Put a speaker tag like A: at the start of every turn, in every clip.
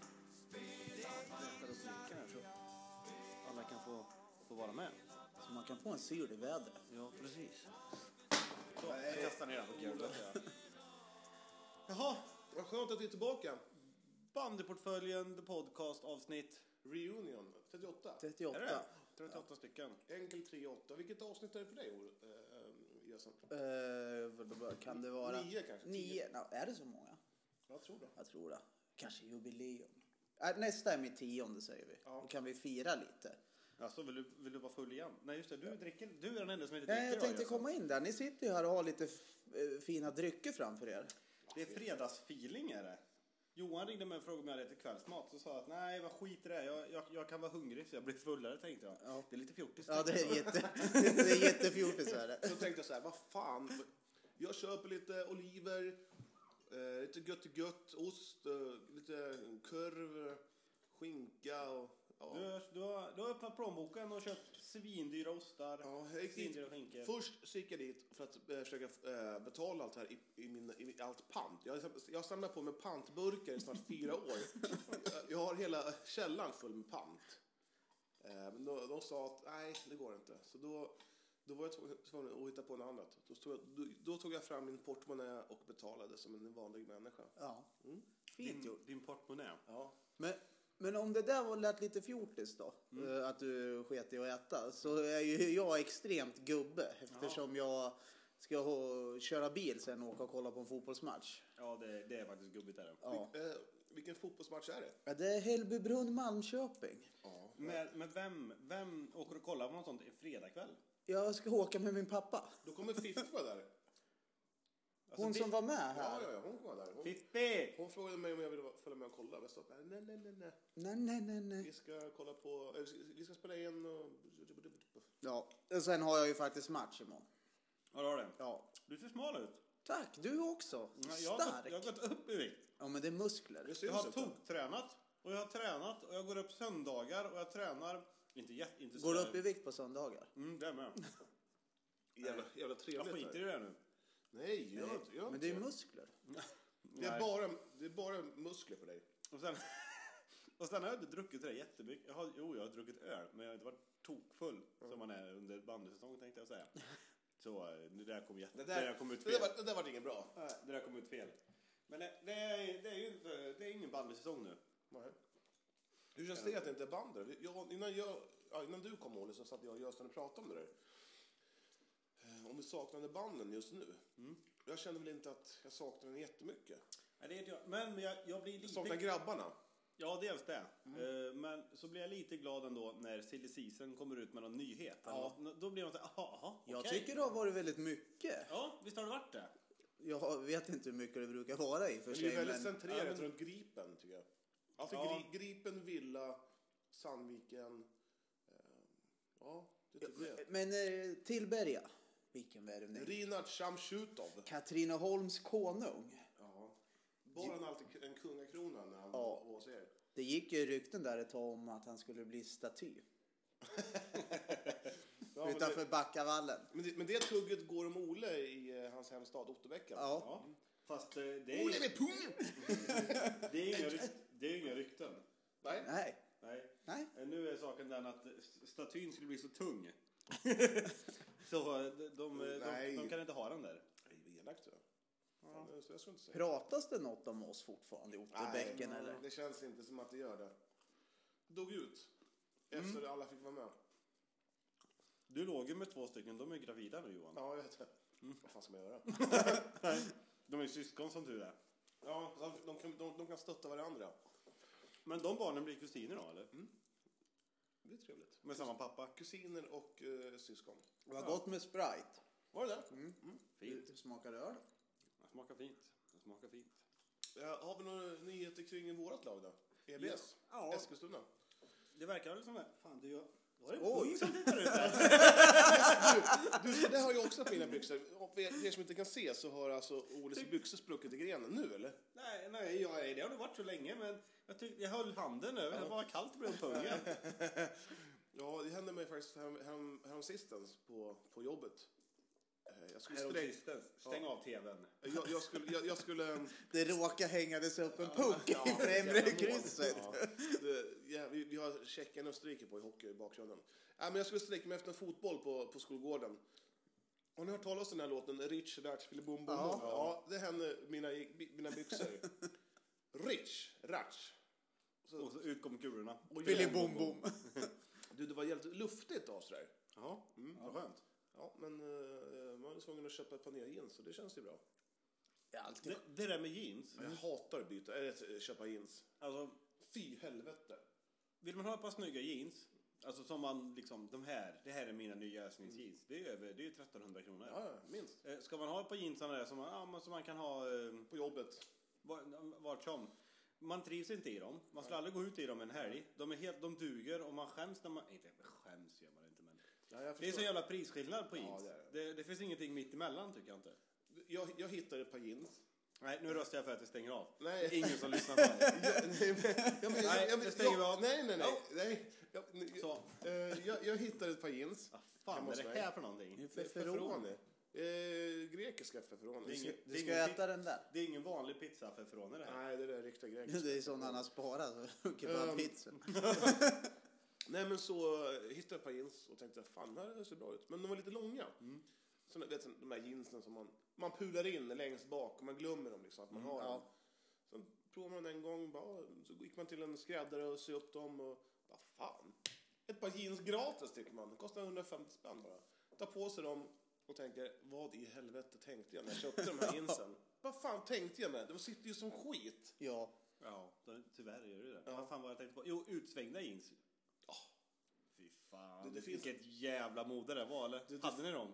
A: lättare att dricka här så alla kan få, få vara med.
B: Så man kan få en syl i vädret.
A: Ja, precis. Så, jag kastar ner den på golvet.
B: Jaha,
C: Vad skönt att du är tillbaka.
A: Bandyportföljen, the podcast, avsnitt.
C: Reunion 38.
B: 38.
A: Är det 38 stycken.
C: Enkel 38. Vilket avsnitt är det för dig, Or- eh, eh, Jösen?
B: Eh, vad- vad- vad kan det vara?
C: Nio kanske, tio.
B: Nio. Nå, är det så många?
C: Jag tror det.
B: Jag tror det. Kanske jubileum. Äh, Nästa är min tionde säger vi. Då kan vi fira lite.
A: Alltså, vill du, vill du vara full igen? Nej, just det. Du, dricker, du är den enda som inte dricker.
B: Nej, jag
A: då,
B: tänkte
A: Jösen.
B: komma in där. Ni sitter ju här och har lite f- eh, fina drycker framför er.
A: Det är fredagsfeeling är det. Johan ringde mig och frågade om jag hade ätit kvällsmat. Så sa jag att nej, vad skit i det. Jag, jag, jag kan vara hungrig så jag blir fullare tänkte jag.
B: Ja.
A: Det är lite fjortis.
B: Ja, det är jätte, det är jättefjortis är det.
C: Då tänkte jag så här, vad fan. Jag köper lite oliver, eh, lite gött gött, ost, eh, lite korv, skinka och... Ja.
A: Du, du, har, du har öppnat plånboken och köpt svindyra ostar,
C: Ja, jag gick dit.
A: svindyra skinkor.
C: Först så gick jag dit för att eh, försöka eh, betala allt här i, i, min, i mitt- allt pant. Jag, jag samlade på mig pantburkar i snart fyra år. Eh, jag har hela källaren full med pant. Eh, men då, de sa att nej, det går inte. Så då, då var jag tvungen- tvungen att hitta på något annat. Då, stod jag, då, då tog jag fram min portmonnä och betalade som en vanlig människa.
B: Ja, fint gjort.
A: Din, din portmonnä.
C: Ja.
B: Men, men om det där var lät lite fjortis då, eh, att du sket i att äta, så är ju jag extremt gubbe eftersom jag ska ha, köra bil sen och åka och kolla på en fotbollsmatch.
A: Ja, det, det är faktiskt gubbigt är det.
B: Ja.
C: Eh, vilken fotbollsmatch är det?
B: Ja, Det är Hällbybrunn-Malmköping.
A: Men, men vem, vem åker och kollar på något sånt en fredagkväll?
B: Jag ska åka med min pappa.
C: Då kommer Fiffi vara där.
A: Alltså,
B: Hon
A: fi-
B: som var med
C: Ja,
B: här.
C: ja, ja, hon kommer vara där. Hon,
A: Fiffi!
C: hon frågade mig om jag ville följa med och kolla. Jag sa nej, nej, nej, nej.
B: Nej, nej, nej, nej.
C: Vi ska kolla på, eh, vi ska- vi ska spela igen och...
B: Ja, och sen har jag ju faktiskt match imorgon.
A: Ja, du har det.
B: Ja.
A: Du ser smal ut.
B: Tack, du också.
A: Nej, Jag har, gått, jag har
B: Stark.
A: gått upp i vikt.
B: Ja, men det är muskler.
C: Det syns
A: Jag har
C: inte.
A: toktränat. Och jag har tränat och jag går upp söndagar och jag tränar. Inte jätte... Inte så
B: Går du
A: där-
B: upp i vikt på söndagar?
A: Mm, det är med.
C: Jävla, jävla
A: Jag
C: trevligt.
A: skiter i
C: här.
A: det här nu.
C: Nej, gör inte. Gör
B: Men
C: inte
B: det är ju muskler.
C: det, är
A: Nej.
C: bara, det är bara muskler på dig.
A: Och sen, och sen har jag inte druckit det där jättemycket. Jag har, jo, jag har druckit öl, men jag har inte varit tokfull som man är under bandysäsong tänkte jag säga. Så eh, det där kom, jätte, det där, kom ut
C: det,
A: fel.
C: där var, det där var inget bra.
A: Nej, det där kom ut fel. Men det, det, är, det, är ju inte, det är ingen bandysäsong nu.
C: Nej. Hur känns det att det inte är band då? jag, innan, jag, ja, innan du kom Olle så satt jag och Gösten och pratade om det där. Eh, Om vi saknade banden just nu. Jag känner väl inte att jag saknar den jättemycket.
A: Nej, det är inte jag. Men jag, jag blir
C: Jag
A: lite...
C: saknar grabbarna.
A: Ja, dels det. Eh, Men så blir jag lite glad ändå när Silly Season kommer ut med någon nyhet.
B: Ja.
A: Eller något. Då blir man såhär, jaha, okej.
B: Jag tycker det har varit väldigt mycket.
A: Ja, visst har det varit det?
B: Jag vet inte hur mycket det brukar vara i och för
C: Men det är
B: sig.
C: väldigt
B: Men,
C: centrerat
A: Ja, men-
C: runt Gripen, tycker jag. Alltså
A: Ja.
C: Gri- Gripen, Villa, Sandviken. Eh, ja, det tycker jag.
B: men eh, Tillberga, vilken värvning.
C: Rinat Shamshutov.
B: Katrineholms konung.
C: Ja. Bara han alltid en kungakrona när han
B: Ja.
C: var hos er.
B: Det gick ju rykten där ett tag om att han skulle bli staty
C: Ja, men,
B: utanför
C: det,
B: Backavallen.
C: men, det, men det tugget går om Ole i eh, hans hemstad Otterbäcken.
B: Ja.
A: Ja. Fast eh, det
C: Ole
A: är,
C: med pungen!
A: det är, inga, ryk- det är inga rykten.
C: Nej.
B: Nej.
A: Nej.
B: Nej.
A: Eh, Nu är saken den att eh, st- statyn skulle bli så tung. så eh, de, de, de,
C: Nej.
A: de kan inte ha den där.
C: Det är elakt. tror jag. Fan, det- Jag ska inte säga.
B: Pratas det något om oss fortfarande i Otterbäcken
C: Nej,
B: eller?
C: Det känns inte som att det gör det. Dog ut. Efter alla fick vara med.
A: Du låg ju med två stycken, de är ju gravida nu Johan.
C: Ja, jag vet det. Vad fan ska man göra?
A: De är syskon som du är.
C: Ja, de, de, kan, de, de kan stötta varandra.
A: Men de barnen blir kusiner då eller?
C: Det är trevligt.
A: Med samma pappa.
C: Kusiner och eh, syskon.
B: Det var gott med Sprite.
C: Var det det?
A: Fint.
B: Det smakar öl.
A: Den smakar fint. Den smakar fint.
C: Eh, har vi några nyheter kring vårt lag då? EBS?
A: Ja.
C: Eskilstuna?
A: Det verkar väl som det. Fan, du, du har en
B: Oj.
A: pung som tittar ut där.
C: Du, där har jag också på mina byxor. Och för er för er som inte kan se så har alltså Oles byxor spruckit i grenen nu eller?
A: nej, nej, jag, nej, det har du varit så länge, men jag, tyck, jag höll handen över. Det var kallt blev om pungen.
C: Ja, det hände mig faktiskt härom- härom- häromsistens på, på jobbet. Eh, Jag skulle, sträng,
A: Häromsistens. Stäng av tvn.
C: jag, jag skulle, jag, jag skulle ehm,
B: Det råkar hängades upp en puck
C: Ja,
B: i främre
C: jävla mål.
B: krysset.
C: Ja. Det- Ja, vi, vi har Tjeckien och Österrike på i hockey i bakgrunden. Ja, men jag skulle sträcka mig efter en fotboll på, på skolgården. Har ni hört talas om den här låten? Rich, Ratch, Filibom, Bom,
B: Ja.
C: Bom? Ja, det hände mina, mina byxor. Rich, Ratch.
A: Och så ut kom kulorna.
C: Och
B: Filibom bom.
C: Du, det var jävligt luftigt av sådär.
A: Jaha, mm, vad skönt.
C: Ja, men eh, man var tvungen att köpa ett par nya jeans så det känns ju bra.
B: Ja, alltid.
A: Det, det där med jeans.
C: Jag hatar att byta, eller köpa jeans.
A: Alltså,
C: Fy helvete.
A: vill man ha ett par snygga jeans, alltså som man liksom, de här, det här är mina nya ösningsjeans. Det är ju över, det är ju 1300 kronor.
C: Ja, ja, minst.
A: Eh, Ska man ha ett par jeans sådana där som man, ja, men som man kan ha eh,
C: På jobbet.
A: var- vart som. Man trivs inte i dem. Man skulle aldrig gå ut i dem en helg. De, är helt, de duger och man skäms när man... Inte skäms gör man inte men...
C: Ja, jag
A: Det är
C: förstår.
A: så jävla prisskillnad på
C: Ja,
A: jeans.
C: det
A: det,
C: är
A: det. finns ingenting mitt emellan tycker jag inte.
C: Jag, jag hittade ett par jeans.
A: Nej, nu röstar jag för att vi stänger av.
C: Nej.
A: Det är ingen som lyssnar på det.
C: Jag- nej, men- jag men-
A: Nej,
C: jag-
A: det
C: jag-
A: stänger vi
C: jag-
A: av.
C: Nej, nej, nej. nej. Jag,
A: Så.
C: jag, eh, jag, jag hittade ett par jeans.
A: Vad fan
C: Hemma
A: är
C: hos
A: det
C: mig.
A: här för någonting?
B: För- Feferoni.
C: Eh, grekiska feferoni.
A: Det är inget-
B: Du ska
A: ingen pi-
B: äta den där.
A: Det är ingen vanlig pizza för från det här.
C: Nej, det där är riktiga grekiska.
B: Det är sådana han har sparat.
C: Ehm.
B: Kebabpizzor.
C: Nej, men så eh, hittade jag ett par jeans och tänkte fan, det här ser bra ut. Men de var lite långa. Mm. Så, ni vet, de här jeansen som man, man pular in längst bak och man glömmer dem liksom, att
B: Mm,
C: man har dem. Så provade man en gång, bara, så gick man till en skräddare och sy upp dem och vad fan. Ett par jeans gratis tycker man, kostar 150 spänn bara. Tar på sig dem och tänker, vad i helvete tänkte jag när jag köpte de här jeansen? Vad fan tänkte jag med? De sitter ju som skit.
B: Ja.
A: Ja, då- tyvärr gör det det.
C: Ja.
A: Vad fan var det jag tänkte på? Jo, utsvängda jeans.
C: Ja.
A: Fy fan.
C: Det- det finns-
A: Vilket jävla mode det var, eller? Hade ni dem?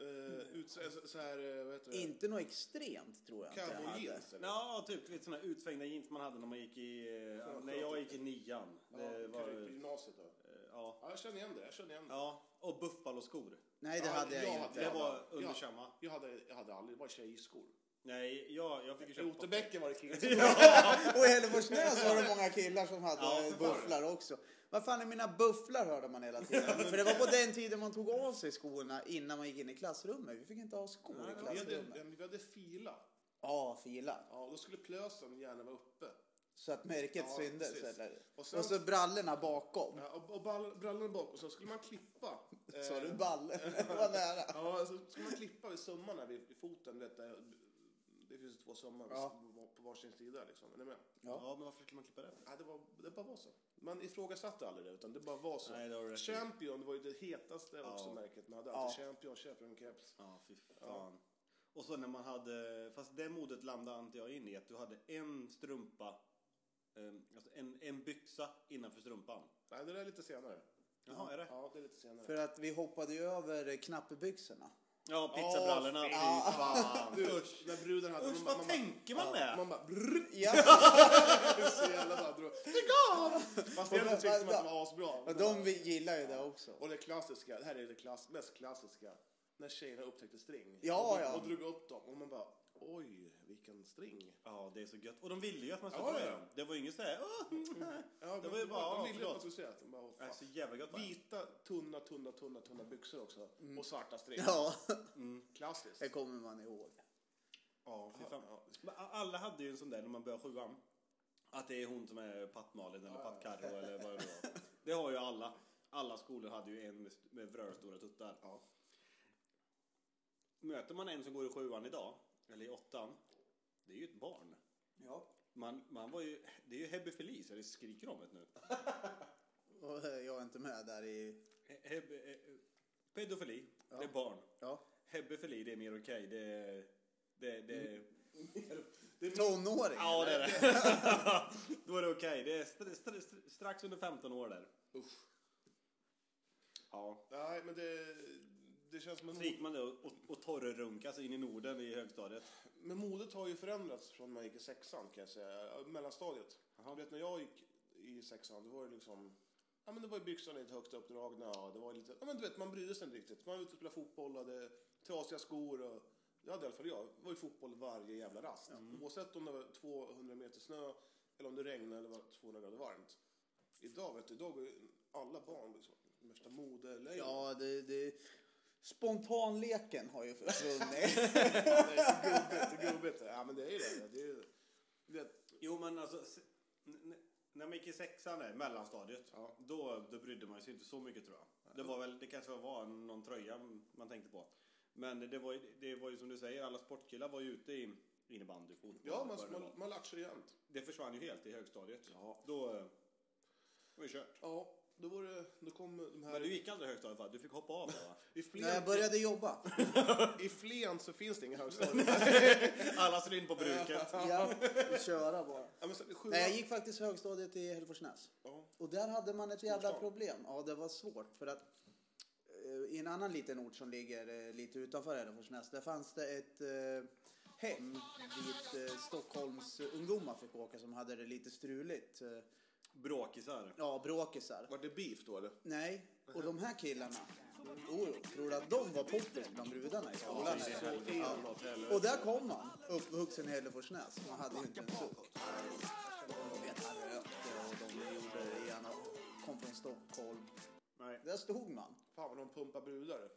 C: Uh, ut, så, så här, eh, vad heter det?
B: Mm. Inte något extremt tror jag inte jag
C: Cowboy
B: hade.
C: jeans eller?
A: Ja, typ lite sådana utsvängda jeans man hade när man gick i... eh,
C: Ja,
A: när jag gick i nian. Det
C: Ja,
A: var...
C: kanske på
A: eh,
C: gymnasiet då.
A: Ja.
C: Ja, jag känner igen det. Jag känner igen det.
A: Ja, och buffaloskor.
B: Nej, det
C: Ja,
B: hade jag
C: jag
B: inte.
A: Det
C: Ja,
A: var
C: ja.
A: under samma.
C: Jag hade, jag hade aldrig, bara tjejskor.
A: Nej, jag, jag fick ju
C: I
A: köpa...
C: Otterbäcken var det killar
B: Och i Hälleforsnäs var det många killar som hade
A: Ja, för fan.
B: bufflar också. Vad fan är mina bufflar hörde man hela tiden. För det var på den tiden man tog av sig skorna innan man gick in i klassrummet. Vi fick inte ha skor i
C: Vi hade,
B: klassrummet.
C: ja, men vi hade fila.
B: Ja, filar.
C: Ja, och då skulle plösen gärna vara uppe.
B: Så att märket
C: Ja,
B: syndes.
C: precis.
B: Eller?
C: Och
B: Och,
C: sen-
B: så brallorna bakom.
C: Ja, och och ball, brallorna bak och så skulle man klippa. eh,
B: Sa du ballen? Det var nära.
C: Ja, så skulle man klippa vid sömmarna vid, vid foten. Vet du, det finns ju två sömmar
B: Ja.
C: på- på varsin sida liksom. Är ni med?
A: Ja, men varför skulle man klippa det?
C: Ja, det, var, det bara var så. Man ifrågasatte aldrig det, utan det bara var så.
A: Nej, det har du rätt i.
C: Champion var ju det hetaste
A: Ja.
C: också märket man hade.
B: Ja.
C: Alltid Champion, Champion Caps.
A: Ja, fy fan. Och så när man hade, fast det modet landade inte jag in i, att du hade en strumpa, em, alltså en, en byxa innanför strumpan.
C: Nej, det där är lite senare.
A: Jaha, är det?
C: Ja, det är lite senare.
B: För att vi hoppade ju över knappbyxorna.
A: Ja, pizzabrallorna,
C: Åh,
A: fy
C: fy
A: fan.
C: Du, när bruden hade...
A: Usch, vad tänker man
C: med?
A: med?
C: Man bara... Brrr,
B: Ja,
C: så jävla bara drog. Lägg av! Fast jag tyckte man att det var asbra.
B: och de vi- gillar ju det också.
C: Och det klassiska, det här är det klass, mest klassiska. När tjejerna upptäckte string.
B: Ja,
C: och, drog-
B: ja.
C: Och drog upp dem. Och man bara, oj, vilken string.
A: Ja, det är så gött. Och de ville ju att man skulle
C: Ja,
A: ta
C: ja.
A: dem. Det var ju inget såhär, åh, mm,
C: Ja,
A: Det
C: men
A: var ju bara,
C: de
A: ja,
C: ville ju
A: förlåt.
C: att man skulle säga att de bara, åh,
A: det är
C: fan.
A: så jävla gött. va?
C: Vita, tunna, tunna, tunna, tunna byxor också. Och svarta string.
B: Ja,
C: Klassiskt.
B: det kommer man ihåg.
A: Ja, fy fan.
C: Ja.
A: Men a- Alla hade ju en sån där när man började sjuan. Att det är hon som är Patt-Malin eller Patt-Carro eller vad det var. Det har ju alla. Alla skolor hade ju en med, med vrölstora tuttar.
C: Ja.
A: Möter man en som går i sjuan idag, eller i åttan, det är ju ett barn.
B: Ja.
A: Man, man var ju, det är ju Hebbe Felice, eller skriker om det nu.
B: Och eh, jag är inte med där i...
A: He- Hebbe, eh, pedofili, det är barn.
B: Ja.
A: Hebefili, det är mer okej. Det, är- det, det,
B: Tonåring?
A: Ja, det är det. Då är det okej. Det är str- str- str- strax under 15 år där.
C: Usch.
A: Ja.
C: Nej, men det, det känns som en
A: Så gick man där och, och, och torrrunkade sig in i Norden i högstadiet.
C: Men modet har ju förändrats från man gick i sexan kan jag säga, äh, mellanstadiet. Du vet när jag gick i sexan, då var det liksom, ja men det var ju byxorna lite högt uppdragna och det var lite, ja men du vet man brydde sig inte riktigt. Man var ute och spelade fotboll, hade trasiga skor och, ja, hade i alla fall jag, det var ju fotboll varje jävla rast. Oavsett om det var 200 meter snö eller om det regnade eller var 200 grader varmt. Idag vet du, idag går ju alla barn liksom, värsta modelöjor.
B: Ja, det, det, spontanleken har ju försvunnit.
C: Det är så gubbigt, så gubbigt. Ja men det är ju det. det, är ju, du vet,
A: Jo, men alltså... se- n- n- När man gick i sexan, där, mellanstadiet,
C: Ja.
A: då, då brydde man sig inte så mycket tror jag. Det, var väl, det kanske var någon tröja man tänkte på. Men det var, ju, det var ju som du säger, alla sportkillar var ju ute i innebandy, fotboll.
C: Ja,
A: vad det
C: man,
A: var.
C: man, man lär sig det jämt.
A: Det försvann ju helt i högstadiet. Då eh, var ju kört.
C: Ja, då, var det, då kom de här...
A: Men du gick aldrig i högstadiet va? Du fick hoppa av då, va?
C: I,
B: När jag
C: Flen,
B: började jobba.
C: I Flen så finns det inga högstadier.
A: Alla slår in på bruket.
B: Ja, och köra bara.
C: ja, men så, sjuan-
B: Nej, jag gick faktiskt högstadiet i Hälleforsnäs.
C: Ja.
B: Och där hade man ett jävla
C: Storstan.
B: problem. Ja, det var svårt för att eh, i en annan liten ort som ligger eh, lite utanför Hälleforsnäs, där fanns det ett eh, hem dit eh, Stockholms ungdomar fick åka som hade det lite struligt. Eh,
A: Bråkisar.
B: Ja, bråkisar.
C: Var det beef då eller?
B: Nej, och de här killarna, oh, tror du att de var poppis bland brudarna i skolan?
A: det är
B: eller?
A: helvete.
B: Ja. Och där kom man, uppvuxen i Hälleforsnäs. Man hade ju inte en suck. De vet, han rökte och de gjorde det ena, kom från Stockholm.
A: Nej.
B: Där stod man.
C: Fan vad de pumpar brudar.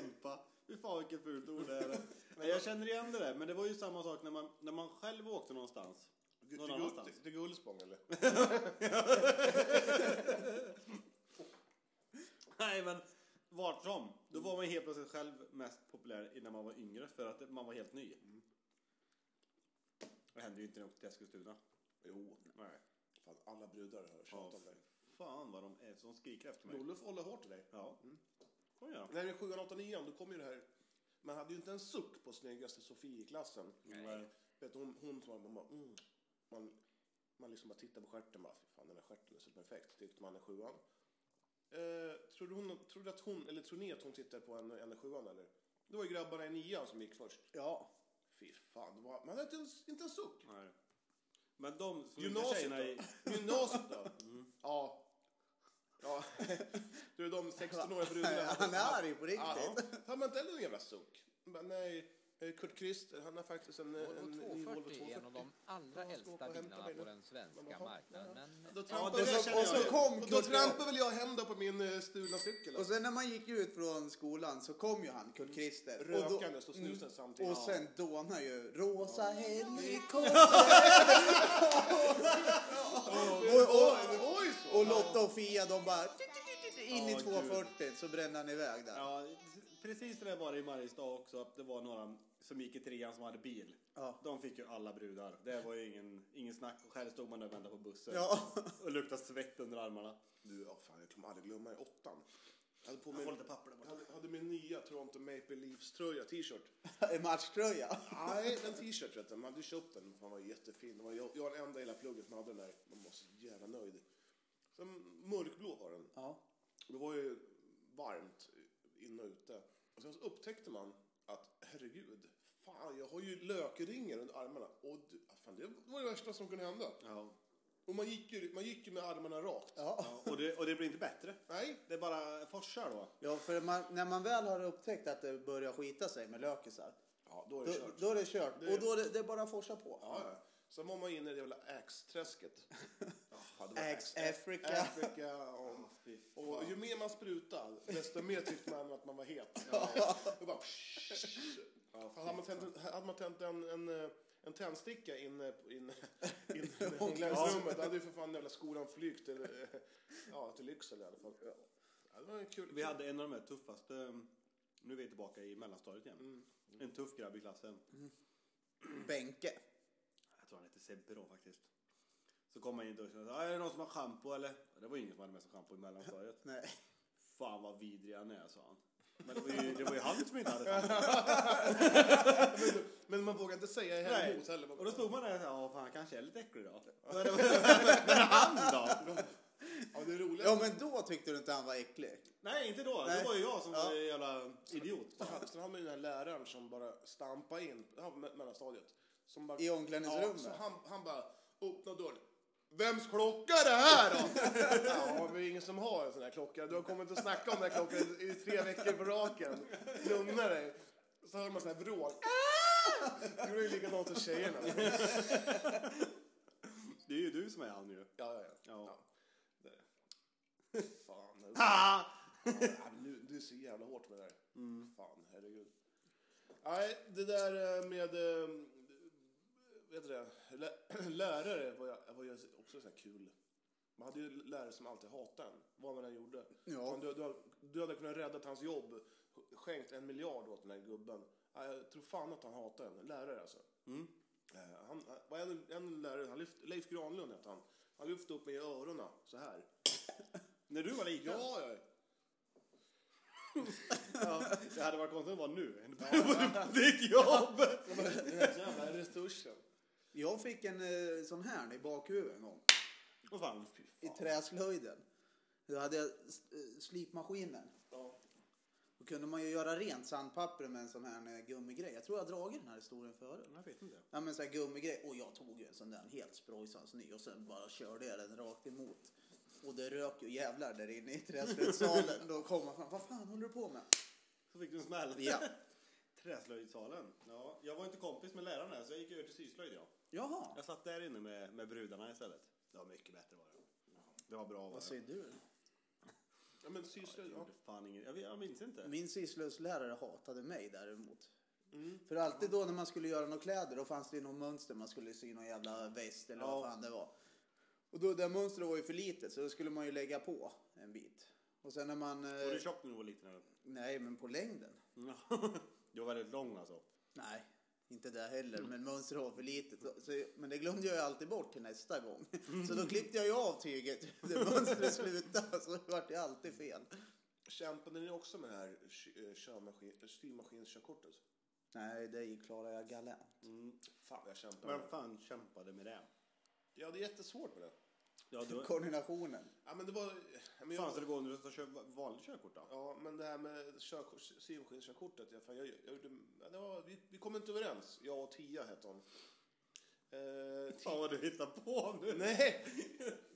A: Pumpa. Fy fan vilket fult ord det är. Nej, jag känner igen det där, men det var ju samma sak när man, när man själv åkte någonstans.
C: Till,
A: Någon
C: Gull-
A: annanstans.
C: till Gullspång eller?
A: Nej, men vart som. Då var
C: Mm.
A: man helt plötsligt själv mest populär innan man var yngre för att man var helt ny.
C: Mm.
A: Det hände ju inte när jag åkte till Eskilstuna.
C: Jo,
A: Nej.
C: fan alla brudar har
A: Ja,
C: tjatat om dig.
A: fan vad de är som skriker efter mig.
C: Olof håller hårt i dig.
A: Ja. Kom igen.
C: När det är sjuan, åttan, nian då kom ju det här. Man hade ju inte en suck på snyggaste Sofie i klassen.
A: Nej.
C: Vet du, hon, hon som var- man bara, mm. man, man liksom bara tittar på stjärten bara, fy fan den här stjärten är så perfekt, tyckte man i sjuan. Eh, trodde, hon, trodde att hon, eller tror ni att hon tittar på en, en i sjuan eller? Det var ju grabbarna i nian som gick först.
B: Ja.
C: Fy fan, det var, man hade inte en, inte en suck.
A: Nej. Men de som inte
C: Gymnasiet
A: tjejerna i...
C: då? Gymnasiet då? Mm. Ja. Ja. Du är de 16-åriga brudarna.
B: Han är arg på
C: Ja,
B: riktigt.
C: han har inte heller någon jävla suck. Men nej, eh, Kurt Christer, han har faktiskt en, en, en ny Volvo
D: 240 är en av
C: 240.
D: de allra
C: Jag ska åka
D: äldsta
C: och
D: bilarna
C: hämta mig nu.
D: på den svenska
C: Men vad-
D: marknaden. Men
C: Då
A: Ja,
C: trampar
A: det
C: väl-
A: känner
B: Och så
A: jag ju.
B: kom
C: Och då
B: Kurt
C: trampar väl jag hem då på min eh, stulna cykel.
B: Och sen när man gick ut från skolan så kom ju han, Kurt Christer. Och då- mm.
C: Rökandes och snusen samtidigt.
B: Och sen dånar ju Rosa helikopter. och-
C: Oj,
B: och-
C: det var ju så.
B: Och Lotta och Fia de bara in i
A: Ja,
B: 240 så brände han iväg där.
A: Ja, precis det där var det i Mariestad också. Att det var några som gick i trean som hade bil.
B: Ja.
A: De fick ju alla brudar. Det var ju ingen, ingen snack. Och själv stod man där och väntade på bussen.
B: Ja.
A: Och luktade svett under armarna.
C: Du, ja fan, jag kommer aldrig glömma i åttan. Jag hade på
A: Jag får
C: mig...
A: lite papper där borta.
C: hade, hade min nya Toronto Maple Leafs tröja, t-shirt.
B: En matchtröja.
C: Nej, en t-shirt vet du. Man hade ju köpt den. Fan var jättefin. Det var jag, jag var den enda i hela plugget som hade den där. Man var så jävla nöjd. Sen mörkblå var den.
B: Ja.
C: Det var ju varmt inne och ute. Och sen så upptäckte man att herregud, fan jag har ju lökringar under armarna. Och du, fan, det var det värsta som kunde hända.
A: Ja.
C: Och man gick ju, man gick ju med armarna rakt.
B: Ja.
A: Och, det, och det blir inte bättre.
C: Nej,
A: Det är bara forsar då.
B: ja, för man, när man väl har upptäckt att det börjar skita sig med lökisar,
C: ja, då är
B: då,
C: det kört.
B: då är det kört.
C: Det-
B: Och då är det, det är bara att forsa på.
C: Ja, ja. Sen var man inne i det jävla Axe-träsket. Ja, fan, det var
B: Axe
C: Axe-
B: Africa.
C: Africa och, och ju mer man sprutade, desto mer tyckte man att man var het. Och bara, hade man tänt, hade man tänt en, en, eh, en tändsticka inne på- in, in, i omklädningsrummet, då hade ju för fan jävla skolan flygt till, eh, ja, till Lycksele i alla fall. Ja, det var en kul.
A: Vi hade en av de här tuffaste, mm, nu är vi tillbaka i mellanstadiet igen.
C: Mm.
A: En tuff grabb i klassen.
B: Bänke.
A: Jag tror han hette Sebbe då faktiskt. Så kom han in och sa, är det någon som har schampo eller? Det var ingen som hade med sig schampo i mellanstadiet.
B: Nej.
A: Fan vad vidrig han är, sa han. Men det var ju, det var ju han som inte hade schampo.
C: Men man vågade inte säga
A: Nej.
C: emot heller.
A: Och då stod man där och sa, ja fan han kanske är lite äcklig då. Men, det var- men han då?
C: Ja, det roliga
B: Ja, men då tyckte du inte han var äcklig.
A: Nej, inte då.
B: Nej.
A: Det var ju jag som
B: Ja.
A: var en jävla idiot.
C: Sen- Sen har man ju den här läraren som bara stampar in ja, me- mellanstadiet. Som bara,
B: I omklädningsrummet.
C: Ja, så han, han bara öppnar dörren. Vems klocka är det här då? ja, men det är ingen som har en sån här klocka. Du har kommit att snacka om den här klockan i tre veckor på raken. Lugna dig. Så hör man sån här vrål. Det gjorde ju likadant hos tjejerna. Ja,
A: Det är ju du som är han ju.
C: ja, ja.
A: Ja.
C: Det- Fan. det- Ja, men nu, du är så jävla hårt med det där. Fan, herregud. Nej, det där eh, med... eh, Vet du det? lä- Lärare var, jag, var ju också så här kul. Man hade ju lärare som alltid hatade en, vad man än gjorde.
B: Ja.
C: Fan, Du, du, du hade kunnat rädda hans jobb, skänkt en miljard åt den här gubben. Nej, Jag tror fan att han hatade en, lärare alltså. Eh, Han han- var en, en lärare, han lyft, Leif Granlund hette han. Han lyfte upp mig i öronen så här.
A: När du var liten.
C: Ja, ja.
A: Ja. Det hade varit konstigt att vara nu. På ditt jobb.
C: Den här jävla resursen.
B: Jag fick en eh, sån här i bakhuvudet en gång.
A: Vad fan. fy
B: I
A: fan.
B: träslöjden. Då hade jag s- eh, slipmaskinen.
C: Ja.
B: Då kunde man ju göra rent sandpapper med en sån här eh, gummigrej. Jag tror jag har dragit den här historien förut.
A: Jag vet inte.
B: Ja men sån här gummigrej. Och jag tog ju en sån där helt sprojsans ny och sen bara körde jag den rakt emot. Och det rök ju jävlar där inne i träslöjdssalen. Då kom man fram. Vad fan håller du på med?
A: Så fick du en smäll.
B: Ja.
A: Träslöjdsalen. Ja, jag var inte kompis med läraren här, så jag gick över till syslöjd jag.
B: Jaha.
A: Jag satt där inne med, med brudarna istället. Det var mycket bättre var det. Det var bra var
B: Vad
A: det.
B: säger du?
C: Ja, men
A: Jag
C: syster, ja.
A: gjorde fan ingen, jag, vet- jag minns inte.
B: Min sysslöjdslärare hatade mig däremot.
A: Mm.
B: För alltid då när man skulle göra några kläder då fanns det ju något mönster man skulle sy någon jävla väst eller vad
A: Ja.
B: fan det var. Och då, det där mönstret var ju för litet så då skulle man ju lägga på en bit. Och sen när man...
A: Var du
B: Eh,
A: tjock när du var liten eller?
B: nej, men på längden.
A: Ja. Du var väldigt lång alltså.
B: Nej, inte det heller.
A: Mm.
B: Men mönstret var för litet. Så, så, men det glömde jag ju alltid bort till nästa gång. Så då klippte jag ju av tyget. Det mönstret slutade så det vart ju alltid fel.
C: Kämpade ni också med det här kö- eh, körmaskin- eh, styrmaskinskörkortet?
B: Nej, det gick klarade jag galant.
C: Fan, jag kämpade med
A: Vem
C: det.
A: fan kämpade med det?
C: Ja, det är jättesvårt med det.
A: Ja, du,
B: Koordinationen.
C: Ja, men det var... ja, Men
A: fan
C: jag,
A: ska det gå om du ska köra vanligt körkort då?
C: ja, men det här med körkort- styrmaskinskörkortet. Jag, fan, jag, jag, gjorde- ja, det var, vi, vi kom inte överens. Jag och Tia hette hon. Eh,
A: Fan vad du hittar på nu.
C: nej!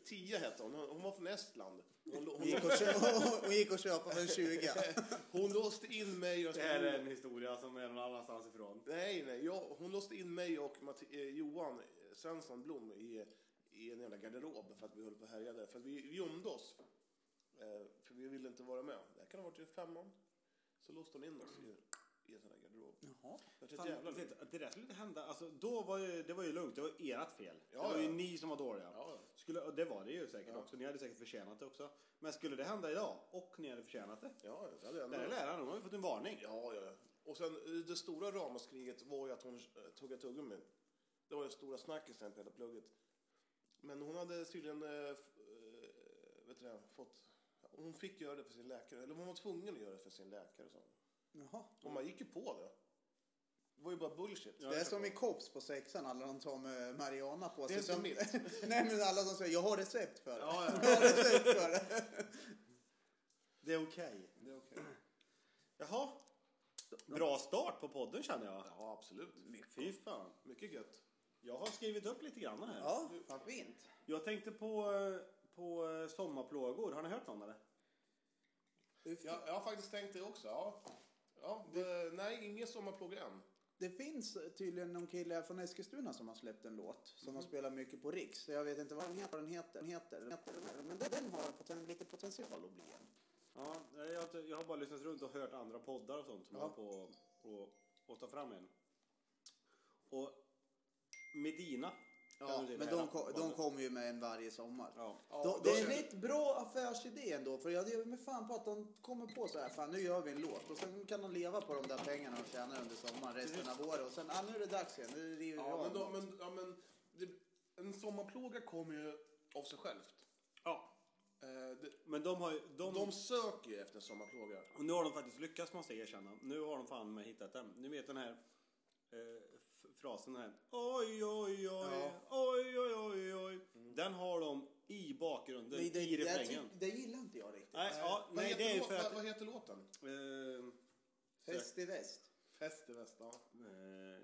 C: Tia hette hon. Hon hon var från Estland. Hon, lå-
B: Hon
C: hon,
B: gick och, kö- hon gick och köpte för en 20.
C: hon låste in mig. och-
A: Det här är en historia som är någon annanstans ifrån.
C: Nej, nej. Jag, hon låste in mig och Matti, eh, Johan Svensson Blom i, i en jävla garderob för att vi höll på att härja där. För att vi, vi gömde oss. Eh, för vi ville inte vara med. Det här kan ha varit i femman. Så låste hon in oss i, i en sån här garderob.
B: Jaha.
C: Det var ett
A: Fan,
C: jävla liv.
A: det, det där skulle inte hända. Alltså, då var ju, det var ju lugnt, det var ert fel.
C: Ja,
A: det var ju
C: ja.
A: ni som var dåliga.
C: Ja, ja.
A: Skulle, och det var det ju säkert
C: Ja.
A: också, ni hade säkert förtjänat det också. Men skulle det hända idag, och ni hade förtjänat det.
C: Ja, det hade jag
A: Den här
C: ändå.
A: läraren, hon har ju fått en varning.
C: Ja, ja, ja. Och sen eh, det stora ramaskriget var ju att hon eh, tuggade tuggummi. Det var den stora snackisen på hela plugget. Men hon hade tydligen eh, f- eh, vet du det, fått... Hon fick göra det för sin läkare. Eller hon var tvungen att göra det för sin läkare. Så.
B: Jaha.
C: Och man gick ju på det. Det var ju bara bullshit.
A: Ja.
B: Det är som i Kops på sexan, alla de tar med Mariana på sig.
C: Det är
B: som-
C: inte
B: Nej men alla som säger jag har recept för det.
C: Ja, ja.
B: Jag har recept för det.
A: Det är okej.
C: Det är okej.
A: Jaha. Bra start på podden känner jag.
C: Ja, absolut.
A: Fy fan.
C: Mycket gött.
A: Jag har skrivit upp lite grann här.
B: Ja, vad fint.
A: Jag tänkte på, eh, på eh, sommarplågor. Har ni hört någon eller?
B: Det, fi-
C: Jag, jag har faktiskt tänkt det också. Ja. Ja, det, nej, ingen sommarplåga än.
B: det finns tydligen någon kille här från Eskilstuna som har släppt en låt som har spelat mycket på Riks. Jag vet inte vad den heter, den heter, den heter, den heter men den har poten, lite potential att bli en.
A: Ja, nej, jag, har inte- jag har bara lyssnat runt och hört andra poddar och sånt som
B: Ja.
A: håller på och, och ta fram en. Och Medina. kan
B: Ja,
A: du säga,
B: men
A: det här
B: de, ko- de
A: rapbandet.
B: kommer ju med en varje sommar.
A: Ja.
B: De,
C: Ja,
B: det
C: då-
B: är en rätt bra affärsidé ändå, för jag ger mig fan på att de kommer på så här, fan nu gör vi en låt och sen kan de leva på de där pengarna de tjänar under sommaren, resten av året och sen, ah, nu är det dags igen, nu river vi
C: Ja,
B: av.
C: men, då, men, ja, men det, en sommarplåga kommer ju av sig självt.
A: ja.
C: Eh, det,
A: Men de har ju- de,
C: de söker ju efter en sommarplåga.
A: Och nu har de faktiskt lyckats måste jag erkänna. Nu har de fan med hittat den. Ni vet den här eh, f- frasen här. Oj, oj, oj,
B: Ja.
A: oj, oj, oj, oj. Den har de i bakgrunden,
B: Men det,
A: i
B: det, jag
A: refrängen.
B: ty- det
A: det är ju
C: låt-
A: för att-
C: vad heter låten?
A: Eh,
B: Fest i väst.
C: Fest i Västland.
A: eh,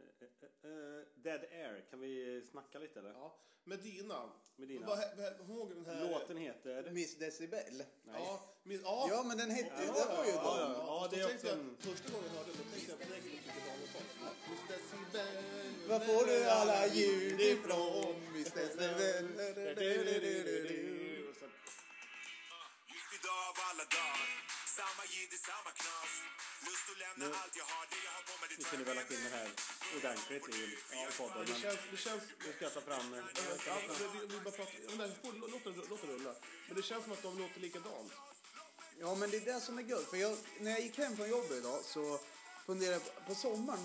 A: eh, Dead Air, kan vi snacka lite eller?
C: Ja. Medina.
A: Medina.
C: Vad he- vad- Hon ihåg den här...
A: Låten heter...
B: Miss Decibel.
C: Ja, min, ja.
B: Ja, men den hette ju...
A: Ja,
B: Det var ju
A: ja,
B: dem.
A: ja.
C: då
A: det är också
C: tänkte jag-
A: en-
C: Första gången jag hörde den så tänkte jag direkt att det var amerikanskt. Miss Decibel.
B: Var får du alla ljud ifrån? Miss Decibel.
D: Just idag av alla dagar Samma jidder, samma knas Lust att lämna allt jag har Det jag har på mig, det
A: Nu
D: tar jag
A: kunde vi ha
D: med
A: lagt in den här ordentligt i i podden.
C: Det
A: Men
C: känns... Det känns
A: nu ska jag ta fram... eh,
C: ja, men vi, vi bara pratar, jag undrar, får- låten, låten rulla. Men det känns som att de låter likadant.
B: Ja, men det är det som är guld. För jag, när jag gick hem från jobbet idag så funderade jag på, på sommaren.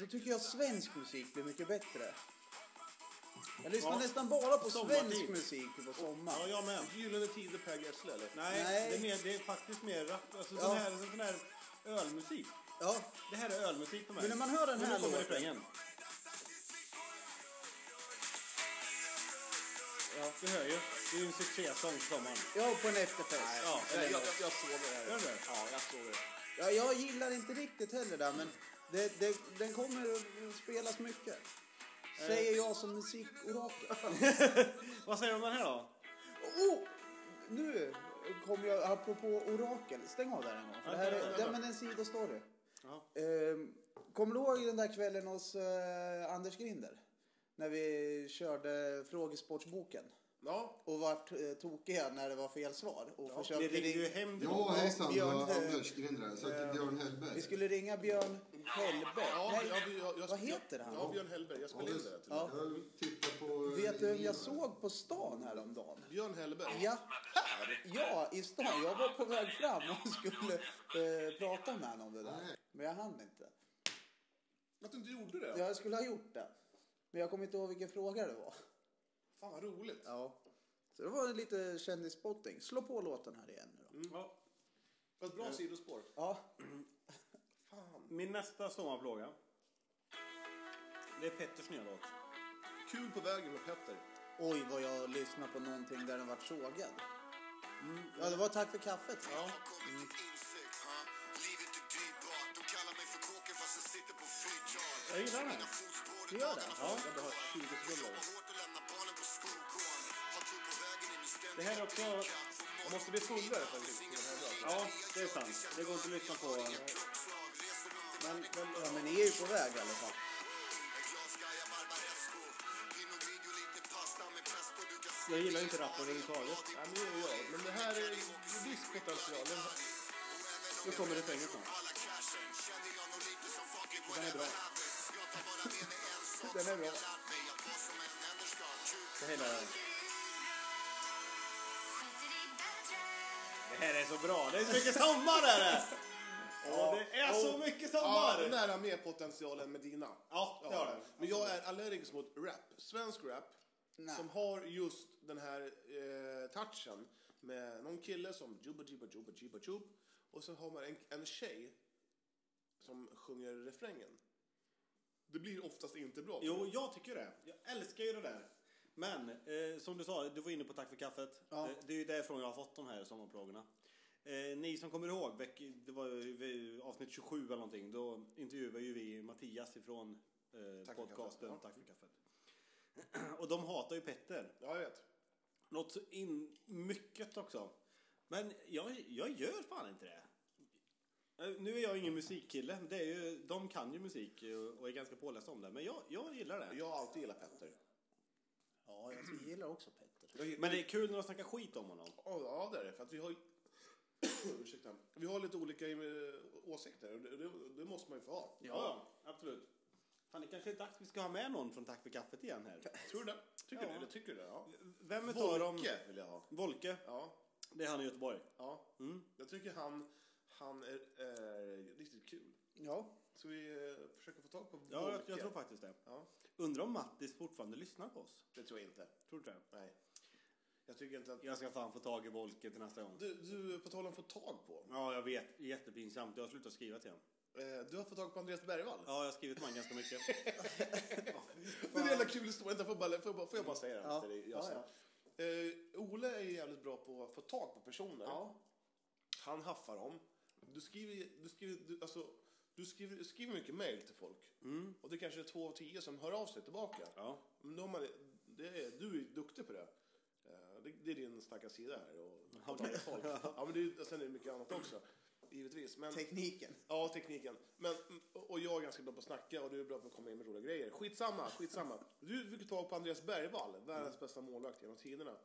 B: Då tycker jag svensk musik blir mycket bättre. Jag lyssnar
A: Ja.
B: nästan bara på
A: Sommartid.
B: svensk musik på sommaren.
A: Ja, jag med.
C: Gyllene Tider, Per Gessle, eller?
A: Nej,
B: Nej.
A: Det, är mer, det är faktiskt mer rap. Alltså,
B: Ja.
A: sån, här, sån här ölmusik.
B: Ja,
A: Det här är ölmusik för mig.
B: men när man hör den
A: Men nu
B: här
A: kommer
B: låten.
A: refrängen. Ja, du hör ju. Det är ju en succésång för sommaren.
B: Ja, på en efterfest.
A: Ja,
C: Nej, jag, jag, jag såg det här.
A: Gör du det?
C: Ja, jag såg det.
B: Ja, jag gillar inte riktigt heller det, men det, det, den kommer att spelas mycket.
A: Eh.
B: Säger jag som musikorakel.
A: Vad säger du om den här då?
B: Oh! Nu kom jag, apropå orakel, stäng av där en gång. För det här
A: Okej,
B: är,
A: okej.
B: ja, men en sidostory.
A: Ja.
B: Ehm, kommer du ihåg den där kvällen hos eh, Anders Grinder? När vi körde frågesportsboken
C: Ja,
B: och vart eh, tokiga när det var fel svar. Och
A: Ni
B: försökte
A: ringde ju
B: ring-
A: hem då.
E: Ja, hejsan. Det
B: Björn,
E: var
B: eh,
E: Anders Grindar. Jag sökte Björn Hellberg.
B: vi skulle ringa Björn Hellberg.
C: ja,
B: Nej,
C: jag, jag, jag,
B: vad heter han?
C: Ja, Björn Hellberg. Jag spelade in det. typ. till
B: Ja.
E: Jag tittar på... eh,
B: Vet du vem jag
E: videon.
B: såg på stan häromdagen?
C: Björn Hellberg?
B: Ja, här. Ja, i stan. Jag var på väg fram och skulle eh, prata med honom om det där. Men jag hann inte.
C: Att du inte gjorde det?
B: Jag skulle ha gjort det. Men jag kommer inte ihåg vilken fråga det var.
C: Fan, vad roligt.
B: Ja. Så det var lite kändisspotting. Slå på låten här igen nu då.
A: Mm. Ja.
C: Vad bra sidospår.
B: Mm. Ja.
C: Fan.
A: Min nästa sommarplåga. Det är Petters nya låt.
C: Kul på vägen med Petter.
B: Oj, vad jag lyssnade på någonting där den vart sågad. Mm. Ja, det var Tack för kaffet.
D: Jag har kommit
A: Mm.
D: till insikt, ha? Livet är dyrbart De kallar mig för kåken fast jag sitter på fyrtal
A: Jag gillar den.
D: Mina fotspår
B: Du
D: i
B: gör det?
D: dagarna
A: Ja,
D: från
A: jag
C: har 20
D: Stockholm.
C: sekunder.
D: Jobbar hårt och lämnar barnen på skolgården Har tur på vägen in i
A: Det
D: ständiga
A: här är också...
D: drivkraft.
A: Måste bli fullare faktiskt. till den här låten. Ja, det är sant. Det går inte att lyssna på.
D: Kroppslag, reser runt i
A: Men, men,
B: Ja, men ni är ju på väg i alla fall.
D: En glas Gaia Barbaresco Pinot Grigio, lite pasta med pesto Du kan se
A: jag gillar inte rap överhuvudtaget.
C: Ja, men det gör jag. Men det här är riskpotentialen.
A: Nu kommer refrängen snart.
D: alla cashen Känner jag nog lite som fucking whatever happens Jag tar bara med mig en sak
B: Den är bra.
D: jag lärt mig Att vad som än händer ska kul
A: Det här är... Det här är så bra. Det är så mycket sommar är det! Ja, det är så mycket
C: Ja,
A: sommar!
C: nära mer potentialen med dina.
A: Ja, det har det.
C: Men jag är allergisk mot rap. Svensk rap.
B: Nej.
C: Som har just den här eh, touchen med någon kille som jubba jubba jubba jubba jub. Och så har man en, en tjej som sjunger refrängen. Det blir oftast inte bra.
A: Jo, jag tycker det. Jag älskar ju det där. Men eh, som du sa, du var inne på Tack för kaffet.
B: Ja.
A: Eh, det är ju därifrån jag har fått de här sommarplågorna. Eh, ni som kommer ihåg, veck- det var ju vi- avsnitt 27 eller någonting. Då intervjuade ju vi Mattias ifrån eh,
C: Tack för
A: podcasten
C: kaffet. Ja.
A: Tack för kaffet. Och de hatar ju Petter.
C: Ja, jag vet.
A: Något så in mycket också. Men jag, jag gör fan inte det. Eh, Nu är jag ingen musikkille. Det är ju, de kan ju musik eh, och är ganska pålästa om det. Men jag, jag gillar det.
C: Jag har alltid gillat Petter.
B: Ja, jag gillar också Petter.
C: Jag,
A: Men det är kul när de snackar skit om honom.
C: Ja, ja, det är det. För att vi har, ursäkta, vi har lite olika eh, åsikter och det, det, det måste man ju få ha.
A: Ja, absolut. Fan, det kanske är dags vi ska ha med någon från Tack för kaffet igen här.
C: Tror du det? Tycker
A: Ja.
C: du det? Tycker du det? Ja.
A: Vem utav dem?
C: Volke vill jag ha.
A: Volke.
C: Ja,
A: Det är han i Göteborg.
C: ja.
A: Mm.
C: Jag tycker han, han är, eh, riktigt kul.
B: Ja.
C: Så vi eh, försöker få tag på
A: Ja, jag,
C: Volke.
A: jag tror faktiskt det.
C: Ja,
A: Undrar om Mattis fortfarande lyssnar på oss.
C: det tror jag inte.
A: Tror du det?
C: Nej. Jag tycker inte att...
A: Jag ska fan få tag i Volke till nästa gång.
C: Du, du, på tal om få tag på.
A: Ja, jag vet. Jättepinsamt. Jag har slutat skriva till honom.
C: Eh, du har fått tag på Andreas Bergvall.
A: Ja, jag har skrivit till honom ganska mycket.
C: Det är en jävla kul historia. Vänta, Får jag bara, får jag bara, får jag bara säga den?
B: Ja.
C: till dig,
B: Ja,
C: Jasen? Eh, Ole är jävligt bra på att få tag på personer.
B: Ja.
C: han haffar dem. Du skriver, du skriver, du, alltså, du skriver, skriver mycket mejl till folk.
B: Mm.
C: Och det kanske är två av tio som hör av sig tillbaka.
A: Ja.
C: Men de har, det är, du är duktig på det. Eh, Det, det är din starka sida här. Och, och folk. Ja, men det är, ju- sen är det mycket annat också. Givetvis. Men,
B: Tekniken.
C: Ja, tekniken. Men, och jag är ganska bra på att snacka och du är bra på att komma in med roliga grejer. Skitsamma, skitsamma. Du fick tag på Andreas Bergvall, världens bästa målvakt genom tiderna. Eh,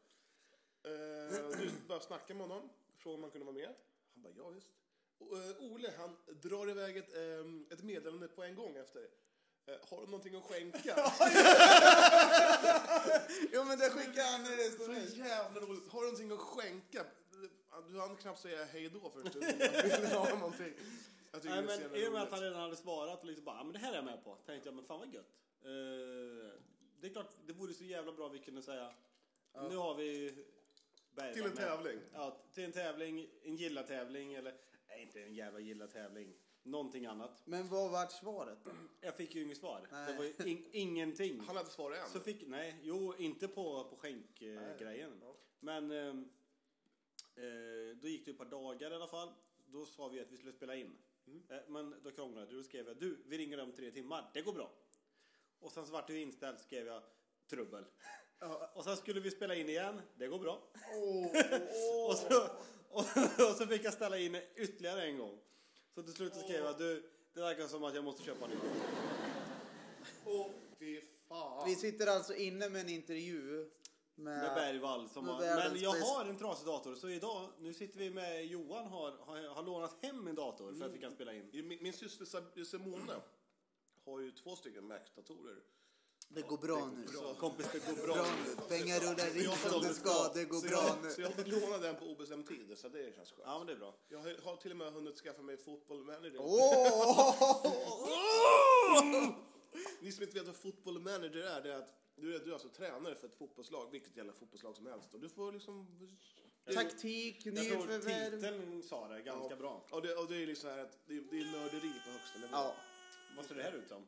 C: du började snacka med honom, frågade om han kunde vara med. Han bara, ja visst. Och, eh, Ole, han drar iväg ett, ehm, ett meddelande på en gång efter. Eh, har du någonting att skänka?
B: Jo men där skickar han det står
C: Så
B: nu.
C: jävla roligt. Har du någonting att skänka? Du hann knappt säga hej då först. Du har någonting. Jag tycker
A: Nej,
C: det är så
A: men
C: jävla
A: I och med att
C: roligt.
A: han redan hade svarat och liksom bara, "Ja, men det här är jag med på. Tänkte jag, men fan vad gött. Eh, det är klart, det vore så jävla bra vi kunde säga. Nu har vi Bergvall
C: Till en
A: med."
C: tävling.
A: Ja, till en tävling, en gilla-tävling eller, nej inte en jävla gilla-tävling. Någonting annat.
B: Men vad vart svaret då?
A: Jag fick ju inget svar.
B: Nej.
A: Det var ju in, ingenting.
C: Han hade svarat än.
A: Så fick, nej, jo, inte på, på skänkgrejen.
C: Ja.
A: Men ehm, eh, då gick det ett par dagar i alla fall. Då sa vi att vi skulle spela in. Eh, men då krånglade det. Då skrev jag, du, vi ringer om tre timmar. Det går bra. Och sen så vart det ju inställt, skrev jag, trubbel. Och sen skulle vi spela in igen. Det går bra. och, så, och, och så fick jag ställa in ytterligare en gång. Så till slut så skrev jag, du, det verkar som att jag måste köpa en ny.
C: Åh, fy fan.
B: Vi sitter alltså inne med en intervju med...
A: Med Bergvall som
B: Eh, med
A: har,
B: världens
A: Men jag
B: bästa-
A: har en trasig dator så idag, nu sitter vi med Johan har, har, har lånat hem min dator för att vi kan spela
B: Mm.
A: in.
C: Min, min syster Sab- Simone har ju två stycken Mac-datorer.
B: Det går bra nu.
A: Så kompis det går bra.
B: Bra nu. Pengar rullar in som det ska. Det går
C: så
B: bra
C: jag, Så
B: nu.
C: jag har fått låna den på obestämd tid, så det känns skönt.
A: Ja men det är bra.
C: Jag har, har till och med hunnit skaffa mig Football Manager.
B: Åh!
C: Ni som inte vet vad Football Manager är, det är att du är, du är alltså tränare för ett fotbollslag, vilket jävla fotbollslag som helst. Och du får liksom...
B: Taktik,
A: Jag tror
B: nyförvärv.
A: titeln sa det ganska bra.
C: Och det, och det är liksom så här att det, är- det är nörderi på högsta nivå.
B: Ja.
A: Vad ser det här ut som?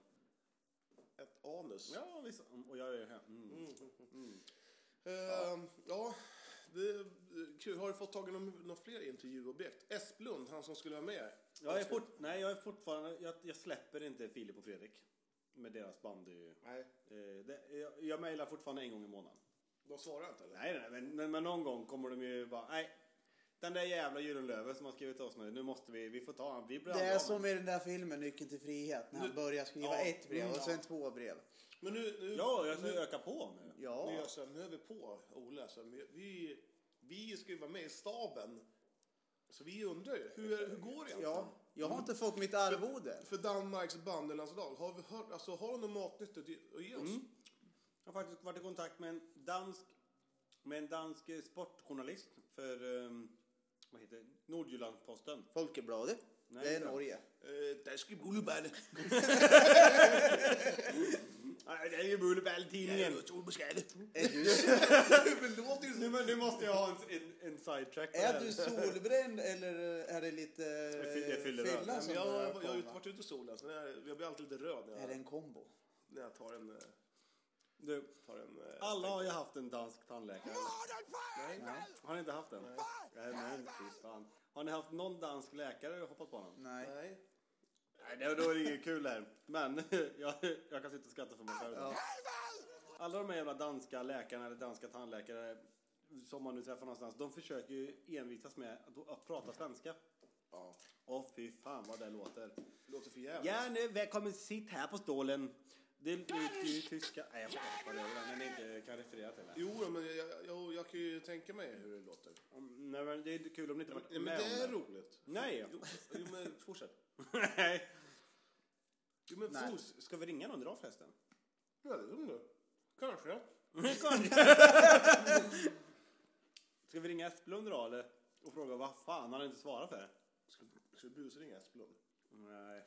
C: Ett anus.
A: Ja visst. Mm, Och jag är här. Mm.
C: Ehm, ja, det är kul. Har du fått tag i någon, någon fler intervjuobjekt? Esplund, han som skulle vara med.
A: Jag är fort, nej jag är fortfarande, jag, jag släpper inte Filip och Fredrik. Med deras bandy.
C: Nej,
A: Eh, det, jag, jag mejlar fortfarande en gång i månaden.
C: de svarar inte eller?
A: Nej, nej men, men, men någon gång kommer de ju bara, nej. Den där jävla Gyllenlöven som har skrivit till oss nu, nu måste vi, vi får ta han. Vi blir
B: Det
A: aldrig av
B: är
A: med
B: som i den där filmen Nyckeln till frihet. När han börjar skriva
C: Ja.
B: ett brev och
C: Mm,
B: sen två brev.
C: Men nu, nu,
A: Ja, jag ska
C: nu,
A: öka på nu.
C: nu,
B: Ja.
C: gör så här, nu är vi på Ola. Så här, vi- vi, vi ska ju vara med i staben. Så vi undrar ju, hur, hur går det egentligen?
B: ja. Jag har inte fått mitt arvode.
C: För Danmarks bandylandslag, har, vi hört, alltså, har de något matnyttigt att ge- att ge oss?
A: Jag har faktiskt varit i kontakt med en dansk, med en dansk eh, sportjournalist för um, vad heter det? Nordjyllandsposten.
B: Folkebladet.
A: Nej,
B: Det är
A: inte.
B: Norge.
C: Eh, där ska Bulleball.
A: Nej, det är ju Bullebell-tidningen.
B: Är du,
A: Nu, men nu måste jag ha en, en, en sidetrack på det
B: är
A: här.
B: du solbränd eller är det lite
A: fy- det är fylleröd.
B: fylla
C: Jag,
B: som eh,
C: jag
B: börjar
C: har ju
B: komma?
C: varit ute i solen, så jag, jag blir alltid lite röd när
B: Är det
C: jag,
B: en kombo?
C: när jag tar en... eh,
A: du,
C: Tar en eh,
A: alla har ju haft en dansk tandläkare.
C: Nej.
A: Har ni inte haft en? Nej. men fy fan. Har ni haft någon dansk läkare och hoppat på honom?
B: Nej.
C: Nej.
A: Nej, det- då är det inget kul här. Men jag, jag kan sitta och skratta för mig själv. Alla de här jävla danska läkarna eller danska tandläkare som man nu träffar någonstans, de försöker ju envisas med att, att prata svenska.
C: Ja.
A: Åh fy fan vad det låter.
C: Låter för jävligt.
A: Ja nu, välkommen, sitt här på stålen. Det låter ju tyska. Nej, jag hoppar över den, men inte kan referera till det.
C: Jo, men jag, jag, jag, jag kan ju tänka mig hur det låter.
A: Nej, men det är kul om ni inte varit
C: Ja, men
A: med
C: det är
A: om det.
C: roligt.
A: Nej.
C: Jo, jo, men fortsätt.
A: Nej.
C: Jo, men
B: Nej.
C: fortsätt.
A: Ska vi ringa någon idag förresten?
C: Ja, det undrar jag. Kanske.
A: Ska vi ringa Esplund idag eller? Och fråga vad fan han inte svarar för?
C: Ska, ska vi busringa Esplund?
A: Nej.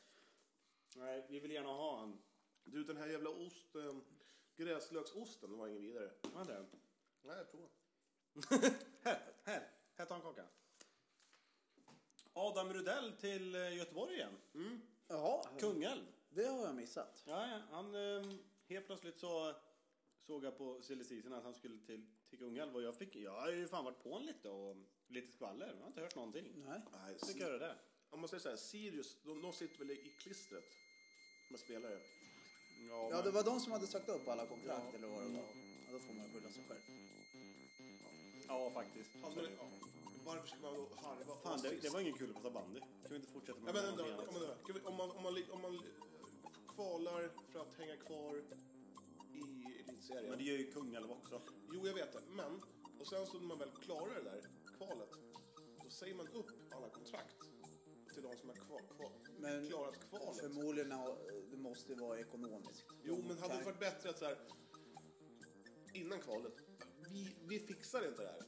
A: Nej, vi vill gärna ha en.
C: Du, den här jävla ost, eh, gräslöksosten, den var ingen vidare.
A: Vänta.
C: Nej, prova.
A: Här, här, här ta en kaka. Adam Rudell till eh, Göteborg igen.
B: Jaha,
A: Kungälv.
B: det har jag missat.
A: Ja, ja, han eh, helt plötsligt ehm, så såg jag på Silly att han skulle till, till Kungälv och jag fick, jag har ju fan varit på honom lite och lite skvaller. Jag har inte hört någonting.
B: Nej.
C: Nej,
A: Så fick jag höra det.
C: Om man säger så här, Sirius, de, de sitter väl i klistret med spelare.
B: Ja, det var de som hade sagt upp alla kontrakt eller vad det var.
C: Mm.
B: Ja, då får man skylla sig själv.
A: Ja, faktiskt.
C: Alltså, men, ja, varför ska man då harva
A: Fan, det, det
C: Oasis?
A: var ingen kul att prata bandy. Kan vi inte fortsätta
C: Ja,
A: med
C: men
A: något
C: ändå,
A: annat?
C: om, man, ska vi- om, man, om, man, li- om man li- kvalar för att hänga kvar i elitserien.
A: Men det gör ju Kungälv också.
C: Jo, jag vet det. Men, och sen så när man väl klarar det där kvalet, då säger man upp alla kontrakt till de som har kvar, kvar,
B: Men-
C: klarat kvalet.
B: Förmodligen har- det måste ju vara ekonomiskt.
C: Jo, men hade det
B: Kan-
C: varit bättre att så här, innan kvalet, vi, vi fixar inte det här.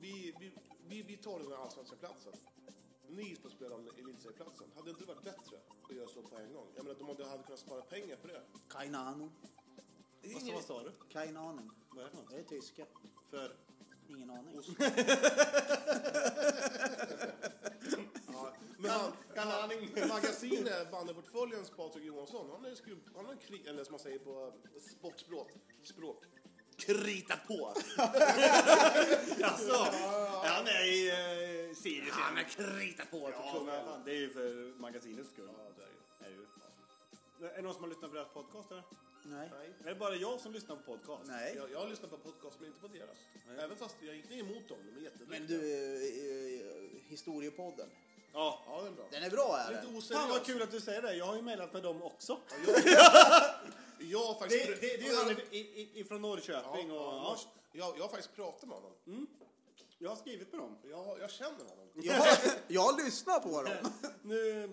C: Vi, vi, vi, vi tar den här allsvenska platsen. Ni får spela om elitserieplatsen. Hade inte det varit bättre att göra så på en gång? Jag menar, de hade- hade kunnat spara pengar på det.
B: Keine Ahnung.
C: Det är
A: Vad,
C: ingen-
A: vad sa du?
B: Keine Ahnung.
A: Vad är det för något?
B: Det är tyska.
A: För?
B: Ingen aning.
C: Ja, men han, magasinet Bandyportföljens Patrik Johansson, han har skrivit, han har kri, eller som man säger på eh, sportspråk, språk, kritat på.
A: Alltså, han är i eh, Sirius. Han är krita på
C: för
A: ja,
C: Kungälv.
A: men fan, Det är ju för magasinets skull. är, det ju. är det någon som har lyssnat på deras podcast eller?
B: Nej.
C: Nej.
A: Är det bara jag som lyssnar på podcast?
B: Nej.
C: Jag, jag har lyssnat på podcast men inte på deras. Även fast jag gick ner emot dem, de är jätteduktiga.
B: Men du, eh, eh, historiepodden.
A: Ja.
C: Ja, den är bra.
B: Den är bra är
C: Lite
B: den.
C: oseriös.
A: Fan vad kul att du säger det. Jag har ju mejlat med dem också.
C: Jag har
A: Det,
C: faktiskt...
A: det, det är ju han i- i- ifrån
C: Ja,
A: Norrköping och...
C: ja,
A: Ja,
C: jag, jag har faktiskt pratat med honom.
A: jag har skrivit med dem.
C: Jag, jag känner honom.
B: Jag, jag lyssnar på dem.
A: Nu...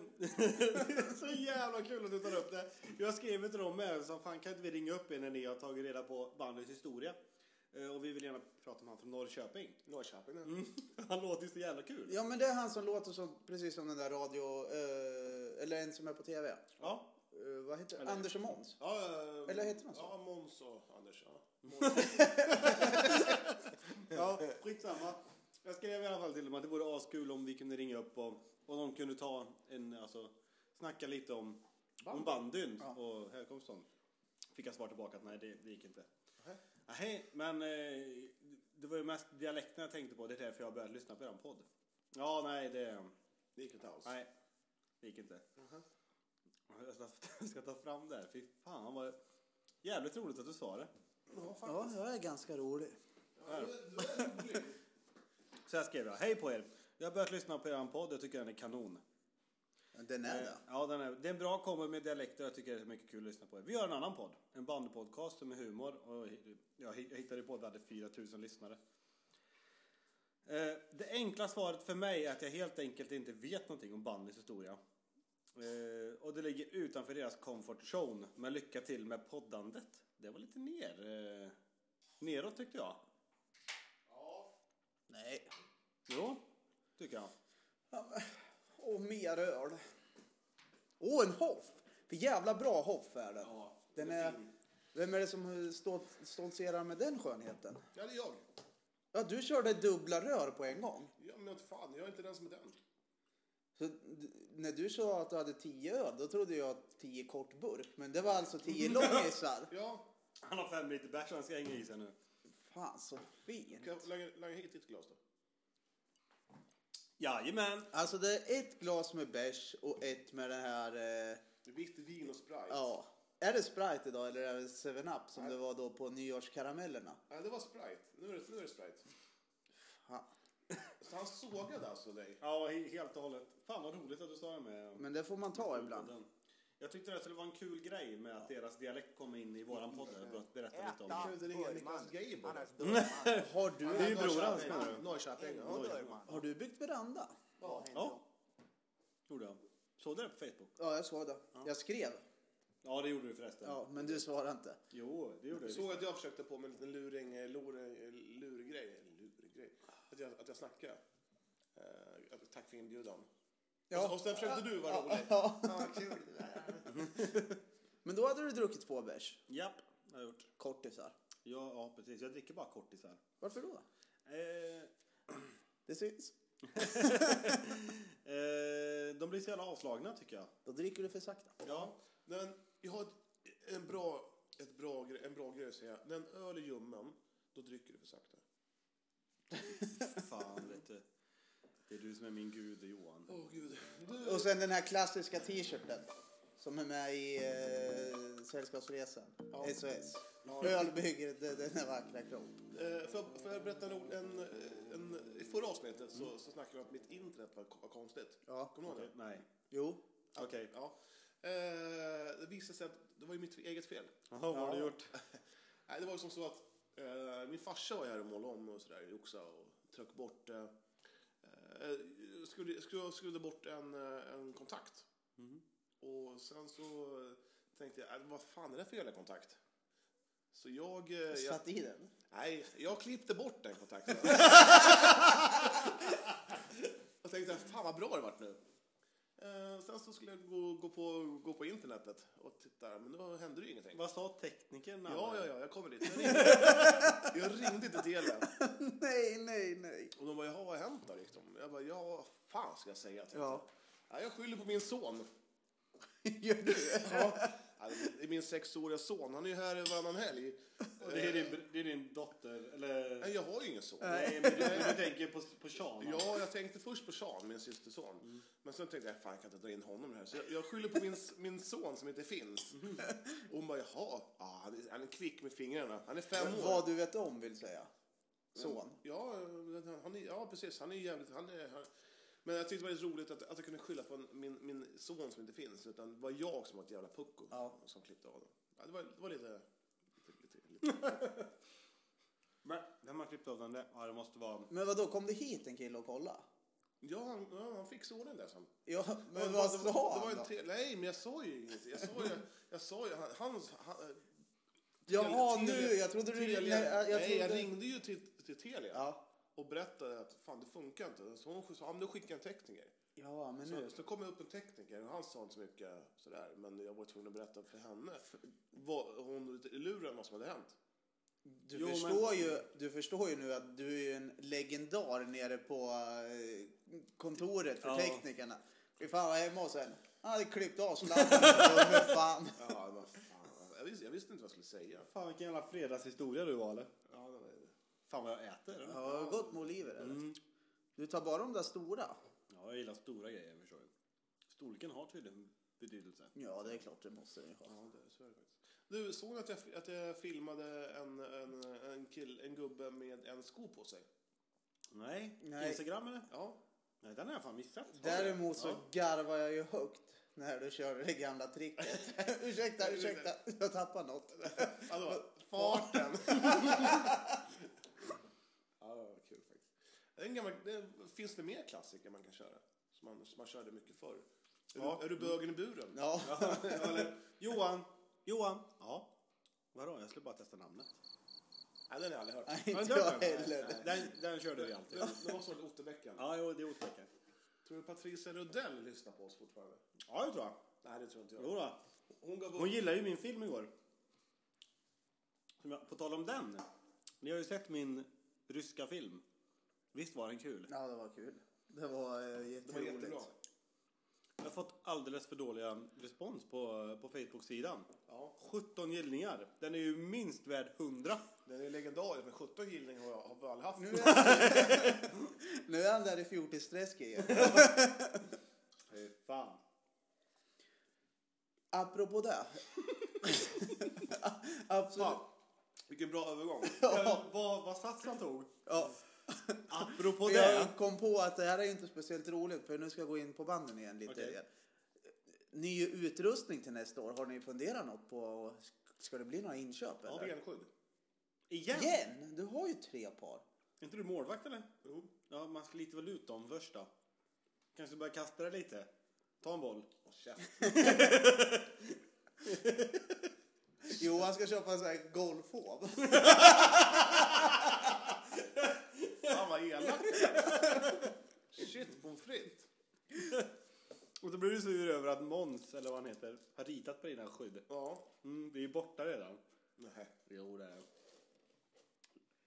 A: så jävla kul att du tar upp det. Jag skrev till dem med så fan kan inte vi ringa upp er när ni har tagit reda på bandets historia? Eh, Och vi vill gärna prata med han från Norrköping.
C: Norrköping.
A: Han låter ju så jävla kul.
B: Ja men det är han som låter som, precis som den där radio, eh, eller en som är på tv.
A: Ja.
B: Eh, vad heter Anders och Måns.
C: Ja, eh,
B: Eller heter han så?
C: Ja, Måns och Anders. Ja.
A: Ja, skitsamma. Jag skrev i alla fall till dem att det vore askul om vi kunde ringa upp och, och de kunde ta en, alltså, snacka lite om, om bandyn och härkomsten. Fick jag svar tillbaka att nej, det, det gick inte. Nej, men eh, det var ju mest dialekten jag tänkte på. Det är därför jag började lyssna på er podd. Ja, nej, det,
C: Det gick inte alls.
A: nej, det gick inte. Jag ska, jag ska ta fram det här. Fy fan vad jävligt roligt att du sa det.
B: Ja, jag är ganska rolig.
A: Så här skrev jag. Hej på er! Jag har börjat lyssna på er podd. Jag tycker den är kanon.
B: Den är
A: Eh,
B: det.
A: Ja, den är, det är en bra kombo med dialekter. Jag tycker det är mycket kul att lyssna på. er. Vi gör en annan podd. En bandpodcast med humor. Och jag, jag hittade på att vi hade 4000 lyssnare. Eh, Det enkla svaret för mig är att jag helt enkelt inte vet någonting om bandys historia. Eh, Och det ligger utanför deras comfort zone. Men lycka till med poddandet. Det var lite ner. eh, Neråt tyckte jag.
B: Nej.
A: Jo, tycker jag.
B: Och mer öl. Åh, en Hoff! För jävla bra Hoff är den. den är, vem är det som stolt, stoltserar med den skönheten?
C: Ja, det är jag.
B: Ja, du körde dubbla rör på en gång.
C: Ja, men inte fan, jag är inte den som är den.
B: Så, d- när du sa att du hade tio öl, då trodde jag att tio kort burk. Men det var alltså tio långisar.
C: Ja,
A: Han har fem liter bärs han ska hänga i sig nu.
B: Fan, så fint.
C: kan jag lägga, lägga hit ditt glas då?
A: Jajamän!
B: Alltså, det är ett glas med bärs och ett med den här... Eh,
C: Det är vitt vin och Sprite.
B: Ja. Är det Sprite idag eller är det 7-Up som det var då på nyårskaramellerna?
C: Nej, det var Sprite. Nu är det, nu är det Sprite.
B: Fan.
C: Så han sågade alltså dig.
A: Ja, he- helt och hållet. Fan vad roligt att du sa det med.
B: Men det får man ta ibland.
A: podden. Jag tyckte det skulle vara en kul grej med att deras dialekt kom in i våran podd. Jag bara berätta lite om
C: Kan du
A: det.
C: inte ringa Niklas Geijer?
D: Han är Burman.
B: Har
A: Det är
B: du,
A: ju bror hans
C: Norrköping.
A: menar du?
C: Norrköping.
D: Ja,
C: Ja.
D: Burman.
B: har du byggt veranda?
A: Ja, gjorde jag. Såg du det på Facebook?
B: Ja, jag såg det. Jag skrev.
A: Ja, det gjorde du förresten.
B: Ja, men du svarade inte.
A: Jo, det gjorde
C: Jag
A: jag.
C: såg att jag försökte på med en liten luring, eh, luring, eh, lurgrej. lurgrej. Att jag, att jag snackade. Eh, att- tack för inbjudan.
B: Ja.
C: Och, och sen försökte du vara rolig.
B: Ja.
D: Ja, kul det där.
B: Men då hade du druckit två bärs.
A: Japp, jag har gjort.
B: Kortisar.
A: Ja, ja, precis. Jag dricker bara kortisar.
B: Varför då?
A: Eh,
B: Det syns.
A: eh, de blir så jävla avslagna tycker jag.
B: Då dricker du för sakta.
A: Ja.
C: Nej, men jag har ett, en bra ett bra, gre- en bra grej att säga. När en öl är ljummen, då dricker du för sakta.
A: Fan, vet du. Det är du som är min gud, Johan.
C: Åh gud. Du,
B: Och sen den här klassiska t-shirten. Som är med i eh, Sällskapsresan. SOS. Öl bygger de- denna vackra kropp.
C: eh, får, jag, får jag berätta en, ord- en, en I förra avsnittet så, så snackade vi om att mitt internet var, var konstigt.
B: Ja,
C: Kommer du ihåg det?
A: Nej.
B: Jo.
A: Okej.
C: Ja. Eh, det visade sig att det var ju mitt eget fel.
A: Jaha, vad har du gjort?
C: Nej, det var ju som så att eh, min farsa var ju här och målade om och sådär i Oxa och tryckte bort... Eh, eh, skulle, skulle, skulle bort en, eh, en kontakt.
A: Mm-hmm.
C: Och sen så eh, tänkte jag, "Äh, vad fan är det för jävla kontakt? Så jag... eh, jag
B: Satt i den.
C: nej, jag klippte bort den kontakten. och tänkte, fan vad bra det vart nu. Eh, sen så skulle jag gå, gå, på, gå på internetet och titta, men då hände det ju ingenting.
A: Vad sa teknikern?
C: Ja,
A: Anna?
C: ja, ja, jag kommer dit. Jag ringde, jag ringde till Telia
B: Nej, nej, nej.
C: och de bara, jaha, vad har hänt då? Liksom? Jag bara, ja, vad fan ska jag säga? Till
B: Ja.
C: ja, jag skyller på min son.
B: Gör du?
C: Ja. Ja, det är min sexåriga son, han är ju här varannan helg.
A: Och det, är din, det är din dotter, eller?
C: Nej, jag har ju ingen son.
A: Nej, men du, men du tänker på, på Sean? va?
C: Ja, jag tänkte först på Sean, min systerson.
B: Mm.
C: Men sen tänkte jag, fan jag kan inte dra in honom här. Så jag, jag skyller på min, min son som inte finns.
B: Mm.
C: Och hon bara, jaha, ah, han, är, han är kvick med fingrarna. Han är fem år.
B: Vad du vet om vill säga. Son.
C: Ja, han- han är, ja precis. Han är jävligt... Han är, han, men jag tyckte det var lite roligt att, att jag kunde skylla på en, min, min son som inte finns. Utan det var jag som var ett jävla pucko
B: Ja.
C: som klippte av dem. Ja, det, var, det var lite... lite, lite, lite.
A: Men när man klippte av den där, ja det måste vara...
B: Men vad då kom det hit en kille och kolla?
C: ja, han, ja, han fick sonen där sen.
B: Ja, men,
C: det
B: vad
C: var-
B: sa
C: det var
B: han
C: en
B: då?
C: tre- Nej, men jag sa ju inget. Jag sa ju... Jag sa ju han, hans- han,
B: Jaha,
C: Telia-
B: nu. Jag trodde du...
C: Telia,
B: nej, jag,
C: nej,
B: trodde...
C: jag ringde ju till, till Telia
B: Ja.
C: och berättade att fan, det funkar inte. Så hon sa, ja, men då skickar jag en tekniker.
B: ja, men nu.
C: Så, så kom jag upp en tekniker och han sa inte så mycket sådär. Men jag var tvungen att berätta för henne. Vad, hon i luren vad som hade hänt.
B: Du,
A: Jo,
B: förstår
A: men-
B: ju, du förstår ju nu att du är ju en legendar nere på eh, kontoret för
A: Ja.
B: teknikerna. Fy fan vad hemma och sen. Han hade klippt av sladden. Men fan.
C: Ja, vad fan. Jag visste, jag visste inte vad jag skulle säga.
A: Fan vilken jävla fredagshistoria du var eller?
C: Ja, det var det.
A: Fan vad jag äter.
B: Ja, har du gått med oliver eller? Du tar bara de där stora?
A: Ja, jag gillar stora grejer förstår du. Storleken har tydligen betydelse.
B: Ja, det är klart det måste du ju ha.
C: Ja, det, så är det faktiskt. Du, såg att jag, att jag filmade en, en, en, kill, en gubbe med en sko på sig?
A: Nej.
B: Nej.
A: Instagram eller?
C: Ja.
A: Nej, den har jag fan missat.
B: Däremot så garvar jag ju högt när du körde det gamla tricket. ursäkta, ursäkta. Jag tappar något.
C: Alltså, farten. ja, det var kul faktiskt. Det är En gammal, det, finns det mer klassiker man kan köra? Som man, som man körde mycket förr? Är, du, är du bögen i buren?
B: Ja.
A: eller, Johan. Johan. Ja. Vadå, jag skulle bara testa namnet.
C: Nej, den har jag aldrig hört.
B: Nej, inte
A: den
B: jag
A: har jag.
B: heller.
A: Den, den körde vi alltid.
C: Den, den var så lite Otterbäcken.
A: Ja, jo, det är otäckare.
C: Tror du Patricia Rudell lyssnar på oss fortfarande?
A: Ja, det tror jag.
C: Nej, det tror inte jag.
A: Jo då.
C: Hon gav
A: Hon
C: upp.
A: gillade ju min film igår. Som jag- På tal om den. Ni har ju sett min ryska film. Visst var den kul?
B: Ja, det var kul. Det var eh,
C: Det var
B: jätteroligt.
C: jättebra.
A: Jag har fått alldeles för dåliga respons på, på Facebook-sidan.
C: Ja.
A: 17 gillningar. Den är ju minst värd 100.
C: Den är legendarisk, men 17 gillning har jag har väl haft.
B: Nu är, nu är han där i fjortisträsk igen.
A: Fy fan.
B: Apropå det. Absolut.
C: Fan, vilken bra övergång.
A: Ja. Vad, vad Sassan tog.
B: Ja.
A: Apropå det.
B: Jag kom på att det här är ju inte speciellt roligt för nu ska jag gå in på banden igen lite.
A: Okej.
B: Igen. Ny utrustning till nästa år. Har ni funderat något på? Ska det bli några inköp eller?
C: Benskydd.
A: Igen?
B: Igen? Du har ju tre par.
A: Är inte du målvakt eller?
C: Jo.
A: Ja, man sliter väl ut dem först då. Kanske börja kasta det lite. Ta en boll.
C: Åh, käft.
B: Johan ska köpa en sån här golfhov.
C: Fan vad elak Shit, pommes frites.
A: Och då blir du sur över att Måns, eller vad han heter, har ritat på dina skydd.
C: Ja.
A: Mm, det är ju borta redan.
C: Nej.
A: Jo, det är det.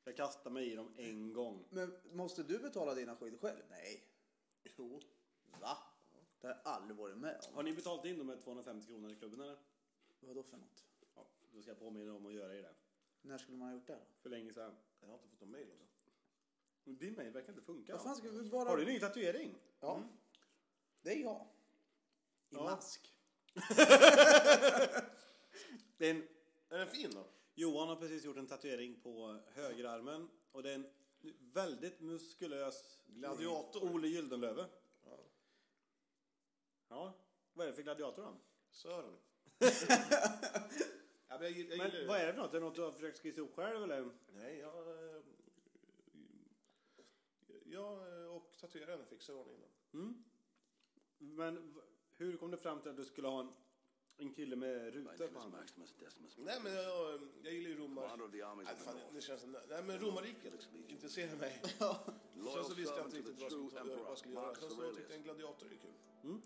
A: Jag kastade mig i dem en gång.
B: Men måste du betala dina skydd själv? Nej.
C: Jo.
B: Va? Det har jag aldrig varit med om.
A: Har ni betalt in de här 250 kronorna i klubben eller?
B: Vadå för något?
A: Ja, Då ska jag påminna om att göra i det.
B: När skulle man ha gjort det då?
A: För länge sedan.
C: Jag har inte fått någon mail om det.
A: Men Din mail verkar inte funka.
B: Vad fan ska vi bara...
A: Har du Mm. en ny tatuering?
B: Ja. Det är jag. I mask.
A: Det är en...
C: Är den fin då?
A: Johan har precis gjort en tatuering på högerarmen. Och det är en väldigt muskulös gladiator. Ole Gyldenlöve. Ja. Vad är det för gladiator då?
C: Sören. ja, men jag, gill- jag gillar ju-
A: Men vad är det för något? Är det något du har försökt skissa ihop själv eller?
C: Nej, jag... eh, Jag eh, och tatueraren fixar i ordning den.
A: Men v- hur kom du fram till att du skulle ha en, en kille med rutor på handen?
C: Nej, men jag, eh, jag gillar ju
D: Honor
C: romar...
D: of the army
C: Nej,
D: has
C: fan,
D: been lost.
C: det känns som... Nej, men romarriket intresserar mig. Sen
D: Loyal
C: så visste jag
D: servant
C: inte
D: to
C: riktigt
D: the
C: vad
D: true
C: jag skulle- vad
D: emperor,
C: jag skulle göra.
D: Marcus
C: Sen så tyckte jag
D: Aurelius.
C: en gladiator är kul.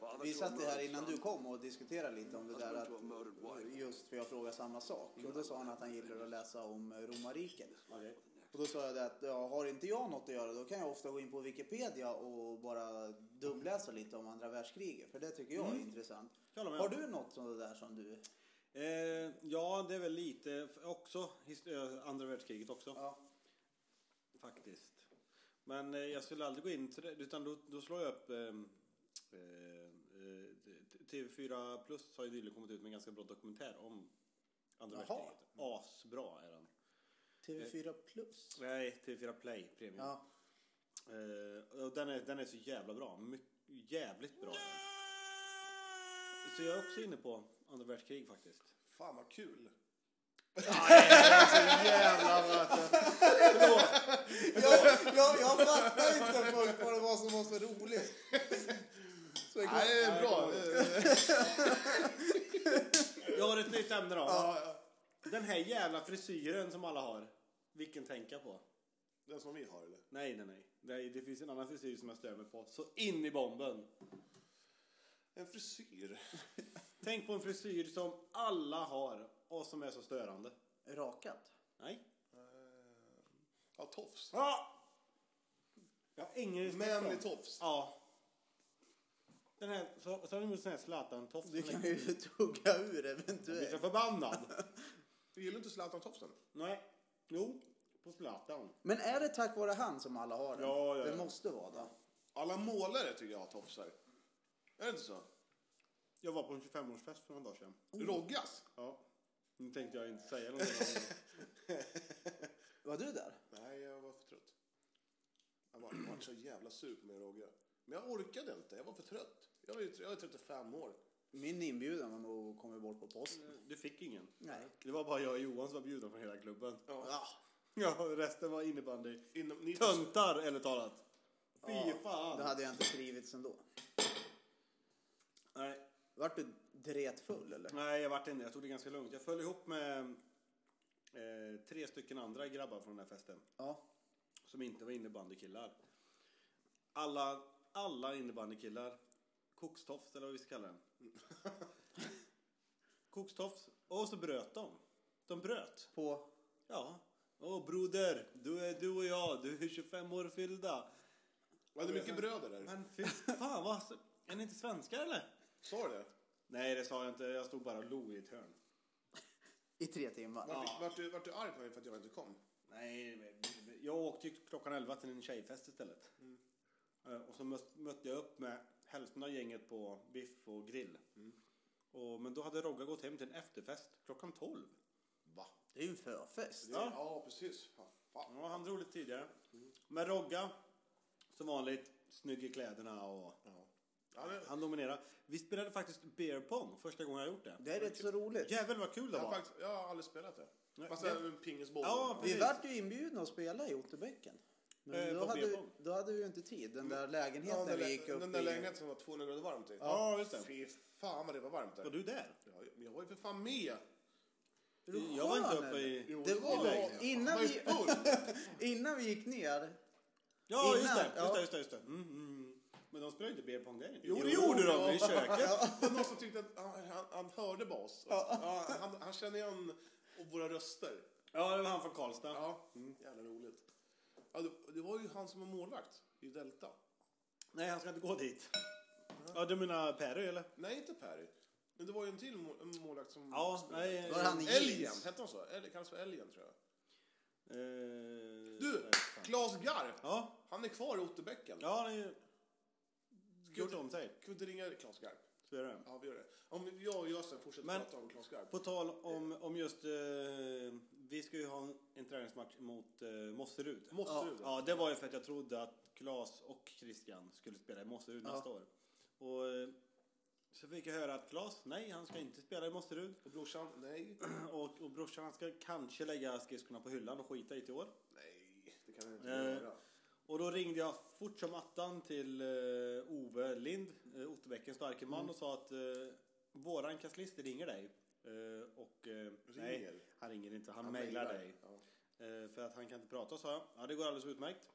D: Father
B: Vi
D: to a
B: satt ju här
D: murdered
B: innan
D: son,
B: du kom och diskuterade lite om det där
D: husband
B: att
D: to a murdered wife.
B: just för jag frågade samma sak. Och
A: Mm.
B: då sa han att han gillade att läsa om eh, romarriket. Och då sa jag det att ja, har inte jag något att göra då kan jag ofta gå in på Wikipedia och bara dubbläsa lite om andra världskriget. För det tycker jag
A: Mm.
B: är intressant.
A: Jag håller med.
B: Har du något sånt där som du...
A: Eh, ja, det är väl lite f- också hist- eh, andra världskriget också
B: Ja.
A: faktiskt. Men eh, jag skulle aldrig gå in till det, utan då, då slår jag upp ehm, eh, eh, t- TV4 Plus har ju nyligen kommit ut med en ganska bra dokumentär om andra
B: Jaha.
A: världskriget. Asbra är den.
B: TV4 plus?
A: Nej, TV4 Play Premium.
B: Ja.
A: Eh, och den, är, den är så jävla bra. My, jävligt bra. är den. Så jag är också inne på andra världskrig faktiskt.
C: Fan, vad kul.
B: Jag, jag, jag fattar inte först vad det var som var så roligt. Så jag
C: Nej, det är bra.
A: Jag har ett nytt ämne då. Den här jävla frisyren som alla har. Vilken tänka på?
C: Den som vi har, eller?
A: Nej, nej, nej. nej. Det finns en annan frisyr som jag stör mig på. Så in i bomben.
C: En frisyr.
A: Tänk på en frisyr som alla har och som är så störande.
B: kom- Rakat?
A: Nej.
C: Eh, Ja, tofs.
A: Ja. Jag har ingen respekt för dem.
C: Manlig tofs.
A: Ja. Den här, så, så har de gjort sån här Zlatan-tofs.
B: Du kan
A: Den är-
B: ju tugga ur
A: Jag blir så
B: eventuellt.
A: förbannad.
C: Du gillar inte Zlatan-tofsen?
A: nej. Jo. På Zlatan.
B: Men är det tack vare han som alla har den?
A: Ja, ja, ja.
B: Det måste vara det.
C: Alla målare tycker jag har tofsar. Är det inte så?
A: Jag var på en 25-årsfest för några dagar sedan.
B: Oh.
C: Roggas?
A: Ja. Nu tänkte jag inte säga någonting om det.
B: Var du där?
C: Nej, jag var för trött. Jag var, jag var så jävla sur på min Rogge. Men jag orkade inte, jag var för trött. Jag är, ju- jag är 35 år.
B: Min inbjudan var nog kommit bort på posten.
A: Du fick ingen?
B: Nej.
A: Det var bara jag och Johan som var bjudna från hela klubben.
B: Ja.
A: Ja, resten var innebandy.
C: Inom, ni,
A: Töntar, eller talat. Fy fan.
B: Då hade jag inte trivits ändå.
A: Nej, Mm.
B: Vart du dretfull eller?
A: nej, jag vart inte. Jag tog det ganska lugnt. Jag föll ihop med eh, tre stycken andra grabbar från den här festen.
B: Ja.
A: Som inte var innebandykillar. Alla, alla innebandykillar. Kokstofs, eller vad vi ska kalla den. Kokstofs. Och så bröt de. De bröt.
B: På?
A: Ja. Åh broder, du är du och jag, du är 25 år fyllda.
C: var det mycket bröder där?
A: Men fy fan, vad, är ni inte svenskar eller?
C: Sa du det?
A: Nej, det sa jag inte. Jag stod bara och log i ett hörn.
B: I tre timmar?
C: Vart, vart, du, vart du arg på mig för att jag inte kom?
A: Nej, jag åkte ju klockan 11 till en tjejfest istället.
C: Mm.
A: Eh, Och så möt- mötte jag upp med hälften av gänget på biff och grill.
C: Mm.
A: Och, men då hade Rogga gått hem till en efterfest klockan 12.
C: Va?
B: Det är ju en förfest.
A: Ja.
C: Ja, precis. Ja, fan.
A: Ja, han drog lite tidigare.
C: Mm.
A: Men Rogga, som vanligt, snygg i kläderna och
C: Ja, men,
A: han dominerade. Vi spelade faktiskt beer pong första gången jag gjort det.
B: Det är rätt så roligt.
A: Jävlar vad kul det
C: jag, har
A: var.
C: faktiskt, jag har aldrig spelat det.
A: Nej,
C: Fast
A: det-
C: det är en pingisboll.
A: Ja,
B: Vi
A: precis.
B: vart ju inbjudna att spela i Otterbäcken. Men
A: Eh,
B: då,
A: på
B: hade,
A: B-bomb.
B: då hade vi ju inte tid. Den där lägenheten
C: Ja, den,
B: vi
C: där,
B: gick upp
C: den där
B: i.
C: lägenheten som var 200 grader varmt i.
A: Ja, just det.
C: Fy fan vad det var varmt där.
A: Var du där?
C: Ja, men jag var ju för fan med.
B: Är du
A: Jag var inte
B: skön,
A: uppe i-
B: eller?
A: Jo,
B: Det
A: i
B: var
A: lägenheten.
B: innan
C: Han var ju
B: vi,
C: full.
B: innan vi gick ner.
A: Ja, just
B: Innan,
A: det. Just
B: ja.
A: det, just det, just det. Mm, mm. Men de spelade ju inte beer pong där.
C: Jo, det gjorde de.
A: I köket.
C: Det var någon som tyckte att han, han, han hörde bara oss. Ja, han, han kände igen våra röster.
A: Ja, det var han från Karlstad.
C: Ja, jävla roligt. Ja, det, det var ju han som var målvakt i Delta.
A: Nej, han ska inte gå dit. Ja, du menar Perry eller?
C: Nej, inte Perry. Men det var ju en till må- en målvakt som...
A: Ja,
C: spelade.
A: nej.
B: Var han i
C: Elgen,
B: jeans?
C: hette han så? Elg- Kallas för Elgen tror jag.
A: eh,
C: Du,
A: nej, fan.
C: Claes Garp!
A: Ja,
C: Han är kvar i Otterbäcken.
A: ja, det är ju... Gjort om sig.
C: Kan vi inte ringa Claes Garp?
A: Så är det.
C: Ja, vi gör det. Om jag och Gösen fortsätter
A: Men-
C: prata om Claes Garp.
A: På tal om, om just... Eh, vi ska ju ha en, en träningsmatch mot eh, Mosserud.
C: Mosserud,
A: Ja. ja, det var ju för att jag trodde att Claes och Christian skulle spela i Mosserud
B: Ja.
A: nästa år. Och eh, så fick jag höra att Claes, nej, han ska inte spela i Mosserud.
C: Och brorsan, nej.
A: Och, och brorsan han ska kanske lägga skridskorna på hyllan och skita i till år.
C: Nej, det kan han inte
A: Nej.
C: göra.
A: Och då ringde jag fort som attan till eh, Ove Lind, eh, Otterbäckens starke man, och sa att eh, våran kanslist ringer dig. Eh, och, eh, Nej,
C: Ringer?
A: han ringer inte, han, mejlar dig.
C: Ja.
A: Eh, för att han kan inte prata, sa jag. Ja, det går alldeles utmärkt.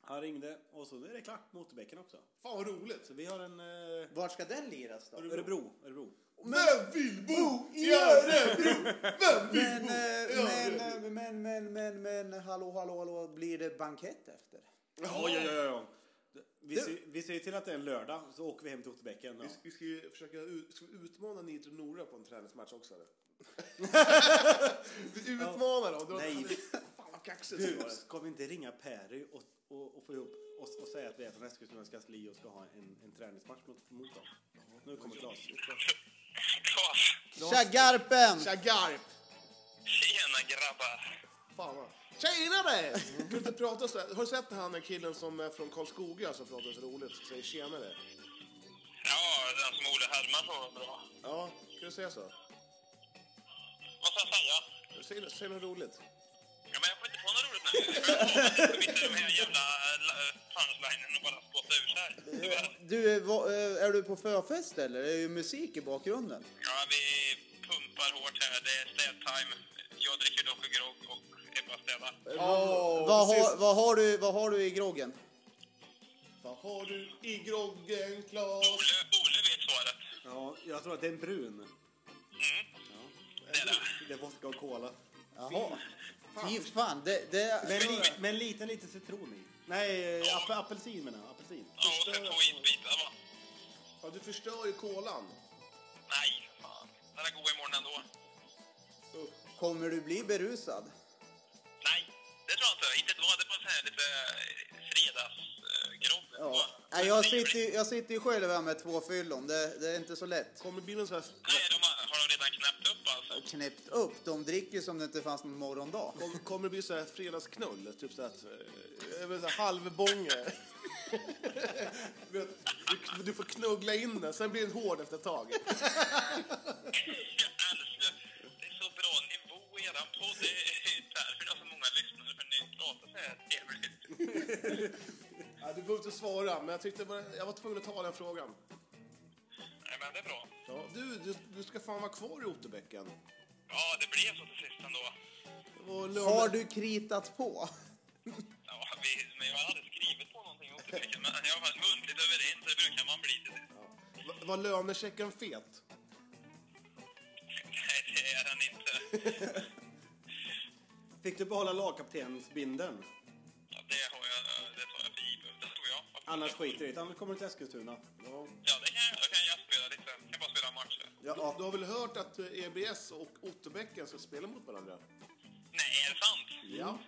A: Han ringde och så är det klart med Otterbäcken också.
C: Fan vad roligt!
A: Så vi har en eh,
B: Vart ska den liras då?
A: Örebro. Örebro.
C: Vem vill bo i Örebro? Vem
B: Men,
C: vill bo i
B: eh,
C: Örebro?
B: men, men, men, men, men, men, hallå, hallå, hallå, blir det bankett efter?
A: Ja, ja, ja, ja. Vi ser, vi ser till att det är en lördag, så åker vi hem till Otterbäcken. Ja.
C: Vi, vi ska ju försöka ut, ska vi utmana Nitro Nora på en träningsmatch också eller? vi utmanar dem.
A: Nej.
C: Fan vad kaxigt det
A: Du,
C: var.
A: ska vi inte ringa Perry och, och, och få ihop oss och säga att vi är från Eskilstunas kansli och ska ha en, en träningsmatch mot, mot dem? Nu kommer Claes.
F: Claes.
B: Tja Garpen!
C: Tja Garp!
F: Tjena grabbar.
C: Fan vad. Tjenare! Kan du inte prata så här? Har du sett den här den killen som är från Karlskoga som pratar så roligt? Säger tjenare.
F: Ja, den som Olle Hermansson var bra.
C: Ja, kan du säga så?
F: Vad ska jag säga?
C: Säg, något- säg något roligt.
F: Ja, men jag får inte på något roligt nu. Jag får inte de här jävla eh, punchlinen och bara spotta ur sig. Tyvärr.
B: Du, eh, va- eh, är du på förfest eller? Det är ju musik i bakgrunden.
F: Ja, vi pumpar hårt här. Det är städtime. Jag dricker dock grogg och Ebba städar.
C: Oh,
B: Vad har, vad, har du, vad har du i groggen?
C: Vad har du i groggen Klas?
F: Olle, Olle vet svaret.
A: Ja, jag tror att det är en brun.
F: Mm. Det är det.
A: Det är vodka och cola.
B: Jaha. Fy fan, det, det, eh,
A: Men, li, men lite, lite citron i. Nej, ap, apelsin menar jag. Apelsin.
F: Ja, och sen två isbitar va?
C: Ja, du förstör ju kolan.
F: Nej, för fan. Den är god imorgon ändå.
B: kommer du bli berusad?
F: Nej, det tror jag inte. Inte ett vad. Det är bara så här lite eh, fredagsgrogg.
B: Ja. Nej, jag, sitter, ju- jag sitter ju själv här med två fyllon, det, det är inte så lätt.
C: Kommer bilen så här...
F: Nej, de har, har de redan knäppt upp alltså?
B: Knäppt upp, de dricker ju som det inte fanns någon morgondag.
C: Kom, kommer det bli så här fredagsknull? Typ så här, eh, jag vet inte, halvbånge. Du vet, du, du får knuggla in den, sen blir den hård efter ett tag.
F: Jag älskar det. är så bra nivå i eran podd. Det är därför det har så många lyssnare, för ni pratar så här trevligt.
C: Ja, du behöver inte svara, men jag, tyckte bara, jag var tvungen att ta den frågan.
F: Nej, men det är bra.
C: Ja, du, du, du ska fan vara kvar i Otterbäcken.
F: Ja, det blev så till sist ändå.
C: Och lördag-
B: Har du kritat på?
F: Ja, vi, men jag hade skrivit på någonting i Otterbäcken, men jag var muntligt överens. Det brukar man bli till sist.
C: Va- Var lönechecken fet?
F: Nej, det är han inte.
A: Fick du behålla lagkaptensbindeln?
F: Ja, det har jag, det tar jag för givet. Det tror jag.
A: Annars skiter i det. Annars kommer du till Eskilstuna.
C: Ja.
F: Ja, det kan jag, då kan jag spela lite. Jag kan bara spela matcher.
C: Du, du har väl hört att eh, EBS och Otterbäcken ska spela mot varandra?
F: Nej, är det sant?
C: Ja.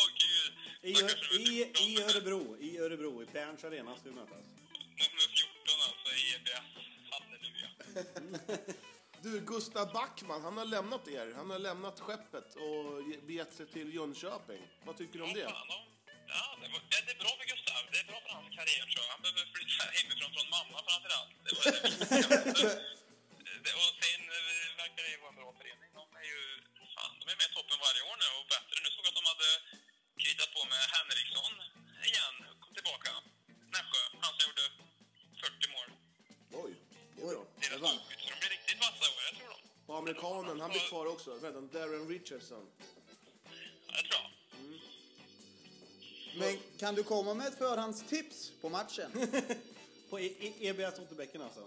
F: Åh gud.
A: I, Ö- i, i Örebro. I Örebro. I Berns arena ska vi mötas.
F: Nummer 14 alltså, i EBS. Halleluja.
C: Du, Gustav Backman, han har lämnat er. Han har lämnat skeppet och ge- begett sig till Jönköping. Vad tycker du om det?
F: Ja, fan, de- ja, det, var, det, det är bra för Gustav. Det är bra för hans karriär, tror jag. Han behöver flytta hemifrån från mamma framför allt. Det var det viktigaste. Det- Och sen eh, verkar det ju vara en bra förening. De är ju fan, de är med i toppen varje år nu och bättre. Nu såg jag att de hade kritat på med Henriksson igen. Kom tillbaka. Nässjö. Han som gjorde 40 mål.
C: Oj, det är bra.
F: Deras målskytt. Så de blir riktigt vassa i år, jag tror de.
C: Och amerikanen, han blir kvar också. Vad heter han? Darren Richardson.
F: Ja, det tror jag.
B: Men kan du komma med ett förhandstips på matchen?
A: På E- E- EBS Otterbäcken alltså.
F: Ja,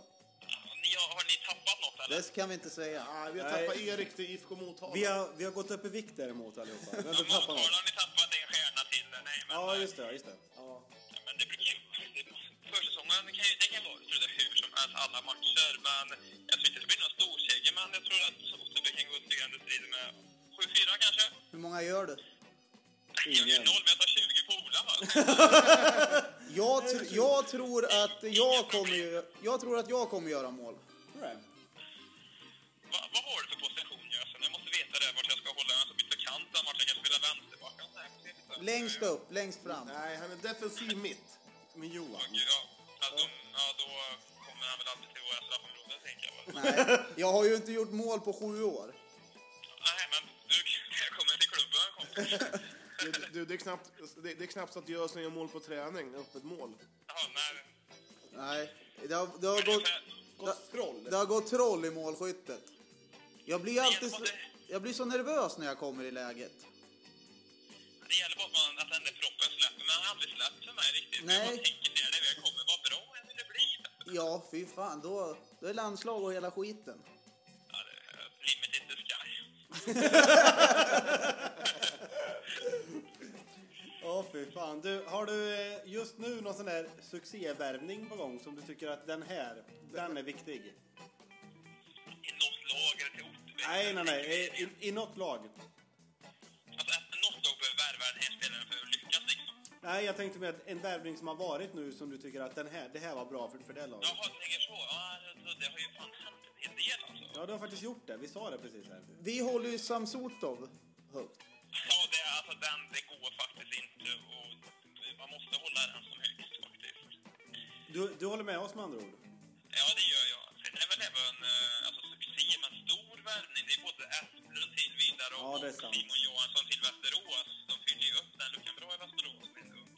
F: ni, har- har ni tappat något eller?
B: Det kan vi inte säga.
C: Ah, vi har
A: Nej.
C: tappat Erik till IFK Motala.
A: Vi har, vi har gått upp i vikt däremot allihopa. Vi har
F: Ja,
A: inte tappat
F: Motala
A: något.
F: har ni tappat en stjärna till. Nej, men...
A: Ja, just det. Just det.
F: Ja, Men det brukar ju... det- Försäsongen men det kan, ju- det kan vara tror jag, hur som helst alla matcher. Men jag tror inte det blir någon storseger. Men jag tror att Otterby kan gå segrande i strid med 7-4 kanske.
B: Hur många gör du?
F: Jag gör
A: Ingen.
F: noll, men jag tar 20 på Ola va?
B: Jag, tr- jag tror att jag kommer ju- Jag tror att jag kommer göra mål.
A: Tror jag.
F: Va, vad har du för position Jösen? Jag måste veta det, vart jag ska hålla Alltså, den. Så byta kant den matchen. Jag kan spela vänsterback. Jag har inte riktigt det.
B: Längst upp, längst fram.
C: Nej, han är defensiv mitt.
A: Men Johan.
F: Ja, att de, ja, då kommer han väl aldrig till våra straffområden, tänker jag. va?
B: Nej, jag har ju inte gjort mål på sju år.
F: Nej, men du jag kommer till klubben, kompis.
C: Du, du, det, är knappt, det, det är knappt så att Jösen gör mål på träning, öppet mål.
F: Jaha, nej.
B: Nej, det har, det har gått...
C: Gått troll.
B: Det har gått troll i målskyttet. Jag blir alltid så,
F: Hjälp
B: jag blir så nervös när jag kommer i läget.
F: Det gäller bara att, man, att den där proppen släpper, men han har aldrig släppt för mig riktigt.
B: Nej.
F: Jag bara tänker det när jag kommer, vad bra jag skulle bli.
B: Ja, fy fan, då, då är landslag och hela skiten.
F: Ja, det är limit in the sky.
A: Ja, fy fan. Du, har du eh, just nu någon sån där succévärvning på gång som du tycker att den här, den är viktig?
F: I något lag eller till Otterbäck.
A: Nej, nej, nej. I, i, i något lag.
F: Alltså, att något lag behöver värva den här spelaren för att lyckas liksom.
A: Nej, jag tänkte med att en värvning som har varit nu som du tycker att den här, det här var bra för, för det laget.
F: Jaha, du tänker så. Ja, alltså, det har ju fan hänt en hel del alltså.
A: Ja, du har faktiskt gjort det. Vi sa det precis här.
B: Vi håller ju Samsotov högt.
F: Ja, det, är- alltså, den, det går faktiskt inte och man måste hålla den som högst faktiskt.
A: Du, du håller med oss med andra ord?
F: Ja, det gör jag. Sen är väl även eh, alltså, succé med stor värvning. Det är både Asplund till Vidar och
A: Ja, det är sant.
F: Simon Johansson till Västerås. De fyller ju upp den luckan bra i Västerås med en ung.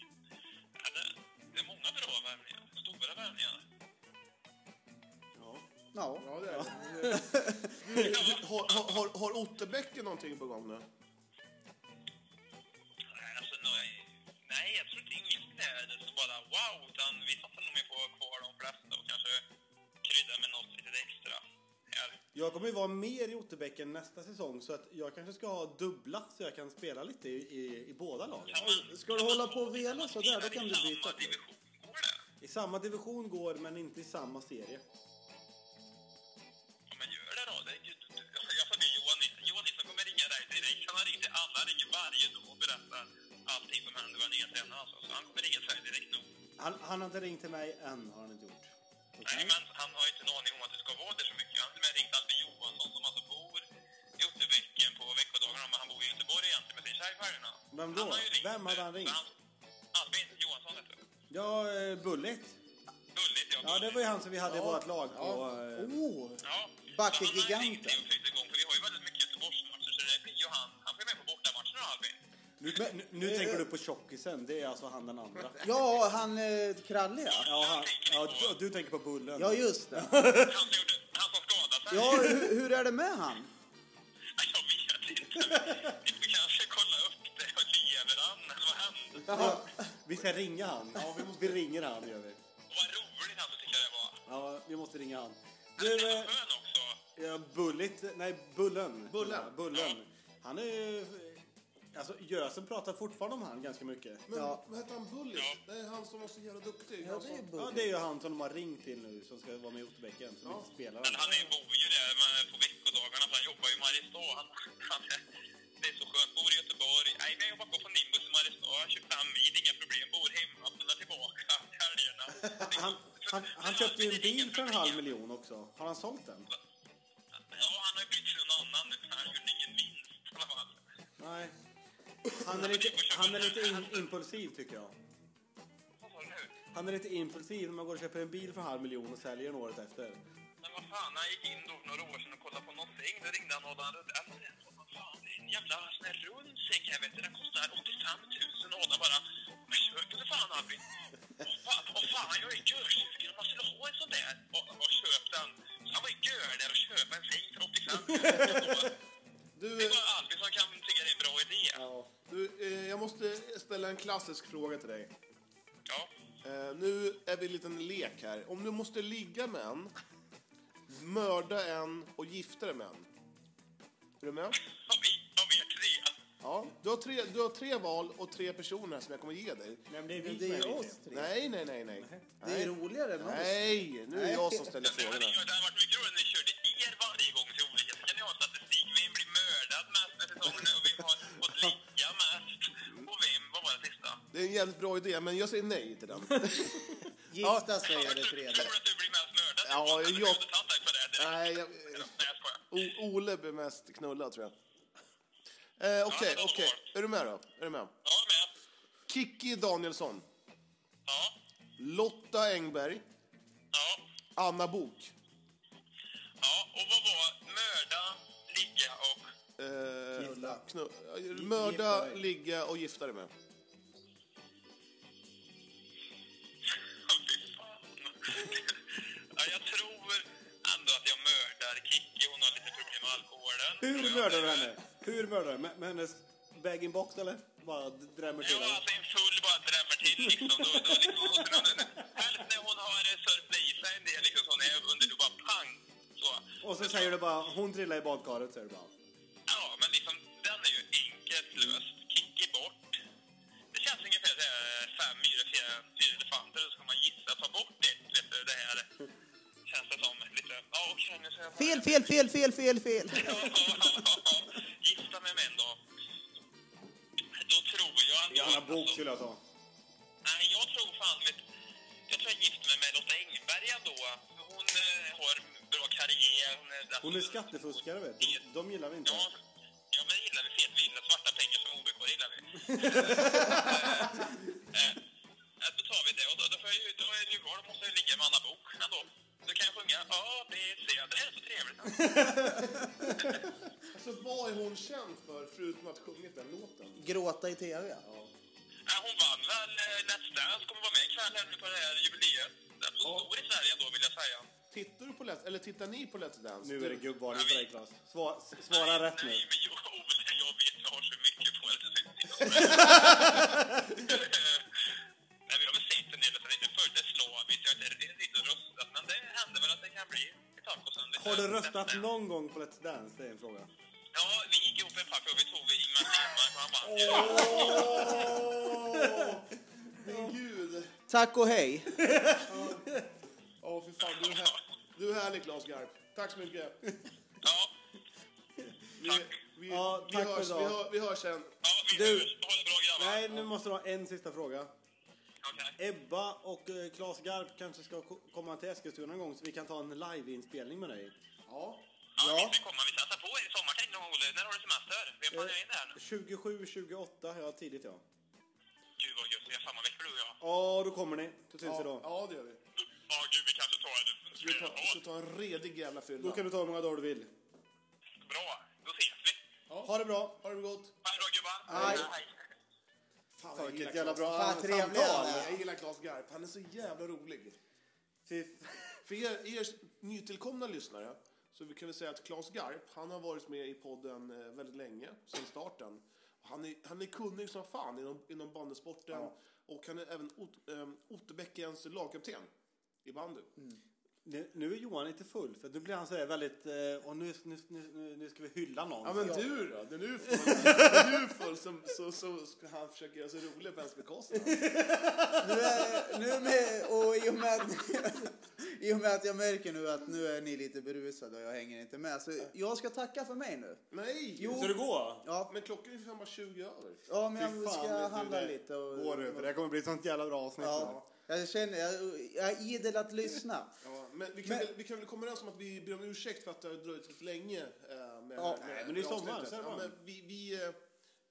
F: Ja, det, det är många bra värvningar. Stora värvningar.
A: Ja.
B: Ja.
C: Ja, det är det. Du, du- har, har- har, har Otterbäcken någonting på gång nu?
F: Nej, alltså, nej, nej, jag tror inte inget är det så bara wow. Utan vi satsar nog mer på att ha kvar de flesta och kanske krydda med något lite extra. Här.
A: Jag kommer ju vara mer i Otterbäcken nästa säsong så att jag kanske ska ha dubbla så jag kan spela lite i, i, i båda lagen.
F: Kan man-
B: Ska du hålla på och vela sådär, då kan du
F: Samma
B: byta.
F: division, går det?
A: I samma division går men inte i samma serie.
F: Ja, men gör det då. Det är ju, alltså, jag sa till Johan Nilsson, Johan Nilsson kommer ringa dig direkt. Han har ringt till alla, han ringer varje dag och berättar allting som händer vad han är tränare alltså. Så han kommer ringa till dig direkt nog.
A: Han, han har inte ringt till mig än, har han inte gjort. Mm.
F: Nej, men han har ju inte en aning om att du ska vara där så mycket. Han har till och med ringt Albin Johansson som alltså bor i Otterbäcken på veckodagarna, men han bor i Göteborg egentligen med sin tjej på helgerna.
A: Vem då?
F: Han har ju ringt,
A: Vem hade han
F: eh,
A: ringt?
F: Albin Johansson heter det.
A: Ja, eh, Bullet.
F: Gulligt,
A: Ja, det var ju han som vi hade i vårt lag på... eh,
B: Oh,
F: Ja.
B: Backegiganten.
F: Så han har ringt till och igång, för vi har ju väldigt mycket Göteborgsmatcher, så det blir ju han. Han får ju med på bortamatcherna, Albin.
A: Nu, nu, nu tänker du på tjockisen, det är alltså han den andra.
B: ja, han eh, kralliga.
A: Ja, han, ja du, du tänker på Bullen.
B: Ja, just det.
F: Han som gjorde, han som skadade sig.
B: Ja, hur, hur är det med han?
F: Nej, Jag vet inte. Vi får kanske kolla upp det. Och lever han? Eller vad hände?
B: Ja,
A: Vi ska ringa han. Ja, vi, måste... vi ringer han, gör vi.
F: Och vad roligt han tycker jag det var.
A: Ja, vi måste ringa han.
F: Du,
A: Du, eh,
F: skön också.
A: ja, Bullet, nej, Bullen.
C: Bullen.
A: Ja, Bullen. Han är ju... Alltså, Gösen pratar fortfarande om han ganska mycket.
C: Men
B: Ja.
C: vad hette han? Bullis? Det är han som var så jävla duktig.
B: Ja,
C: Han
B: det
C: som-
B: är
A: Ja,
B: bull.
A: det är ju han som de har ringt till nu som ska vara med i Otterbäcken, som inte spelar.
F: Men han är, bor ju där men på veckodagarna, för han jobbar ju i Mariestad. Han, han, det är så skönt. Bor i Göteborg. Nej, men jag jobbar på Nimbus i Mariestad. 25 mil, inga problem. Bor hemma, pendlar tillbaka till helgerna. Det-
A: Han, han, han köpte ju en bil för en halv miljon också. Har han sålt den?
F: Ja, han har ju bytt till någon annan nu. Han gjorde ingen vinst i alla fall.
A: Nej. Han är lite, han är lite in, impulsiv, tycker jag.
F: Vad sa du nu?
A: Han är lite impulsiv när man går och köper en bil för en halv miljon och säljer den året efter.
F: Men vad fan, han gick in då för några år sedan och kollade på någonting. Då ringde han Adam Rudell. Vad fan, det är en jävla sån här rund säck här vet du. Den kostar 85 000 och Adam bara, vad köper du för fan Albin? Åh fan, åh fan, jag är görsugen om man skulle ha en sån där. Och, och köp den. Så han var ju gör där och köpa en säng för 85 000. Det
C: Du,
F: är bara Albin som kan tycka det är en bra idé.
C: du, eh, jag måste ställa en klassisk fråga till dig.
F: Ja.
C: Eh, nu är vi i en liten lek här. Om du måste ligga med en, mörda en och gifta dig med en. Är du med?
F: Av, i- av er tre.
C: Ja. Du har, tre, du har tre val och tre personer som jag kommer ge dig.
A: Nej, men det är vi
B: Men det är
A: som
B: ju
A: är
B: oss tre.
C: Nej, nej, nej, nej.
B: Det är
C: Nej.
B: roligare med oss.
C: Nej, nu är det jag som ställer
F: Det hade,
C: frågorna.
F: det hade varit mycket roligare om ni körde er varje gång till olika. Så kan ni ha statistik. Vem blir mördad mest med säsongen? Och vem har fått ligga mest? Och vem? Vad var det sista?
C: Det är en jävligt bra idé, men jag säger nej till den.
B: Gifta sig är det
F: Tror du
B: tredje.
F: tror att du blir mest mördad?
C: Ja,
F: jag... Du
C: jag-
F: hade tagit dig för det. direkt.
C: Nej, jag,
F: Nej, jag skojar.
C: O- Ole blir mest knullad, tror jag. Eh, Okej,
F: Ja, det var
C: okej.
F: svårt.
C: Är du med då? Är du med?
F: Ja, jag är med.
C: Kikki Danielsson,
F: Ja.
C: Lotta Engberg,
F: Ja.
C: Anna Bok.
F: Ja. Och vad var mörda, ligga och...
C: Eh,
B: Knulla.
C: knu- eh, mörda,
A: gifta dig.
C: ligga och gifta dig med.
F: Fy fan. ja, jag tror ändå att jag mördar Kikki. Hon har lite problem med alkoholen.
A: Hur
F: Jag-
A: mördar du henne? Hur mördar du? Med, med hennes bag-in-box eller? Bara drämmer till
F: Ja,
A: henne?
F: alltså en full bara drämmer till liksom. Då, då liksom måste man, helst när hon har eh, sörplat i sig en del liksom, så hon är under, då bara pang. Så.
A: Och så säger du bara hon trillar i badkaret säger du bara.
F: Ja, men liksom den är ju enkelt löst. Kicki bort. Det känns ungefär så här, eh, fem myror, fyra, fyra elefanter. Då ska man gissa, ta bort ett, vet du, det här. eh, Känns det som lite, ja okej nu ska jag...
B: Fel, fel, fel, fel, fel, fel.
F: Gifta mig med en då. Då tror jag att...
A: Johanna Bok skulle jag ta.
F: Nej, jag tror fan mitt... Jag tror jag gifter mig med Lotta Engberg ändå. Hon eh, har bra karriär. Hon är,
A: Hon är skattefuskare vet du. De gillar vi inte.
F: Ja, ja men det gillar vi. Fet, vi gillar svarta pengar som OBK, det gillar vi. eh, eh, eh, då tar vi det. Och då, då, får jag, ju- då är det ju val. Då måste jag ligga med Anna Bok ändå. Då kan jag sjunga A, B, C. Det här är så trevligt.
C: Alltså, vad är hon känd för, förutom att sjungit den låten?
B: Gråta i tv.
F: Ja, hon vann väl eh, Let's Dance. Kommer vara med ikväll här nu på det här jubileet. Den är så stor i Sverige ändå, vill jag säga.
C: Tittar du på Let's, eller tittar ni på Let's Dance?
A: Nu är det gubbvarning för dig Claes. Sva- s- Svara rätt nu.
F: Nej, men jag, jag vet, jag har så mycket på det. så det är inte så. Nej, vi har väl sett en del, att det inte följde slaviskt. Jag har inte riktigt röstat, men det händer väl att det kan bli ett tag och sen lite-
A: Har du röstat
F: nästa.
A: någon gång på Let's Dance? Det är en fråga.
F: Ja, vi gick ihop en pack och vi tog Ingemar Stenmark och han vann.
C: Min gud!
B: Tack och hej.
C: Åh, fy fan, du är, här, du är härlig, Claes Garp. Tack så mycket.
F: Ja,
C: Vi, vi,
A: Ja,
C: vi,
A: tack för
C: hörs,
A: idag.
C: vi, hör, vi hörs sen.
F: ja, vi
A: Du-
F: hörs. Ha det bra grabbar.
A: Nej, nu måste du ha en sista fråga.
F: Okej.
A: Ebba och eh, Claes Garp kanske ska ko- komma till Eskilstuna en gång så vi kan ta en liveinspelning med dig.
C: Ja.
F: Ja, vi ska komma. Vi satsar på er i sommar tänkte jag, Olle. När har du semester? Vi har planerat in det här
A: 27,
F: nu.
A: 28 har jag tidigt ja. Eh.
F: Gud vad gött, vi har samma veckor du och jag.
A: Ja, då kommer ni. Så syns vi
C: Ja,
A: då.
C: ja, det gör vi.
F: Ja, gud, vi kanske tar det.
C: Vi ska ta, vi ska ta en redig jävla fylla.
A: Då kan du ta hur många dagar du vill.
F: Bra, då ses vi.
A: Ha det bra.
C: Ha det gott.
F: Ha det bra gubbar.
B: Hej.
C: Fan,
A: Fan,
C: jag
A: vilket
C: gillar
A: jävla
C: Claes.
A: bra
B: Fan,
A: samtal.
B: trevlig han är.
C: Jag gillar Claes Garp. Han är så jävla rolig.
A: Fy f-
C: För er, er nytillkomna lyssnare så vi kan väl säga att Claes Garp, han har varit med i podden eh, väldigt länge, sedan starten. Han är, han är kunnig som fan inom, inom bandysporten och han är även Ot, um, Otterbäckens lagkapten i bandy.
A: Nu, nu är Johan lite full, för nu blir han sådär väldigt... Eh, och nu, nu, nu, nu nu ska vi hylla någon.
C: Ja men du då? Det är du full, det är du full som, så, så ska han försöka göra sig rolig på ens bekostnad.
B: Nu är, nu med, och i och, med att, I och med att jag märker nu att nu är ni lite berusade och jag hänger inte med. Så jag ska tacka för mig nu.
C: Nej!
B: Jo.
A: Ska du gå?
B: Ja,
C: Men klockan är för fan bara 20 över.
B: ja men
A: Fy
B: jag
A: fan,
B: ska
A: vet du
B: handla
A: det.
B: lite. Och,
A: Gå du, för det här kommer bli ett sånt jävla bra avsnitt.
B: ja, jag känner, jag, jag är idel att lyssna.
C: Ja, men vi kan,
B: Men-
C: Väl, vi kan väl komma överens om att vi ber om ursäkt för att det har dröjt lite länge. Eh, med,
A: Ja,
C: med,
A: nej, men det är
C: med
A: sommar,
C: avsnittet.
A: så är det
C: ja,
A: bra.
C: men vi, vi, eh,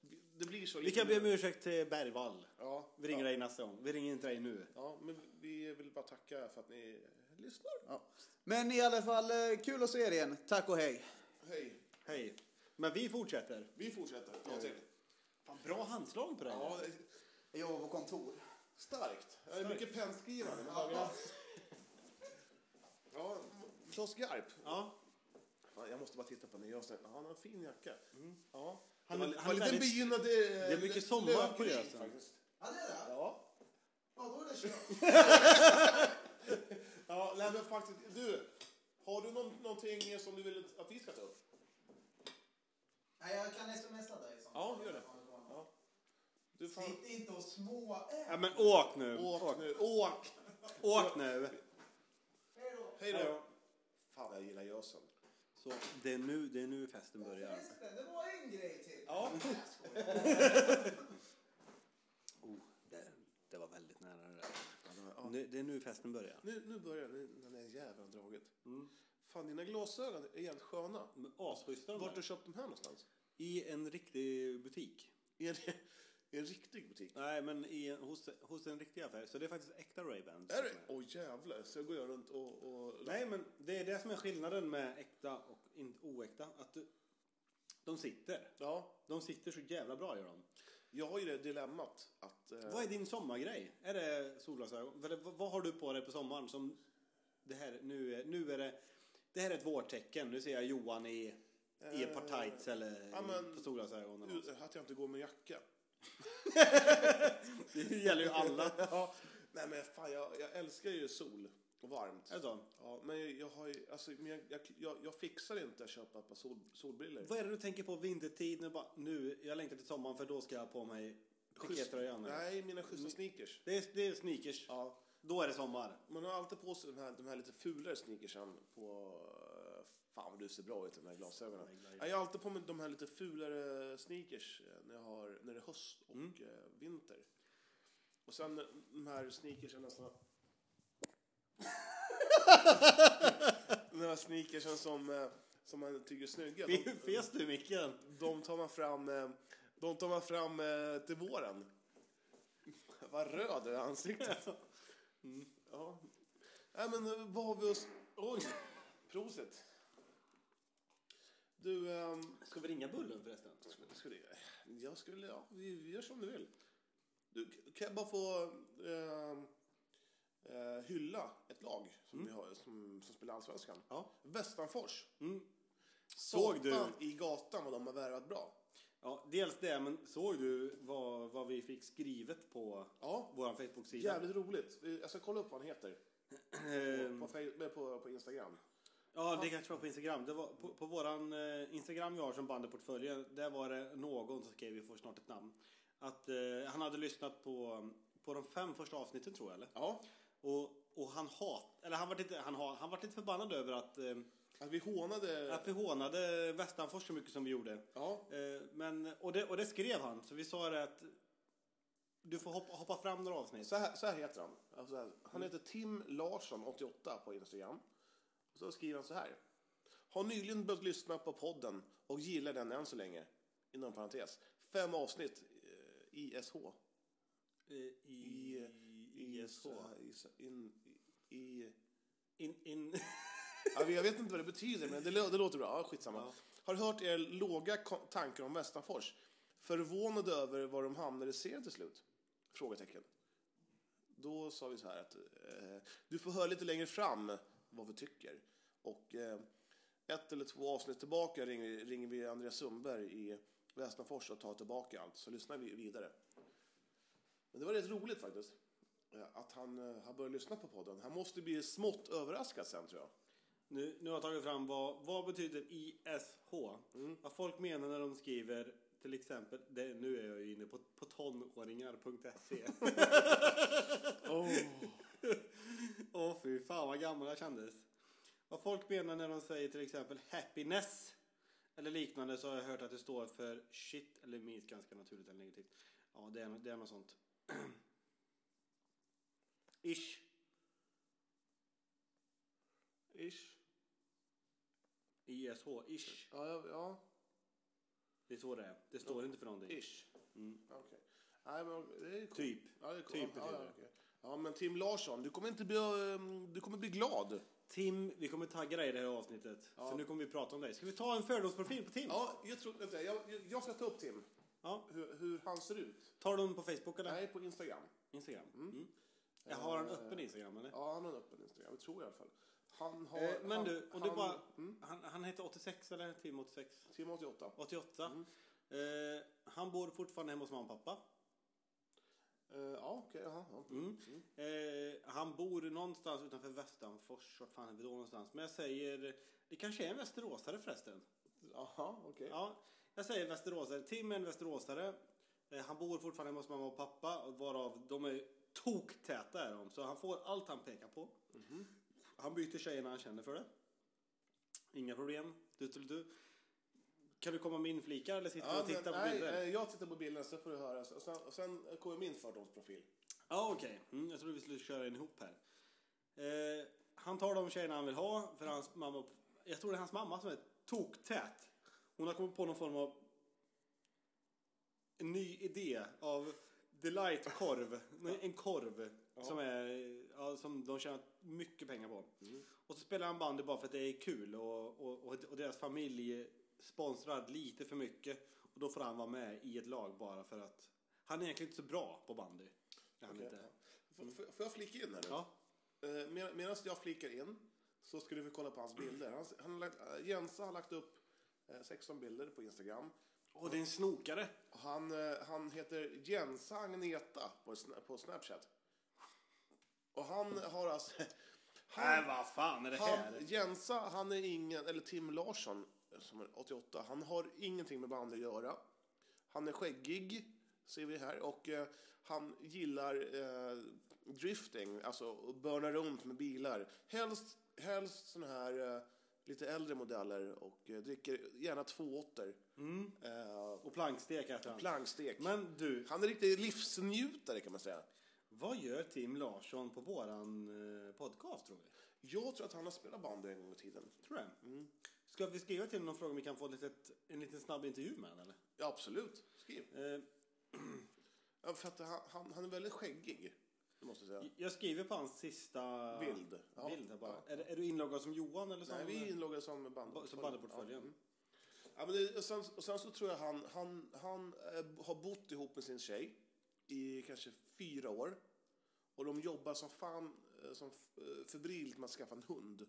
C: vi- Det blir så.
A: Vi kan be om ursäkt till Bergvall.
C: Ja,
A: Vi ringer
C: ja,
A: dig nästa gång. Vi ringer inte dig nu.
C: ja, men vi vill bara tacka för att ni lyssnar.
B: Ja. Men i alla fall, eh, kul att se er igen. Tack och hej.
C: Hej.
A: Hej. Men vi fortsätter.
C: Vi fortsätter. Ja, till.
A: Fan, bra handslag på dig.
C: Ja, det är
B: Jag var på kontor.
C: starkt. Det är mycket penskrivande. med högra. Ja, Klas Garp.
A: Ja.
C: Fan, jag måste bara titta på den. Jag ser- ja, Han har en fin jacka. Ja.
A: Mm. Han-
C: Han, det var,
A: han
C: var
A: är
C: lite
A: väldigt-
C: begynnande...
A: det är mycket sommar på Grösen.
B: Ja, det är det.
C: Ja.
B: Ja, då är det kört.
C: Ja, nej, men faktiskt. Du, har du någon, någonting som du vill att vi ska ta upp?
B: Nej, jag kan smsa dig. i sånt
C: Ja,
B: fall.
C: gör det.
B: Ja,
C: Du får...
G: Sitt inte och småät.
A: Ja, men åk nu.
C: Åk nu, åk!
A: Åk nu.
G: Hej då.
C: Hej
A: Hej
C: då!
A: då.
C: Fan, jag gillar gösen.
A: Så det är nu, det är nu festen börjar.
G: Förresten, det var en grej till.
A: Ja. Oh, det, det var väldigt nära det där. Nu, det är nu festen börjar.
C: Nu, nu börjar den, den här jäveln draget. Fan, dina glasögon är helt sköna.
A: Men Asschyssta de
C: Vart har
A: där.
C: du köpt dem här någonstans?
A: I en riktig butik.
C: I en, i en riktig butik?
A: Nej, men i, en- hos, hos en riktig affär. Så det är faktiskt äkta Ray-Ban.
C: Är det? Åh jävlar, så jag går jag runt och... och...
A: Nej, men det är det som är skillnaden med äkta och in- oäkta. Att du, de sitter.
C: Ja,
A: De sitter så jävla bra gör de.
C: jag har ju det dilemmat att... eh,
A: Vad är din sommargrej? Är det solglasögon? Vad, vad vad har du på dig på sommaren som det här nu är, nu är det det här är ett vårtecken. Nu ser jag Johan i, i ett par tights eller
C: Eh, ja, men-
A: på solglasögon. Eller något.
C: Att jag inte går med jacka.
A: Det gäller ju alla.
C: ja. Nej men fan, jag, jag älskar ju sol och varmt.
A: Är det så?
C: Ja, men jag, jag har ju, alltså, men jag, jag, jag, jag fixar inte att köpa ett par sol, solbriller.
A: Vad är det du tänker på vintertid? När du bara, nu, jag längtar till sommaren för då ska jag ha på mig pikétröjan.
C: Nej, mina schyssta sneakers.
A: Det är, det är sneakers.
C: Ja,
A: Då är det sommar.
C: man har alltid på sig de här, de här lite fulare sneakersen på... eh, Fan vad du ser bra ut i de här glasögonen. Ja, jag har alltid på mig de här lite fulare sneakers eh, när, jag har, när det är höst och eh, vinter. Och sen eh, de här sneakersen som... de här sneakersen som, eh, som man tycker är snygga.
A: Vi
C: De,
A: fes du i micken?
C: de tar man fram, eh, de tar man fram eh, till våren. Vad röd är ansiktet. Mm, Ja. Nej men eh, vad har vi oss... Oj! Prosit. Du, ehm,
A: Ska vi ringa Bullen förresten?
C: skulle, jag skulle, ja, vi vi gör som du vill. Du, kan jag bara få ehm, eh, hylla ett lag som, vi har, som, som spelar Allsvenskan?
A: Ja.
C: Västanfors.
A: Mm.
C: Såg
A: du?
C: du? i gatan vad de har värvat bra.
A: Ja, dels det, men såg du vad, vad vi fick skrivet på
C: Ja,
A: vår Facebook-sida?
C: Jävligt roligt. Jag ska kolla upp vad han heter
A: Ehm,
C: på, på, på, på Instagram.
A: Ja, det kanske var på Instagram. Det var, på, på våran eh, Instagram vi har som bandeportföljen, där var det någon som skrev, vi får snart ett namn, att eh, han hade lyssnat på, på de fem första avsnitten tror jag, eller?
C: Ja.
A: Och, och han hat, eller han var lite, han, ha- han var lite förbannad över att, eh,
C: Att vi hånade...
A: att vi hånade Västanfors så mycket som vi gjorde.
C: Eh. Ja.
A: Eh, men, och, det, och det skrev han, så vi sa det att du får hoppa, hoppa fram några avsnitt.
C: Så här, så här heter han. Alltså, här.
A: Mm.
C: han heter Tim Larsson, 88, på Instagram. Och så skriver han så här. Har nyligen börjat lyssna på podden och gillar den än så länge. Inom parentes. Fem avsnitt eh, ISH.
A: Eh, I, i, ISH.
C: is- In, i,
A: In, in,
C: ja, jag vet inte vad det betyder, men det, lå- det låter bra. Ja, skitsamma. Har hört er låga ko- tankar om Västanfors. Förvånad över var de hamnade i serien till slut? Frågetecken. Då sa vi så här att eh, du får höra lite längre fram vad vi tycker. Och eh, ett eller två avsnitt tillbaka ringer, ringer vi Andreas Sundberg i Västanfors och tar tillbaka allt, så lyssnar vi vidare. Men det var rätt roligt faktiskt. eh, Att han eh, har börjat lyssna på podden. Han måste bli smått överraskad sen tror jag.
A: nu, nu har jag tagit fram vad, vad betyder ISH? Vad folk menar när de skriver till exempel, det, nu är jag ju inne på, på tonåringar.se. Åh oh. fy fan vad gammal jag kändes. Vad folk menar när de säger till exempel happiness eller liknande så har jag hört att det står för shit eller minst ganska naturligt eller negativt. Ja, det är, det är något sånt. Ish.
C: Ish.
A: ISH, ish.
C: Ja, ja, ja.
A: Det är så det är. Det står inte för någonting.
C: ish. Okej. Nej, men det är coolt.
A: Typ.
C: Ja, det är coolt.
A: Typ
C: Mm.
A: betyder
C: ja, ja,
A: det.
C: okej. ja, men Tim Larsson, du kommer inte bli, ehm, du kommer bli glad.
A: Tim, vi kommer tagga dig i det här avsnittet. Så nu kommer vi prata om dig. Ska vi ta en fördomsprofil på Tim?
C: Ja, jag tror, vänta, jag, jag- jag ska ta upp Tim.
A: Ja.
C: Hur, hur han ser ut.
A: Tar du dem på Facebook eller?
C: Nej, på Instagram.
A: Instagram? Mm. Jag har en öppen Instagram eller?
C: Ja, han har en öppen Instagram, tror jag i alla fall. Han har...
A: Eh, Men
C: han,
A: du, om
C: han, mm.
A: du bara... Han, han heter 86 eller? Tim 86?
C: Tim 88.
A: 88.
C: Mm.
A: Eh, han bor fortfarande hemma hos mamma och pappa.
C: Eh, ja, okej. jaha, ja.
A: Mm. Eh, han bor någonstans utanför Västanfors. Vart fan är vi då någonstans? Men jag säger... Det kanske är en västeråsare förresten.
C: Jaha, okej.
A: Ja, jag säger västeråsare. Tim är en västeråsare. Eh, Han bor fortfarande hemma hos mamma och pappa varav de är toktäta är de. Så han får allt han pekar på.
C: Mhm.
A: Han byter tjejer när han känner för det. Inga problem. Du, du, du. Kan du komma med inflikar eller sitta och titta
C: men,
A: på
C: nej,
A: bilder?
C: eh, jag tittar på bilden så får du höra. Och sen, och sen kommer min fördomsprofil.
A: Ja, okej. Mm, jag trodde vi skulle köra en ihop här. Eh, han tar de tjejerna han vill ha för hans mamma. Jag tror det är hans mamma som är toktät. Hon har kommit på någon form av en ny idé av Delight-korv. Nej, En korv som, är, ja, som de tjänar mycket pengar på. Och så spelar han bandy bara för att det är kul och, och, och- och deras familj sponsrar lite för mycket. Och då får han vara med i ett lag bara för att han är egentligen inte så bra på bandy. Är han
C: Okej.
A: inte.
C: Får, får- får jag flika in här nu?
A: Mm. Ja.
C: Eh, med- Medan jag flikar in så ska du få kolla på hans bilder. Han, han har lagt, eh, Jensa har lagt upp eh, 16 bilder på Instagram.
A: Och det är en snokare.
C: Han, eh, han heter Jensa Agneta på, Sna- på Snapchat. Och han har alltså...
A: Nej,
C: Han,
A: vad fan är det
C: han,
A: här?
C: Jensa, han är ingen... Eller Tim Larsson, som är 88, han har ingenting med bandy att göra. Han är skäggig, ser vi här. Och eh, han gillar eh, drifting, alltså att börna runt med bilar. Helst, helst såna här eh, lite äldre modeller och eh, dricker gärna två åttor. Eh,
A: Och plankstek äter han.
C: plankstek.
A: Mm. Men du,
C: Han är riktigt livsnjutare kan man säga.
A: vad gör Tim Larsson på våran eh, podcast tror vi?
C: Jag tror att han har spelat bandy en gång i tiden.
A: Tror jag. Ska vi skriva till någon fråga om vi kan få ett litet, en liten snabb intervju med honom
C: Ja, absolut. Skriv.
A: eller? Eh,
C: Ja, för att han, han, han är väldigt skäggig. Det måste jag säga.
A: jag skriver på hans sista
C: Bild. Ja.
A: bild här bara.
C: Ja.
A: Är, är du inloggad som Johan eller som,
C: Nej, vi är inloggade som
A: ba-
C: band.
A: som bandyportföljen?
C: Ja, men det, och, sen, och sen så tror jag han, han, han eh, har bott ihop med sin tjej i kanske fyra år. Och de jobbar som fan, eh, som f- eh, febrilt med att skaffa en hund.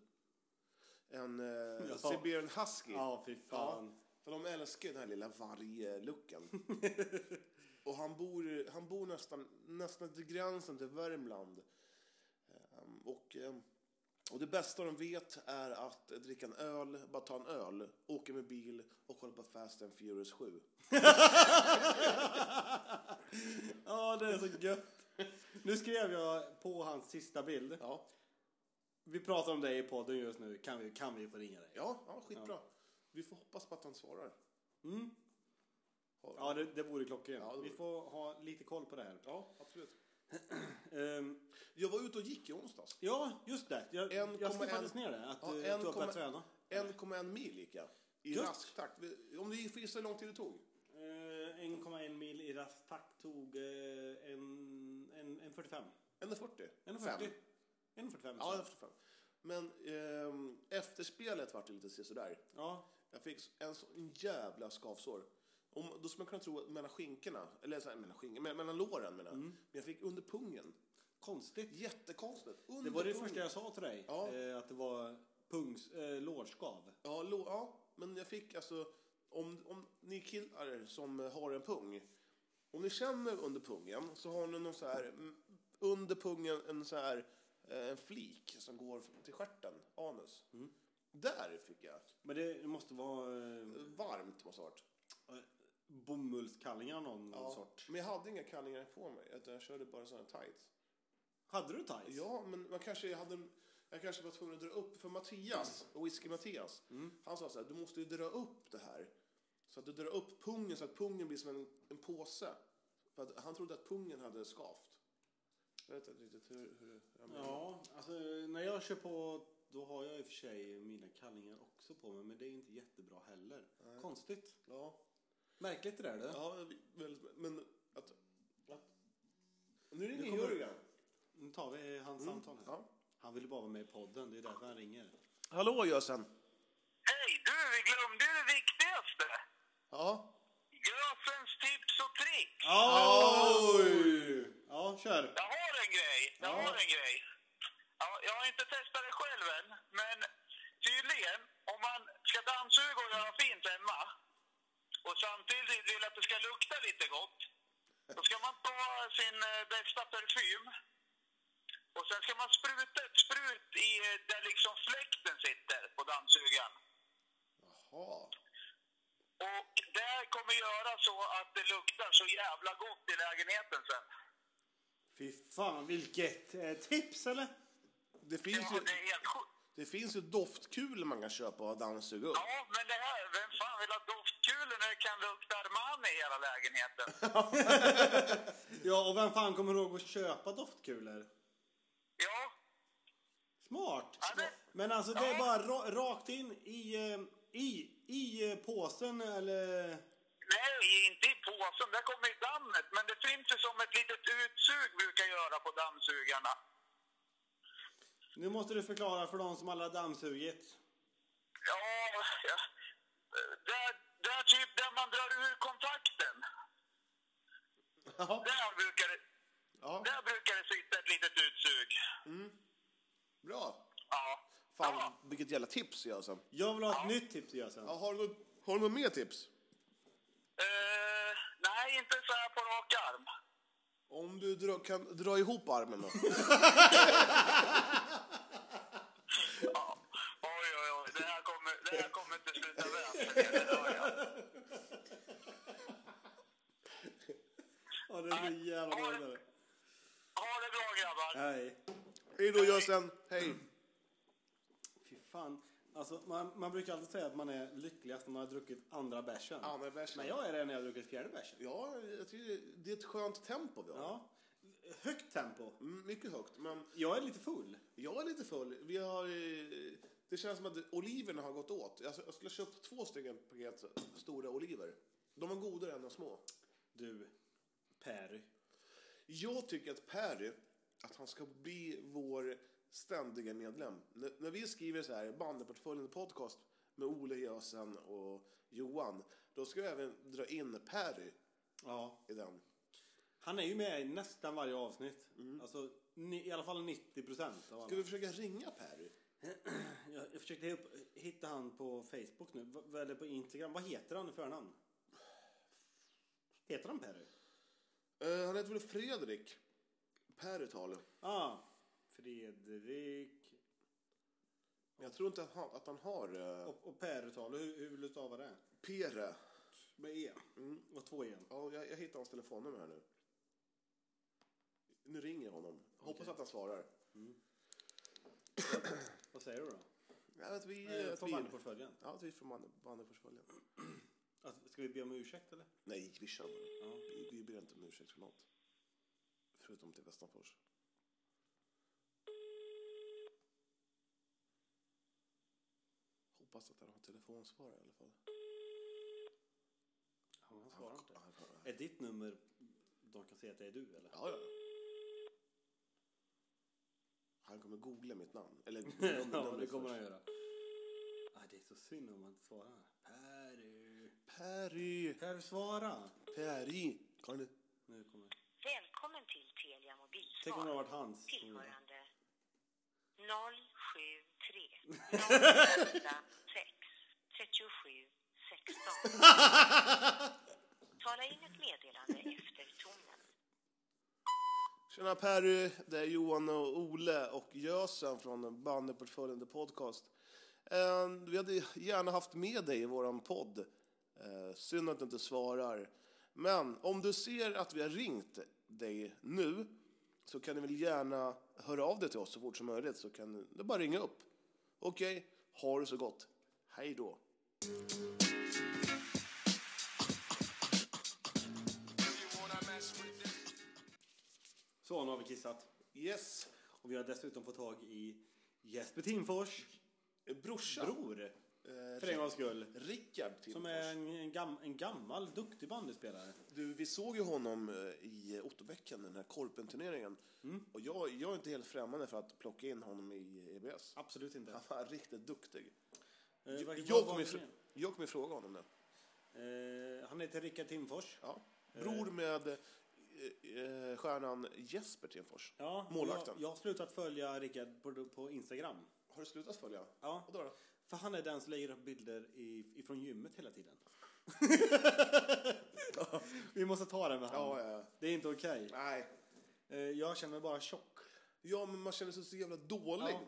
C: En eh,
A: Ja.
C: Siberian Husky.
A: Ja, fy fan.
C: Ja, för de älskar ju den här lilla vargluckan. och han bor, han bor nästan, nästan till gränsen till Värmland. Ehm, Och, ehm, och det bästa de vet är att dricka en öl, bara ta en öl, åka med bil och kolla på Fast and Furious 7.
A: Ja, det är så gött. Nu skrev jag på hans sista bild.
C: Ja,
A: Vi pratar om dig i podden just nu. Kan vi, kan vi få ringa dig?
C: ja, ja skitbra. Vi får hoppas på att han svarar.
A: Mm.
C: Har-
A: Ja, det, det vore klockrent.
C: Ja, det
A: Vi
C: vore-
A: får ha lite koll på det här.
C: ja, absolut.
A: Ehm,
C: Jag var ute och gick i onsdags.
A: ja, just det. Jag, jag
C: 1,1
A: skrev faktiskt ner det. Att
C: Ja,
A: eh, du
C: 1,1
A: har börjat träna.
C: 1,1 mil gick jag. I
A: Gött.
C: rask takt. Om du gissar hur lång tid det tog?
A: Eh, 1,1 mil i rasttakt tog eh, en, en, en 45.
C: 1,40?
A: 1,40.
C: Fem.
A: 1,45.
C: Ja,
A: Ja,
C: jag förstår. Men ehm, efterspelet vart det lite sådär.
A: ja.
C: Jag fick en sån jävla skavsår. Om, då skulle man kunna tro att mellan skinkorna, eller så här, mellan, skink, mellan, mellan låren menar jag.
A: Mm.
C: Men jag fick under pungen.
A: Konstigt.
C: Jättekonstigt. Under
A: Det var det
C: pungen.
A: första jag sa till dig.
C: Ja.
A: Eh, att det var pungs, eh, lårskav.
C: Ja, lå, ja, men jag fick alltså... Om, om ni killar som har en pung, om ni känner under pungen så har ni någon så här... mm, Under pungen en så här eh, en flik som går till stjärten, anus.
A: Mm.
C: Där fick jag.
A: Men det måste vara eh,
C: Varmt måste ha varit.
A: bomullskallingar av någon sort.
C: Men jag hade inga kallingar på mig, utan jag körde bara sådana tights.
A: Hade du tights?
C: Ja, men man kanske hade, en- jag kanske var tvungen att dra upp, för Mattias, Whisky Mattias,
A: Mm.
C: han sa så här, du måste ju dra upp det här. Så att du drar upp pungen så att pungen blir som en, en påse. För att han trodde att pungen hade skavt. Jag vet inte riktigt hur, hur jag menar.
A: Ja, alltså när jag kör på då har jag i och för sig mina kallingar också på mig men det är inte jättebra heller. Konstigt.
C: Ja.
A: Märkligt det där du.
C: Ja, väl- men att... att nu ringer
A: kommer-
C: Jörgen.
A: Nu tar vi hans
C: Mm.
A: samtal här.
C: Ja.
A: Han ville bara vara med i podden, det är därför han ringer.
C: Hallå Jösen.
F: Hej du, vi glömde det viktigaste.
C: Ja.
F: Gösens tips och trick.
A: Oj! Ja, kör.
F: Jag har en grej. Jag
A: Ja.
F: har en grej. Ja, jag har inte testat det själv än, men tydligen om man ska dammsuga och göra fint hemma och samtidigt vill att det ska lukta lite gott, då ska man ta sin eh, bästa parfym och sen ska man spruta ett sprut i eh, där liksom fläkten sitter på dammsugaren.
C: Jaha.
F: Och det här kommer göra så att det luktar så jävla gott i lägenheten sen.
A: Fy fan, vilket eh, tips eller?
C: Det finns
F: Ja,
C: ju,
F: det är helt sjukt.
C: det finns ju doftkulor man kan köpa och dammsuga upp.
F: Ja, men det här, vem fan vill ha doftkulor när det kan lukta Armani i hela lägenheten?
A: Ja, och vem fan kommer ihåg att köpa doftkulor?
F: Ja,
A: Smart!
F: Ja, det-
A: Men alltså det är
F: Ja.
A: bara ra- rakt in i, eh, i, i eh, påsen eller...
F: nej, inte i påsen, där kommer i dammet. Men det finns ju som ett litet utsug brukar göra på dammsugarna.
A: Nu måste du förklara för de som aldrig har dammsugit.
F: Ja, ja. Där, där typ där man drar ur kontakten.
C: Ja,
F: Där brukar det,
C: ja
F: där brukar det sitta ett litet utsug.
C: bra.
F: Ja.
C: Fan, vilket jävla tips jag alltså.
A: Jag vill ha ett nytt tips Jösen.
C: Ja, har, du något, har du något mer tips?
F: Eh, nej, inte så här på rak arm.
C: Om du dra, kan dra ihop armen då.
F: Oj, oj, oj. Det här kommer, det här kommer inte sluta väl. för er, det hör jag.
A: Ja, det är så jävla bra. det där.
F: Ha det bra, grabbar.
A: Hej.
C: Hej då Jösen, hej.
A: Fy fan. Alltså, man, man brukar alltid säga att man är lyckligast när man har druckit andra bärsen.
C: Andra bärsen.
A: Men jag är det när jag har druckit fjärde bärsen.
C: Ja, jag tycker det är ett skönt tempo vi har.
A: Ja. Högt tempo.
C: Mm, mycket högt, men
A: Jag är lite full.
C: jag är lite full. Vi har, eh, det känns som att oliverna har gått åt. Jag, jag skulle ha köpt två stycken paket stora oliver. De är godare än de små.
A: Du, Perry.
C: Jag tycker att Perry, att han ska bli vår ständiga medlem. När, när vi skriver så här, bandeportföljen podcast med Ole Jösen och Johan, då ska jag även dra in Perry
A: Ja.
C: i den.
A: Han är ju med i nästan varje avsnitt.
C: Mm.
A: Alltså, ni, i alla fall 90 procent av alla.
C: Ska vi försöka ringa Perry?
A: Jag, jag försökte hitta, hitta han på Facebook nu, v- eller på Instagram. Vad heter han i förnamn? Heter han Perry?
C: Eh, han heter väl Fredrik Perutalo.
A: Ja. Ah, Fredrik...
C: Men jag tror inte att han, att han har eh,
A: Och, och Perutalo, hur, hur vill du stava det?
C: Pere.
A: Med E. Och två E.
C: Ja, jag, jag hittar hans telefonnummer här nu. Nu ringer jag honom. Hoppas att han svarar.
A: Vad säger du då?
C: Ja, att vi,
A: Eh,
C: att
A: Från
C: vi,
A: bandyportföljen?
C: ja, att vi får bandy- bandyportföljen.
A: Att- Ska vi be om ursäkt eller?
C: Nej, vi kör bara. Vi, vi ber inte om ursäkt för något. Förutom till Västmanfors. Hoppas att han har telefonsvar i alla fall.
A: Ja, han svarar inte.
C: Han- han-
A: Är ditt nummer, de kan säga att det är du eller?
C: Ja, ja. Han kommer googla mitt namn. Eller googla
A: ja,
C: namnet
A: det kommer
C: först.
A: han göra. Ah, det är så synd om man inte svarar. Perry.
C: Perry!
A: Perry, svara.
C: Perry! Kan du?
A: Nu kommer...
H: Välkommen till Telia Mobilsvar.
A: Tänk om det har varit hans.
H: Tillhörande 073 086 37 16. Tala in ett meddelande efter tonen.
C: Tjena Perry! Det är Johan och Ole och Gösen från Bandyportföljen The Podcast. Eh, Vi hade gärna haft med dig i våran podd. Eh, Synd att du inte svarar. Men om du ser att vi har ringt dig nu så kan du väl gärna höra av dig till oss så fort som möjligt så kan du- det är bara att ringa upp. Okej, ha det så gott. Hej då!
A: Så, nu har vi kissat.
C: Yes!
A: Och vi har dessutom fått tag i Jesper Timfors
C: Brorsan.
A: bror. För en
C: Eh,
A: gångs skull.
C: Rickard Timfors.
A: Som är en, en, gam, en gammal, duktig bandyspelare.
C: Du, vi såg ju honom eh, i Otterbäcken, den här korpenturneringen.
A: Mm.
C: Och jag, jag är inte helt främmande för att plocka in honom i EBS.
A: Absolut inte.
C: Han var riktigt duktig.
A: Eh,
C: Jag,
A: vad-
C: jag,
A: vad-
C: kommer,
A: vad-
C: fr- jag kommer fråga honom det.
A: eh, Han heter Rickard Timfors.
C: Ja. Bror med eh, eh, stjärnan Jesper Timfors.
A: Ja,
C: Målvakten.
A: Jag, jag har slutat följa Rickard på, på Instagram.
C: Har du slutat följa?
A: Ja.
C: Och då då?
A: För han är den som lägger upp bilder i, ifrån gymmet hela tiden. Vi måste ta det med
C: Ja,
A: honom.
C: ja, ja.
A: Det är inte okej.
C: Nej.
A: Eh, Jag känner mig bara tjock.
C: Ja, men man känner sig så jävla dålig.
A: Ja.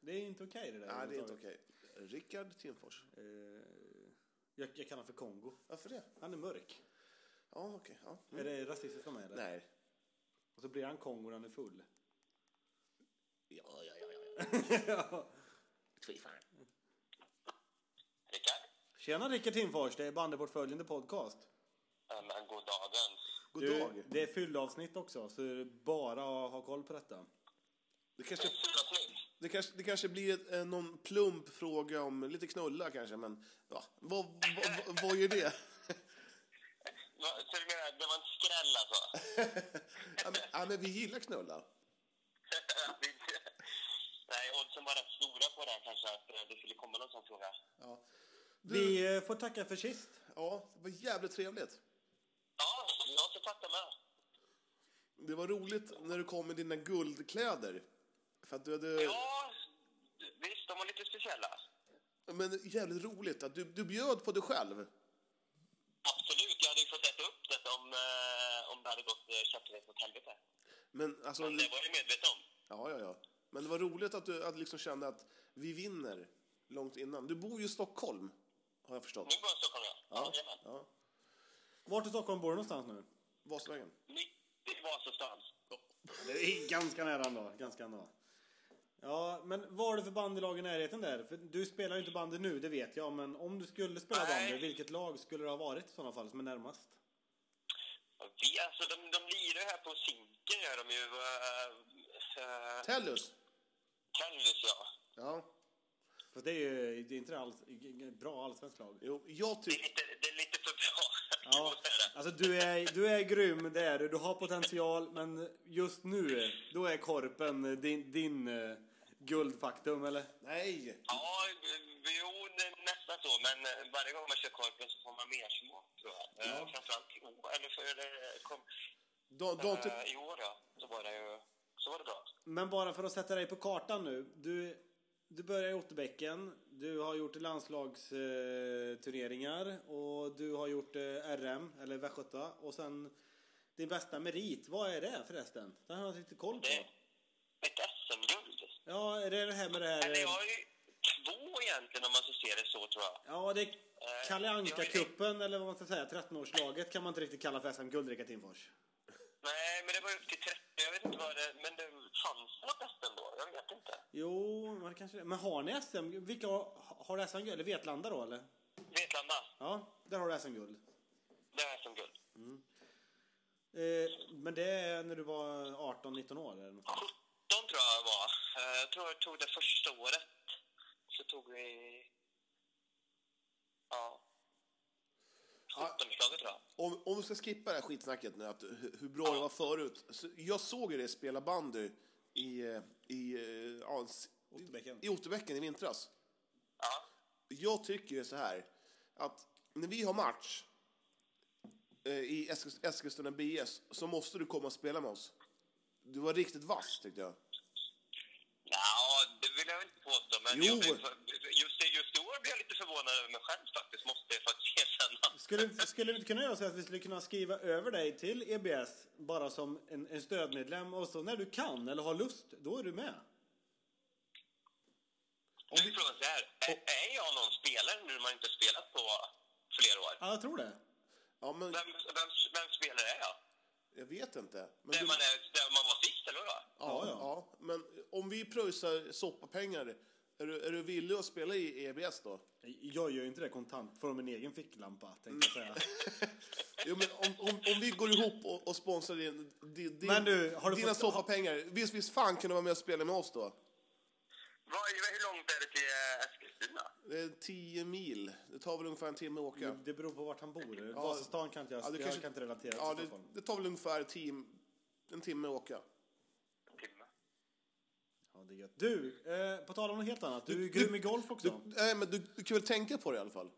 A: Det är inte okej det där.
C: Nej, det är inte
A: överhuvudtaget.
C: okej. Rickard Timfors.
A: Eh, Jag, jag kallar honom för Kongo.
C: Varför det?
A: Han är mörk.
C: Ja, okej. Ja.
A: Är det rasistiskt av mig eller?
C: Nej.
A: Och så blir han Kongo när han är full.
C: Ja, ja, ja. ja.
A: Ja.
C: Fy fan.
F: Rickard?
A: Tjena Rickard Timfors, det är Bandyportföljen podcast.
F: Ja, men god dagens.
C: God
A: Du,
C: dag.
A: Det är fyllavsnitt också, så det är bara att ha koll på detta.
C: Det kanske,
F: Fyra snitt.
C: det kanske, det kanske blir ett, eh, någon plump fråga om lite knulla kanske, men ja, vad, vad, vad, vad gör det?
F: Va, Så du menar, det var en skräll alltså?
C: Ja, men, ja, men vi gillar knulla.
F: Nej, oddsen var rätt stora på det här kanske, att eh, det skulle komma någon sån fråga.
C: Ja.
A: Vi eh, får tacka för sist.
C: ja, det var jävligt trevligt.
F: Ja, jag ska tacka med.
C: Det var roligt när du kom med dina guldkläder. För att du hade...
F: Ja, visst, de var lite speciella.
C: Men jävligt roligt att du, du bjöd på dig själv.
F: Absolut, jag hade ju fått äta upp det om, eh, om det hade gått eh, käpprätt åt helvete.
C: Men alltså...
F: Men det var jag ju medveten om.
C: Ja, ja, ja. Men det var roligt att du att liksom kände att vi vinner långt innan. Du bor ju i Stockholm, har jag förstått.
F: Nu börjar Stockholm, ja.
C: Ja.
F: Jajamän.
C: ja.
A: Vart i Stockholm bor du någonstans nu?
C: Vasvägen.
F: Mitt i Vasastan.
A: Det är ganska nära ändå. Ganska ändå. Ja, men vad har du för bandylag i närheten där? För du spelar ju inte bandy nu, det vet jag. Men om du skulle spela
F: Nej.
A: bandy, vilket lag skulle det ha varit i sådana fall som är närmast?
F: Och Vi, alltså, de, de lirar ju här på Zinken, gör de ju. eh, eh,
C: Tellus.
F: Tellus, ja.
C: Ja.
A: För det är ju det är inte alls bra allsvenskt lag.
C: Jo, jag
F: Det är
C: tycker...
F: lite, det är lite för bra.
A: Ja, alltså du är, du är grym, det är du. Du har potential, men just nu, då är korpen din, din eh, guldfaktum, eller?
C: Nej!
F: Ja, eh, jo, det är nästan så. Men eh, varje gång man kör korpen så får man mer smak, tror jag. Ja. Framförallt i år, eller för, eller, kom,
C: Dan, Dan, ty-
F: eh, i år, ja. Så var det ju... Så var det bra.
A: Men bara för att sätta dig på kartan nu. Du, du börjar i Otterbäcken, du har gjort landslagsturneringar och du har gjort eh, RM, eller Västgöta. Och sen din bästa merit, vad är det förresten? Den har jag inte riktigt koll på.
F: Det- Ett SM-guld.
A: Ja, är det det här med det här...
F: Eller jag
A: eh,
F: har ju två egentligen, om man ska se det så, tror jag.
A: Ja, det är
F: Eh,
A: Kalle
F: jag-
A: Anka-cupen, eller vad man ska säga, 13-årslaget kan man inte riktigt kalla för SM-guld, Rickard Timfors.
F: Nej, men det var ju upp till 30. Jag vet inte vad det... Men det fanns något bäst ändå. Jag vet inte.
A: Jo, men det kanske det. Men har ni SM? Vilka har, har du SM-guld? Eller Vetlanda då, eller?
F: Vetlanda,
A: Ja, där har du SM-guld.
F: det är SM-guld.
A: Eh, men det är när du var 18-19 år, eller något sånt.
F: 17 tror jag var. Eh, Jag tror jag tog det första året. Så tog vi... Ja.
C: Ja.
F: 17-slaget tror jag.
C: Om, om vi ska skippa det här skitsnacket nu, att, hur, hur bra det var förut. Så jag såg ju dig spela bandy i, eh, i, eh, ja, s-
A: Otterbäcken.
C: i Otterbäcken i vintras.
F: Ja.
C: Jag tycker ju så här, att när vi har match eh, i Eskils- Eskilstuna BS så måste du komma och spela med oss. Du var riktigt vass, tyckte jag.
F: Ja, det vill jag väl inte påstå, men
C: Jo.
F: jag blev för- just, det- just i år blev jag lite förvånad över mig själv faktiskt, måste jag faktiskt erkänna.
A: Skulle, inte- skulle vi inte kunna göra så att vi skulle kunna skriva över dig till EBS bara som en, en stödmedlem och så när du kan eller har lust, då är du med?
F: Nu är frågan så här, är, är jag någon spelare nu man inte spelat på flera år?
A: Ja, jag tror det.
C: Ja, men
F: Vem, vem, vem spelare är jag?
C: jag vet inte. Men
F: Där
C: du-
F: man, är, där man var sist, eller vad?
C: ja,
A: Ja,
C: ja.
A: ja.
C: men om vi pröjsar soppapengar, är du, är du villig att spela i EBS då?
A: Jag gör ju inte det kontant från min egen ficklampa, tänkte jag säga.
C: Jo, men om, om, om vi går ihop och, och sponsrar din, din, din,
A: Men du, har du
C: dina
A: fått-
C: soppapengar, visst, visst fan kan du vara med och spela med oss då?
F: Vad, hur långt är det till eh, Eskilstuna?
C: Det är 10 mil. Det tar väl ungefär en timme att åka.
A: Det- Det beror på vart han bor. Vasastan kan inte jag,
C: Ja, du
A: jag
C: kanske-
A: kan inte relatera
C: Ja,
A: till
C: det,
A: Stockholm.
C: det tar väl ungefär tio, en timme att åka.
F: Timme.
A: Ja, det är gött. Du, eh, på tal om något helt annat. Du är grym i golf
C: Du,
A: också.
C: nej, men du, du kan väl tänka på det i alla fall?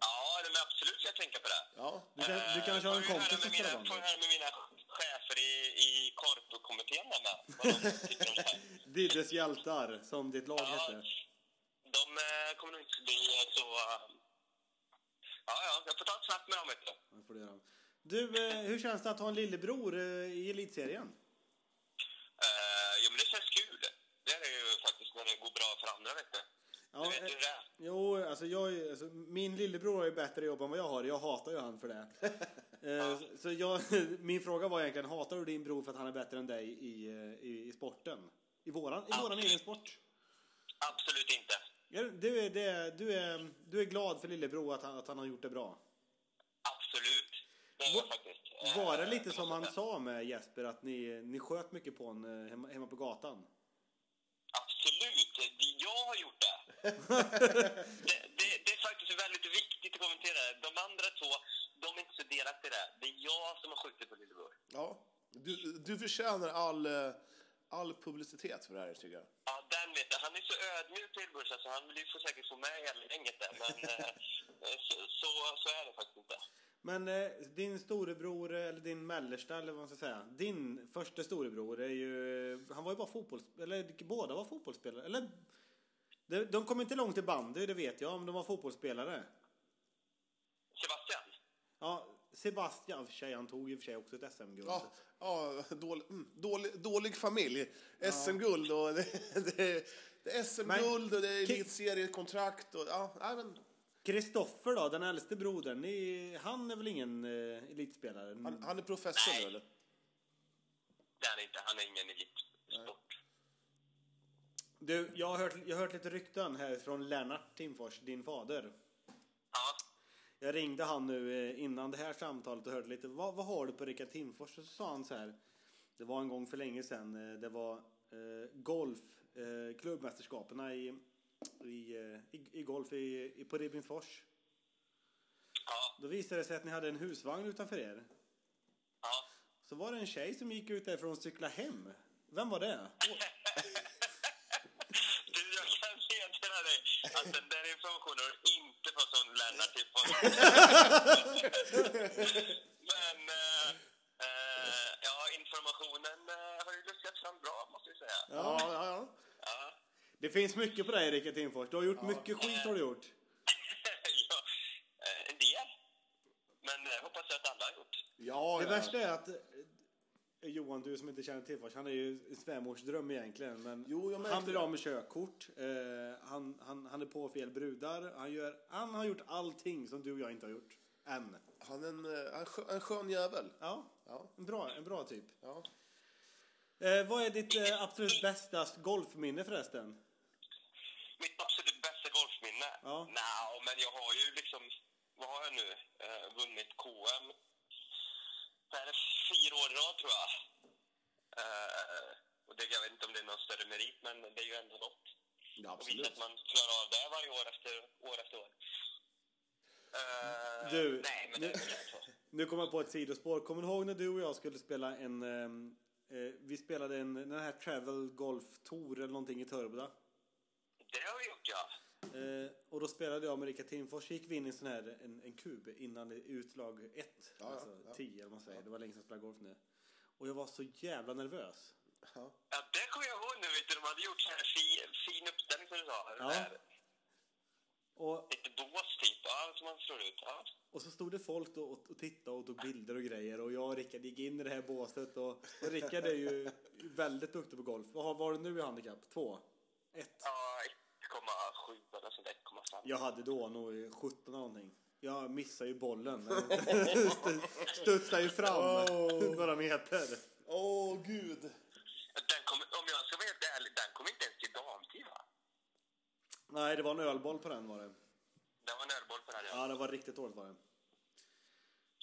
F: Ja, det- men absolut ska jag tänka på det. Eh,
C: Ja.
A: Du, kan, du kanske har en kompis som spelar
F: Får
A: bandy.
F: höra med mina chefer i, i korpkommittén där med. vad de tycker om det här.
A: Diddes hjältar, som ditt lag hette.
F: De eh, kommer nog inte bli eh, så... eh, Ja, ja, jag får ta ett snack med dem, vet du.
A: Ja, får du göra. Du, eh, hur känns det att ha en lillebror eh, i elitserien?
F: Eh, ja, men det känns kul. Det är det ju faktiskt när det går bra för andra, vet du. Du
A: Ja,
F: vet
A: eh,
F: hur det är.
A: jo, alltså jag, är- alltså, min lillebror har ju bättre jobb än vad jag har. Jag hatar ju han för det. Eh, så- Så jag, min fråga var egentligen, hatar du din bror för att han är bättre än dig i, eh, i, i sporten? I våran, i våran egen sport?
F: Absolut inte.
A: Ja, Du är, det, du är, du är glad för lillebror att han, att han har gjort det bra?
F: Absolut. Det är jag
A: Va-
F: faktiskt. Eh,
A: Var det lite som han
F: måste-
A: sa med Jesper, att ni, ni sköt mycket på honom eh, hemma, hemma på gatan?
F: Absolut. Det- Jag har gjort det. det, det. Det är faktiskt väldigt viktigt att kommentera det. De andra två, de är inte så delaktiga i det. Det är jag som har skjutit på lillebror.
C: Ja. Du, du förtjänar all, eh, all publicitet för det här, tycker jag.
F: Ja, den vet jag. Han är så ödmjuk lillebror så alltså, han vill ju få säkert få med hela gänget där. Men eh, eh, så, så, så är det faktiskt inte.
A: Men eh, din storebror, eh, eller din mellersta eller vad man ska säga. Din första storebror är ju... eh, Han var ju bara fotbolls... Eller båda var fotbollsspelare. Eller... De, de kom inte långt i bandy, det vet jag, om de var fotbollsspelare.
F: Sebastian?
A: Ja, Sebastian, i och för sig, han tog i och för sig också ett SM-guld.
C: Ja, ja dålig, mm, dålig, dålig familj. SM-guld och det, det, är- det är SM-guld och det är
A: Ki-
C: elitseriekontrakt och ja, nej, men
A: Kristoffer då, den äldste brodern, ni, han är väl ingen eh, elitspelare?
C: han, han är professor nu, eller?
F: Det är han inte. Han är ingen elitsport.
A: Du, jag har, hört, jag har hört lite rykten här från Lennart Timfors, din fader.
F: Ja.
A: Jag ringde han nu eh, innan det här samtalet och hörde lite, vad, vad har du på Rickard Timfors? Och så sa han så här, det var en gång för länge sedan, eh, det var eh, golf, eh, klubbmästerskapen i, i, eh, i, i golf i, i, på Ribbingsfors.
F: Ja.
A: Då visade det sig att ni hade en husvagn utanför er.
F: Ja.
A: Så var det en tjej som gick ut därifrån och cyklade hem. Vem var det?
F: Du, jag kan meddela dig att den där informationen har inte fått från Lennart till på. Men eh, eh, ja, informationen eh, har ju luskat fram bra, måste vi säga.
C: Ja, ja, ja.
F: Ja.
A: Det finns mycket på dig Rickard Timfors, du har gjort mycket skit har du gjort.
F: ja, eh, en del. Men eh, hoppas jag att alla har gjort.
C: ja,
A: Det
C: ja.
A: värsta är att eh, Johan, du som inte känner till Fars, han är ju svärmors dröm egentligen. Men
C: Jo, jag märkte
A: han blir
C: det.
A: av med körkort, eh, han, han, han är på fel brudar, han, gör, han har gjort allting som du och jag inte har gjort. Än.
C: Han är en, eh, en, skön, en skön jävel.
A: Ja,
C: Ja,
A: en bra, en bra typ.
C: ja.
A: Eh, vad är ditt eh, absolut bästa golfminne förresten?
F: Mitt absolut bästa golfminne?
A: Ja.
F: Nja, men jag har ju liksom, vad har jag nu, eh, vunnit KM det här är fyra år i rad tror jag. Eh, och det, jag vet inte om det är någon större merit, men det är ju ändå något.
C: ja
F: Och visst
C: absolut.
F: att man klarar av det varje år efter år. Efter år. Eh,
A: Du,
F: nej, men det
A: nu-
F: är väl så.
A: Nu kommer jag på ett sidospår. Kommer du ihåg när du och jag skulle spela en... ehm, Eh, vi spelade en, den här Travel Golf Tour eller någonting i Törboda.
F: Det har vi gjort, ja.
A: Eh, och då spelade jag med Rickard Timfors, gick vi in i en sån här, en, en kub innan utlag 1,
C: ja,
A: alltså
C: ja.
A: 10 eller vad man säger, det var länge sedan jag spelade golf nu. Och jag var så jävla nervös.
F: Ja, det kommer jag ihåg nu. Vet du, de hade gjort så här fi, fin uppställning som du sa.
A: Ja.
F: Där,
A: Och,
F: lite bås typ, ja, som man slår ut. Ja.
A: och så stod det folk då och, och tittade och tog bilder och grejer och jag och Rickard gick in i det här båset och, och Rickard är ju väldigt duktig på golf. Vad har- var det nu i handikapp? Två? Ett?
F: Ja, 1,7 eller sånt där, 1,5.
A: Jag hade då nog 17 eller någonting. Jag missade ju bollen. Studsade ju fram
C: Oh.
A: några meter.
C: Åh, gud.
F: Den kom, om jag ska vara helt ärlig, den kom inte ens till damtid va?
A: Nej, det var en ölboll på den var det.
F: Det var en ölboll på den här.
A: Ja, det var riktigt dåligt var det.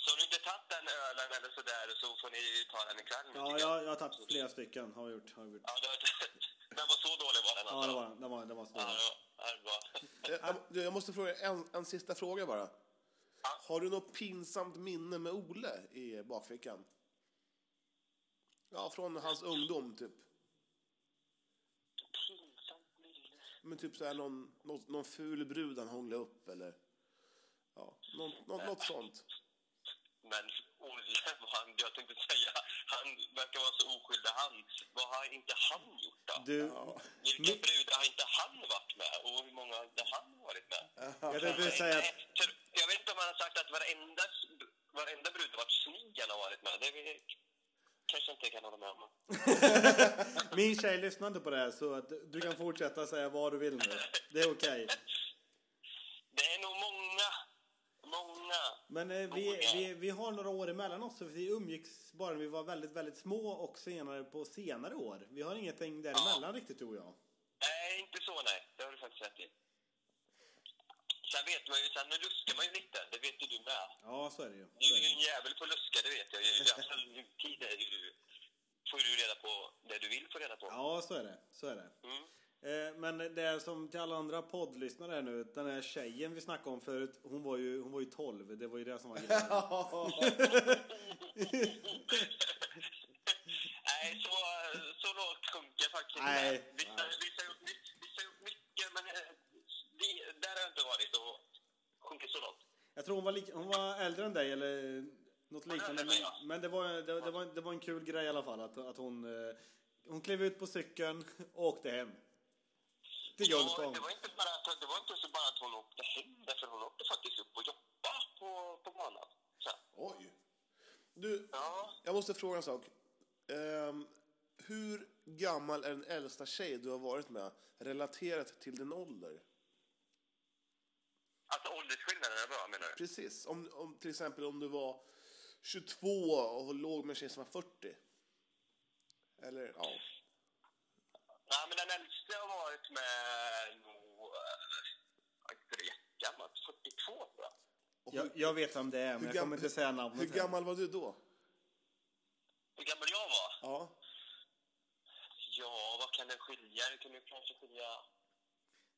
F: Så om du inte tagit den ölen eller sådär så får ni ju ta den ikväll. nu,
A: Ja,
F: tycker jag.
A: jag, jag har tagit flera stycken. Har jag gjort. Har jag gjort.
F: Ja, det var, den var så dålig var den
A: Ja,
F: alltså.
A: det var, det var, det var så
F: Ja,
A: dåligt.
F: det var, ja, det var.
C: Eh, Jag, du, jag måste fråga en, en sista fråga bara. Har du något pinsamt minne med Ole i bakfickan? Ja, från hans ungdom, typ.
F: Pinsamt minne.
C: Men typ så här någon, någon, någon ful brud han hånglade upp eller ja, någon, något, något sånt.
F: Men Olle, vad han, jag tänkte säga, han verkar vara så oskyldig han. Vad har inte han gjort då?
A: Du,
F: Vilka brudar har inte han varit med? Och hur många har inte han varit med?
A: jag vill bara säga att
F: Nej, Eh, för jag vet inte om han har sagt att varenda, varenda brud har varit snygg han har varit med. Det är, väl- kanske inte kan hålla med om.
A: Min tjej lyssnar inte på det här så att du kan fortsätta säga vad du vill nu. Det är okej.
F: Det är nog många, många.
A: Men eh, vi, vi, vi har några år emellan oss så vi umgicks bara när vi var väldigt, väldigt små och senare på senare år. Vi har ingenting däremellan riktigt tror jag.
F: Nej, inte så nej. Det har du faktiskt rätt i. Sen vet man ju, sen luskar man ju lite. Det vet ju du med.
A: Ja, så är det ju.
F: Du
A: Så är
F: är
A: det
F: ju
A: ju.
F: en jävel på att luska, det vet jag ju. I absolut tid är ju du, får du reda på det du vill få reda på.
A: Ja, så är det. Så är det.
F: Mm.
A: Eh, Men det är som till alla andra poddlyssnare här nu, den här tjejen vi snackade om förut, hon var ju, hon var ju 12, det var ju det som var grejen.
F: Nej, så, så lågt sjunker jag faktiskt inte.
A: Nej.
F: Vissa, vissa, har gjort mycket- vissa har gjort mycket, men eh, vi, där har jag inte varit och sjunkit så lågt.
A: Jag tror hon var, lik, hon var äldre än dig eller något liknande.
F: äldre än mig, ja.
A: Men, men det, var, det, det, var, det var en kul grej i alla fall att, att hon, eh, hon klev ut på cykeln och åkte hem. Till
F: Ja,
A: Gullspång.
F: det var inte bara att, det var inte så bara att hon åkte hem, därför hon åkte faktiskt upp och jobbade på, på banan. Så,
C: Oj. Du,
F: ja,
C: jag måste fråga en sak. Ehm, hur gammal är den äldsta tjej du har varit med relaterat till din ålder?
F: alltså åldersskillnaden är bra menar du?
C: Precis. Om, om, till exempel om du var 22 och låg med en tjej som var 40. Eller, ja.
F: Nej, men den äldsta har varit med nog, eh, inte det jättegammalt, 42 tror jag.
C: Och
A: Jag,
C: hur,
A: jag vet vem det är men
C: hur
A: jag kommer
C: gam-
A: inte säga namnet.
C: hur
A: här.
C: gammal var du då?
F: Hur gammal jag var?
C: Ja.
F: Ja, vad kan det skilja? Det kan ju kanske skilja...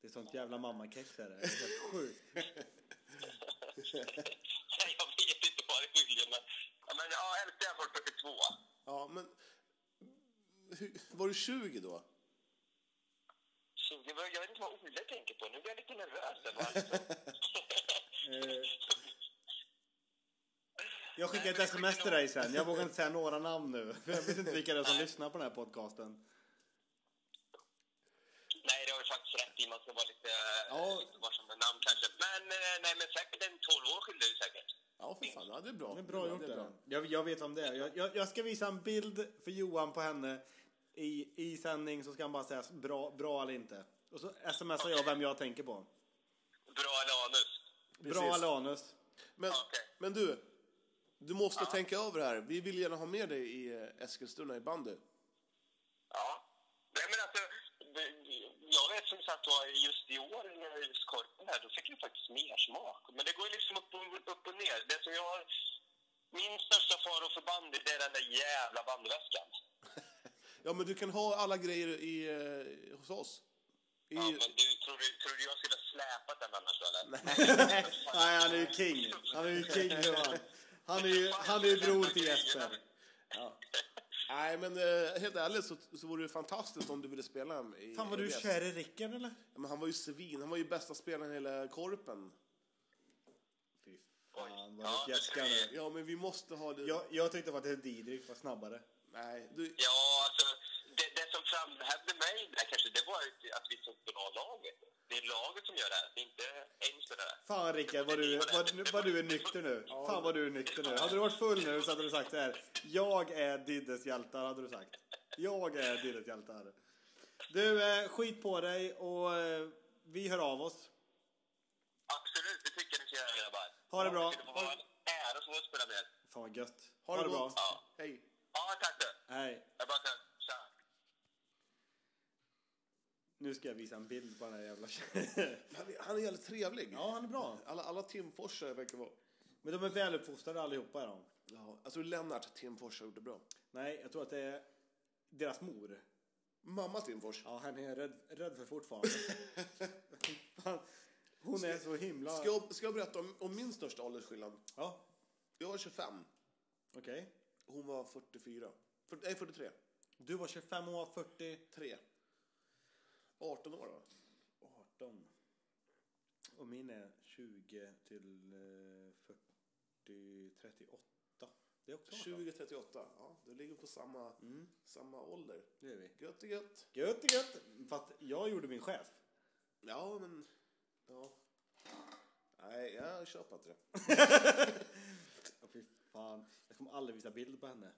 A: Det är sånt jävla mammakex är det. Det är helt sjukt.
F: Nej, jag vet inte vad det skiljer, men... Ja, men ja, äldsta jag var 42.
C: Ja, men... Hur, var du 20 då?
F: 20, jag vet inte vad Olle tänker på. Nu blir jag lite nervös. alltså- där, va?
A: Eh, Jag skickar ett sms till dig sen. Jag vågar inte säga några namn nu. För jag vet inte vilka det är som lyssnar på den här podcasten.
F: nej, det har du faktiskt rätt i. Man ska vara lite,
C: Ja.
F: lite varsam med namn kanske. Men, eh, nej, men säkert en 12 år skiljer det säkert.
C: Ja, för fan. Ja, det är bra.
A: Det är bra gjort
C: det. är
A: det. Jag, jag vet om det är. Jag, jag, jag ska visa en bild för Johan på henne i, i sändning så ska han bara säga bra, bra eller inte. Och så smsar jag vem jag tänker på.
F: Bra Lanus.
A: Bra eller anus.
C: Men,
F: Okej.
C: men du, du måste tänka över det här. Vi vill gärna ha med dig i eh, Eskilstuna i bandy.
F: Ja. Nej, men alltså, det- jag vet som sagt var just i år när jag gjorde korpen här, då fick jag faktiskt mer smak. Men det går ju liksom upp och, upp och ner. Det som jag har, min största fara för bandy, det är den där jävla bandyväskan.
C: Ja, men du kan ha alla grejer i, eh, hos oss. I,
F: Ja, men du, tror du, tror du jag skulle ha släpat den annars eller?
A: Nej, han är ju king. Han är ju king nu han. Han är ju, han är ju bror till Jesper.
C: Nej, men eh, helt ärligt så, så vore det fantastiskt om du ville spela i
A: Fan var du
C: EBS.
A: kär i Rickard eller?
C: Ja, men han var ju svin. Han var ju bästa spelaren i hela korpen.
A: Fy fan vad du fjäskar nu.
C: Ja, men vi måste ha det.
A: Jag, jag tyckte faktiskt att Didrik var snabbare.
C: Nej, du,
F: Ja, alltså, det, det som framhävde mig där kanske, det var ju att vi såg bra laget. Det är laget som gör det här, det är inte Engström det där.
A: Fan Rickard, vad du, vad, vad du är nykter nu. Fan vad du är nykter nu. Hade du varit full nu så hade du sagt så här. Jag är Diddes hjältar, hade du sagt. Jag är Diddes hjältar. Du, eh, skit på dig och eh, vi hör av oss.
F: Absolut, det tycker jag ni ska göra grabbar.
A: Ha det bra.
F: Det skulle vara en ära att få spela med er.
A: Fan vad gött.
C: ha, det gott. Hej.
F: Ja, tack du.
A: Hej.
F: Jag bara kan. Tja.
A: Nu ska jag visa en bild på den här jävla tjejen.
C: Han, är- han är jävligt trevlig.
A: Ja, han är bra.
C: Alla, alla Timforsare verkar vara...
A: Men de är väluppfostrade allihopa är de.
C: Ja, jag tror Lennart Timfors har gjort det bra.
A: Nej, jag tror att det är deras mor.
C: Mamma Timfors.
A: Ja, han är rädd, rädd för fortfarande. Fan. Hon är så himla...
C: Ska jag, ska jag berätta om, om min största åldersskillnad?
A: Ja,
C: Jag var 25.
A: okej.
C: Hon var 44. 40, nej, 43.
A: Du var 25 år, 40,
C: 3. 18 år då.
A: 18. Och min är 20 till eh, 40, 38. Det är också 20.
C: 20, 38. Ja, du ligger på samma,
A: Mm.
C: samma ålder.
A: Det är vi.
C: Gött är gött.
A: Gött, gött. Fast jag gjorde min chef.
C: Ja, men... Ja. Nej, jag köper inte det.
A: Ja, fy fan. Jag kommer aldrig visa bild på henne.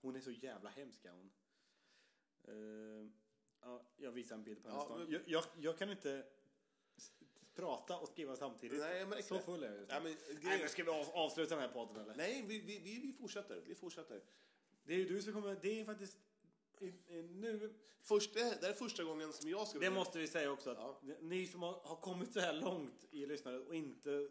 A: Hon är så jävla hemsk är hon. Eh, ja, jag visar en bild på henne
C: Ja,
A: snart.
C: men-
A: jag, jag, jag kan inte s- prata och skriva samtidigt.
C: Nej, jag märker
A: så
C: det.
A: full är jag just nu.
C: Nej, men,
A: Nej, men ska vi av- avsluta den här podden eller?
C: Nej, vi, vi, vi, vi fortsätter. Vi fortsätter.
A: Det är ju du som kommer, det är faktiskt i- i- nu,
C: Först, det här det här är första gången som jag ska...
A: det måste vi säga också att
C: Ja.
A: ni som har, har kommit så här långt i lyssnandet och inte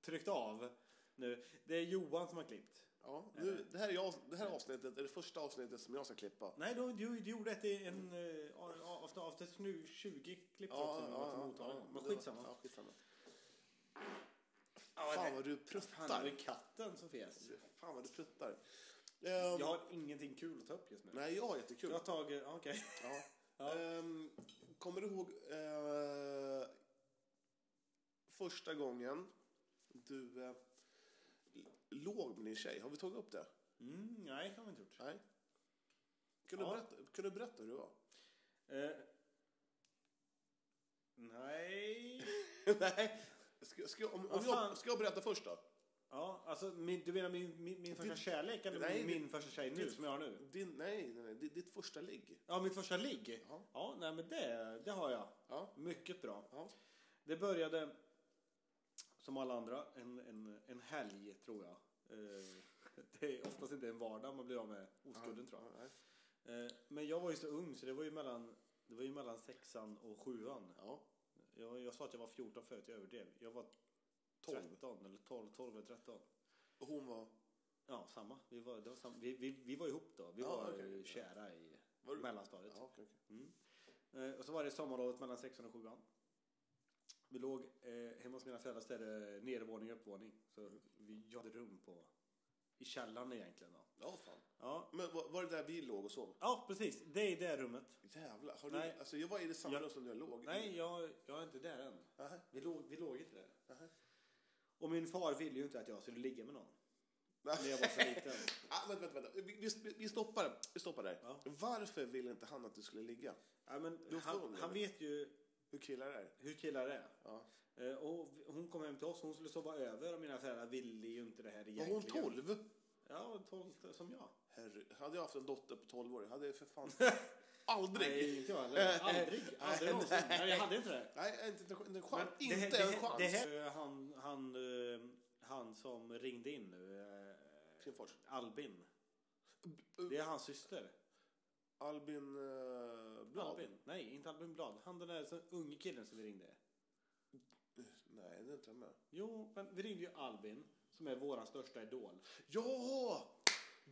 A: tryckt av nu, det är Johan som har klippt.
C: Ja, nu, det, här är jag, det här avsnittet är det första avsnittet som jag ska klippa.
A: Nej, du, du, du gjorde ett i en, eh, a- a- after, after nu 20 klipp också. när man var till mottagaren. men
C: det var-
A: skitsamma.
C: Ja, skitsamma.
A: det-
C: Fan vad
A: Fan,
C: du
A: det var ju
C: pruttar.
A: katten som fes.
C: Fan vad du pruttar.
A: Jag
C: Ehm,
A: har ingenting kul att ta upp just nu.
C: Nej, jag har jättekul.
A: Jag har tagit, ja, okej.
C: Ja.
A: Ja.
C: Ehm, kommer du ihåg eh, första gången du eh, låg med din tjej? Har vi tagit upp det?
A: Mm, nej, det har vi inte gjort.
C: Nej. Kan du,
A: Ja.
C: berätta, kan du berätta hur det var?
A: Eh, nej.
C: Nej. Ska, ska, jag- om,
A: Vad
C: om
A: fan?
C: jag, ska jag berätta först då?
A: Ja, alltså min, du menar min, min, min första kärlek eller
C: nej,
A: min,
C: det-
A: min första tjej nu
C: det-
A: som jag har nu?
C: Din, nej, nej, nej, ditt, ditt första ligg.
A: Ja, mitt första ligg?
C: Ja.
A: Ja, nej men det, det har jag.
C: Ja.
A: Mycket bra.
C: Ja.
A: Det började som alla andra en, en, en helg tror jag. Eh, Det är oftast inte en vardag man blir av med oskulden tror jag.
C: Ja, nej.
A: Eh, Men jag var ju så ung så det var ju mellan, det var ju mellan sexan och sjuan.
C: Ja.
A: Jag, jag sa att jag var 14 förut, jag överdrev. Jag var
C: 12.
A: 13 eller 12, 12 eller 13.
C: Och hon var...
A: Ja, samma. Vi var, det var samma. Vi, vi, vi var ihop då. Vi
C: Ja,
A: var
C: okej.
A: eh, kära i
C: Var du-
A: mellanstadiet.
C: Ja, okej, okej.
A: Eh, Och så var det sommarlovet mellan sexan och sjuan. Vi låg eh, hemma hos mina föräldrar så är det nedervåning och uppvåning. Så vi jag hade rum på, i källaren egentligen. Då.
C: ja fan.
A: Ja.
C: Men var, var det där vi låg och sov?
A: ja, precis. Det är det rummet.
C: Jävlar. Har
A: Nej.
C: du, alltså, jag var i det samma
A: Jag-
C: rum som du låg i.
A: Nej, jag, jag är inte där än.
C: Aha.
A: Vi låg, vi låg inte där.
C: Aha.
A: Och min far ville ju inte att jag skulle ligga med någon.
C: Nej.
A: När jag var så liten.
C: Ah, vänta, vänta, vänta. Vi, vi, vi stoppar, vi stoppar där.
A: Ja.
C: Varför ville inte han att du skulle ligga?
A: Ja, men
C: var
A: han,
C: ung,
A: han
C: eller?
A: vet ju
C: Hur killar är?
A: hur killar är.
C: Ja.
A: Eh, Och vi- hon kom hem till oss, hon skulle sova över och mina föräldrar ville ju inte det här
C: Var
A: egentligen.
C: hon 12?
A: Ja, 12 som jag.
C: Herre, hade jag haft en dotter på 12 år, hade jag för fan... Aldrig!
A: Nej, inte jag heller. Aldrig. Aldrig någonsin. Nej, jag hade inte det.
C: Nej, inte en- en
A: Men
C: chans.
A: det här-
C: Inte
A: det
C: en
A: här-
C: chans.
A: det här- eh, Han, han, eh, han som ringde in nu, eh,
C: Klinfors.
A: Albin. Det är hans syster.
C: Albin eh, Blad?
A: Albin? Nej, inte Albin Blad. Han den där så- unge killen som vi ringde.
C: Nej, det är inte jag med.
A: Jo, men vi ringde ju Albin som är våran största idol.
C: Ja! Ja!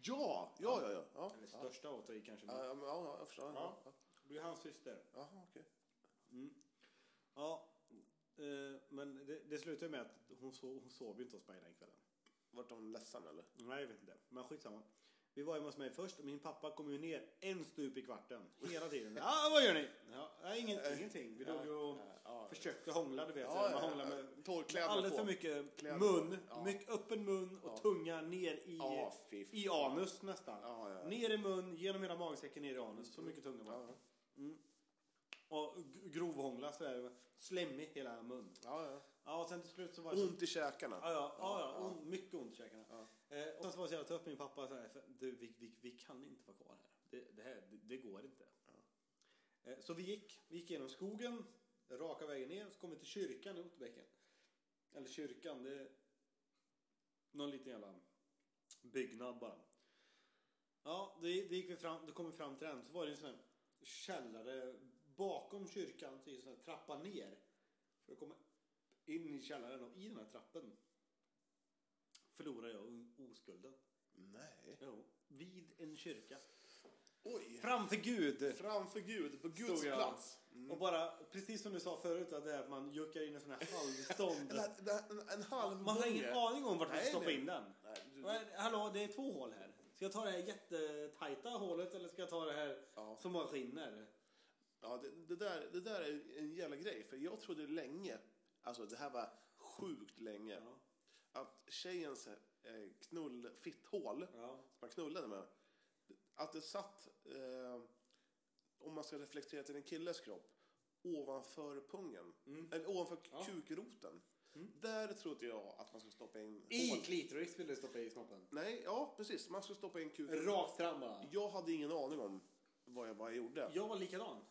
C: Ja, ja, ja. ja.
A: Eller
C: ja.
A: största åt dig kanske. men-
C: Ja, men, ja, ja, jag förstår.
A: Ja.
C: Ja.
A: Det är hans syster.
C: Jaha, okej.
A: Ja, eh, men det, det slutade ju med att hon, so- hon sov ju inte hos mig den kvällen.
C: Vart de ledsen eller?
A: Nej, jag vet inte. Men skitsamma. Vi var hemma hos mig först och min pappa kom ju ner en stup i kvarten. Hela tiden. Ja, ah, vad gör ni? Ja, nej, ingen, ingenting. Vi låg ju och försökte hångla, du vet. så
C: Alltså,
A: här, man hånglar med
C: Torrkläderna
A: alldeles
C: på.
A: för mycket
C: Kläder på.
A: mun.
C: Ja.
A: Mycket öppen mun och tunga ner i,
C: Ja, fy
A: i
C: fan.
A: anus nästan.
C: Ja, ja, ja.
A: Ner i mun, genom hela magsäcken, ner i anus. Så mycket tunga var det. Mm.
C: Ja,
A: Och g- grovhångla sådär. Slemmig hela mun.
C: ja. ja.
A: Ja, och sen till slut så var det så-
C: Ont i käkarna.
A: Ja, ja, ja, ja, On, mycket ont i käkarna. Eh, och sen så var det så jag tog upp min pappa och sa, "För du vi, vi, vi kan inte vara kvar här. Det, det, här, det, det går inte. Eh, så vi gick, vi gick genom skogen, raka vägen ner, så kom vi till kyrkan i Otterbäcken. Eller kyrkan, det är någon liten jävla byggnad bara. Ja, det, det gick vi fram, då kom vi fram till den, så var det en sån här källare bakom kyrkan, så är det en sån här trappa ner. För att komma in i källaren och i den här trappen förlorade jag o- oskulden.
C: Nej.
A: Jo. Vid en kyrka.
C: Oj!
A: Framför Gud!
C: Framför Gud, på Guds
A: Stod jag. Mm.
C: plats.
A: Och bara, precis som du sa förut, att det är att man juckar in en sån här halvstånd.
C: En, en, en halv
A: Man har ingen
C: gånger.
A: aning om vart man
C: Nej,
A: ska stoppa
C: nej.
A: in den.
C: Nej, du-
A: Men, hallå, det är två hål här. Ska jag ta det här jättetajta hålet eller ska jag ta det här
C: Ja.
A: som bara skinner?
C: Ja, det, det, där, det där är en jävla grej. För jag trodde länge, alltså det här var sjukt länge,
A: Ja.
C: att tjejens eh, knull, fitthål
A: Ja.
C: som man knullade med, att det satt, eh, om man ska reflektera till en killes kropp, ovanför pungen. Eller ovanför
A: Mm. Ja. Mm.
C: kukroten. Där trodde jag att man skulle stoppa in...
A: I
C: hål.
A: klitoris vill du stoppa i snoppen.
C: Nej, ja precis. Man skulle stoppa in kuken.
A: Rakt fram bara.
C: Jag hade ingen aning om vad jag, vad jag gjorde.
A: Jag var likadan.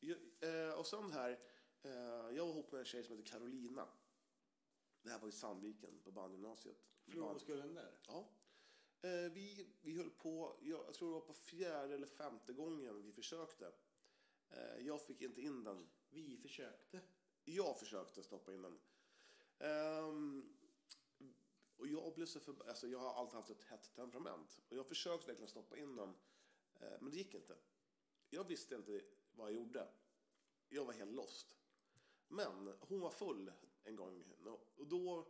C: Jag, eh, och sen här, eh, jag var ihop med en tjej som heter Carolina. Det här var i Sandviken på bandgymnasiet. Band-
A: Flodhästskullen där.
C: Ja. Eh, vi, vi höll på, jag, jag tror det var på fjärde eller femte gången vi försökte. Eh, jag fick inte in den.
A: Vi försökte.
C: Jag försökte stoppa in den. Ehm, och jag blev så förbannad. Alltså jag har alltid haft ett hett temperament. Och jag försökte verkligen stoppa in den. Eh, men det gick inte. Jag visste inte vad jag gjorde. Jag var helt lost. Men hon var full en gång. Och då, då,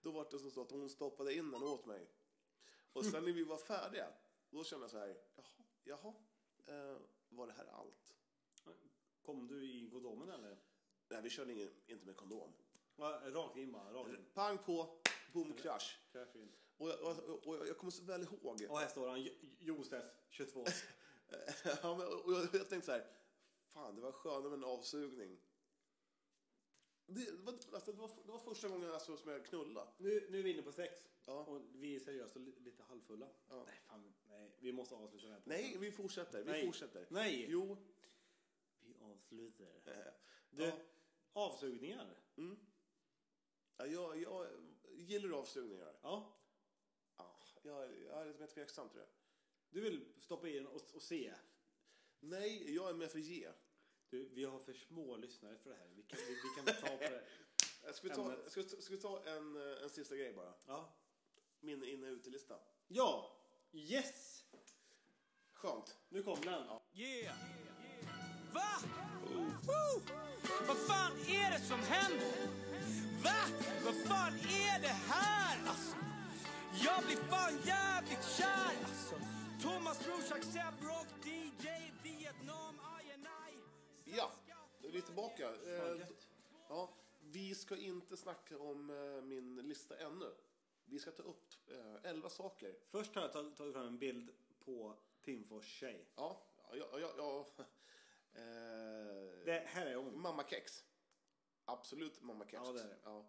C: då var det som så att hon stoppade in den åt mig. Och sen när vi var färdiga, då kände jag så här, jaha, jaha, eh, var det här allt?
A: Kom du i kondomen eller?
C: Nej, vi körde ingen, inte med kondom.
A: Va, Rakt in bara. Rakt in.
C: Pang på, boom, krasch.
A: Crash in.
C: Och jag, och, och jag kommer så väl ihåg.
A: Och här står han. Jo- Josef, 22.
C: Ja, men- och jag, jag tänkte så här, fan det var skönare med en avsugning. Det, det, var, alltså, det, var, det var första gången alltså, som jag knullade.
A: Nu, nu är vi inne på sex.
C: Ja.
A: Och vi är seriöst och li- lite halvfulla.
C: Ja.
A: Nej, fan. Nej, vi måste avsluta den här podden.
C: Nej, vi fortsätter. Vi
A: Nej.
C: fortsätter.
A: Nej.
C: Jo.
A: Vi avslutar.
C: eh,
A: Du,
C: Ja.
A: avsugningar.
C: Ja, jag, jag gillar avsugningar.
A: Ja.
C: Ja, jag, jag är lite mer tveksam tror jag.
A: Du vill stoppa i den och, och se.
C: Nej, jag är mer för ge.
A: Du, vi har för små lyssnare för det här. Vi kan, vi, vi kan ta på det.
C: Eh, Ska vi ta,
A: Ämnet.
C: ska, vi- ska vi ta en, eh, en sista grej bara?
A: Ja.
C: Min inne och utelista.
A: Ja! Yes!
C: Skönt.
A: Nu kom den.
I: Yeah. Va? Woo! Vad fan är det som händer? Va? Vad fan är det här? Alltså, jag blir fan jävligt kär. Alltså, Thomas Rorschach, Seb Rock, DJ, Vietnam, I and I.
C: Ja, då är vi tillbaka. Eh,
A: Fan,
C: d-
A: gött.
C: ja, vi ska inte snacka om eh, min lista ännu. Vi ska ta upp eh, elva saker.
A: Först har jag tag- tagit fram en bild på Timfors tjej.
C: Ja, ja, ja, ja, ja. Eh,
A: Det här är hon.
C: Mammakex. Absolut mammakex.
A: Ja, det är det.
C: Ja.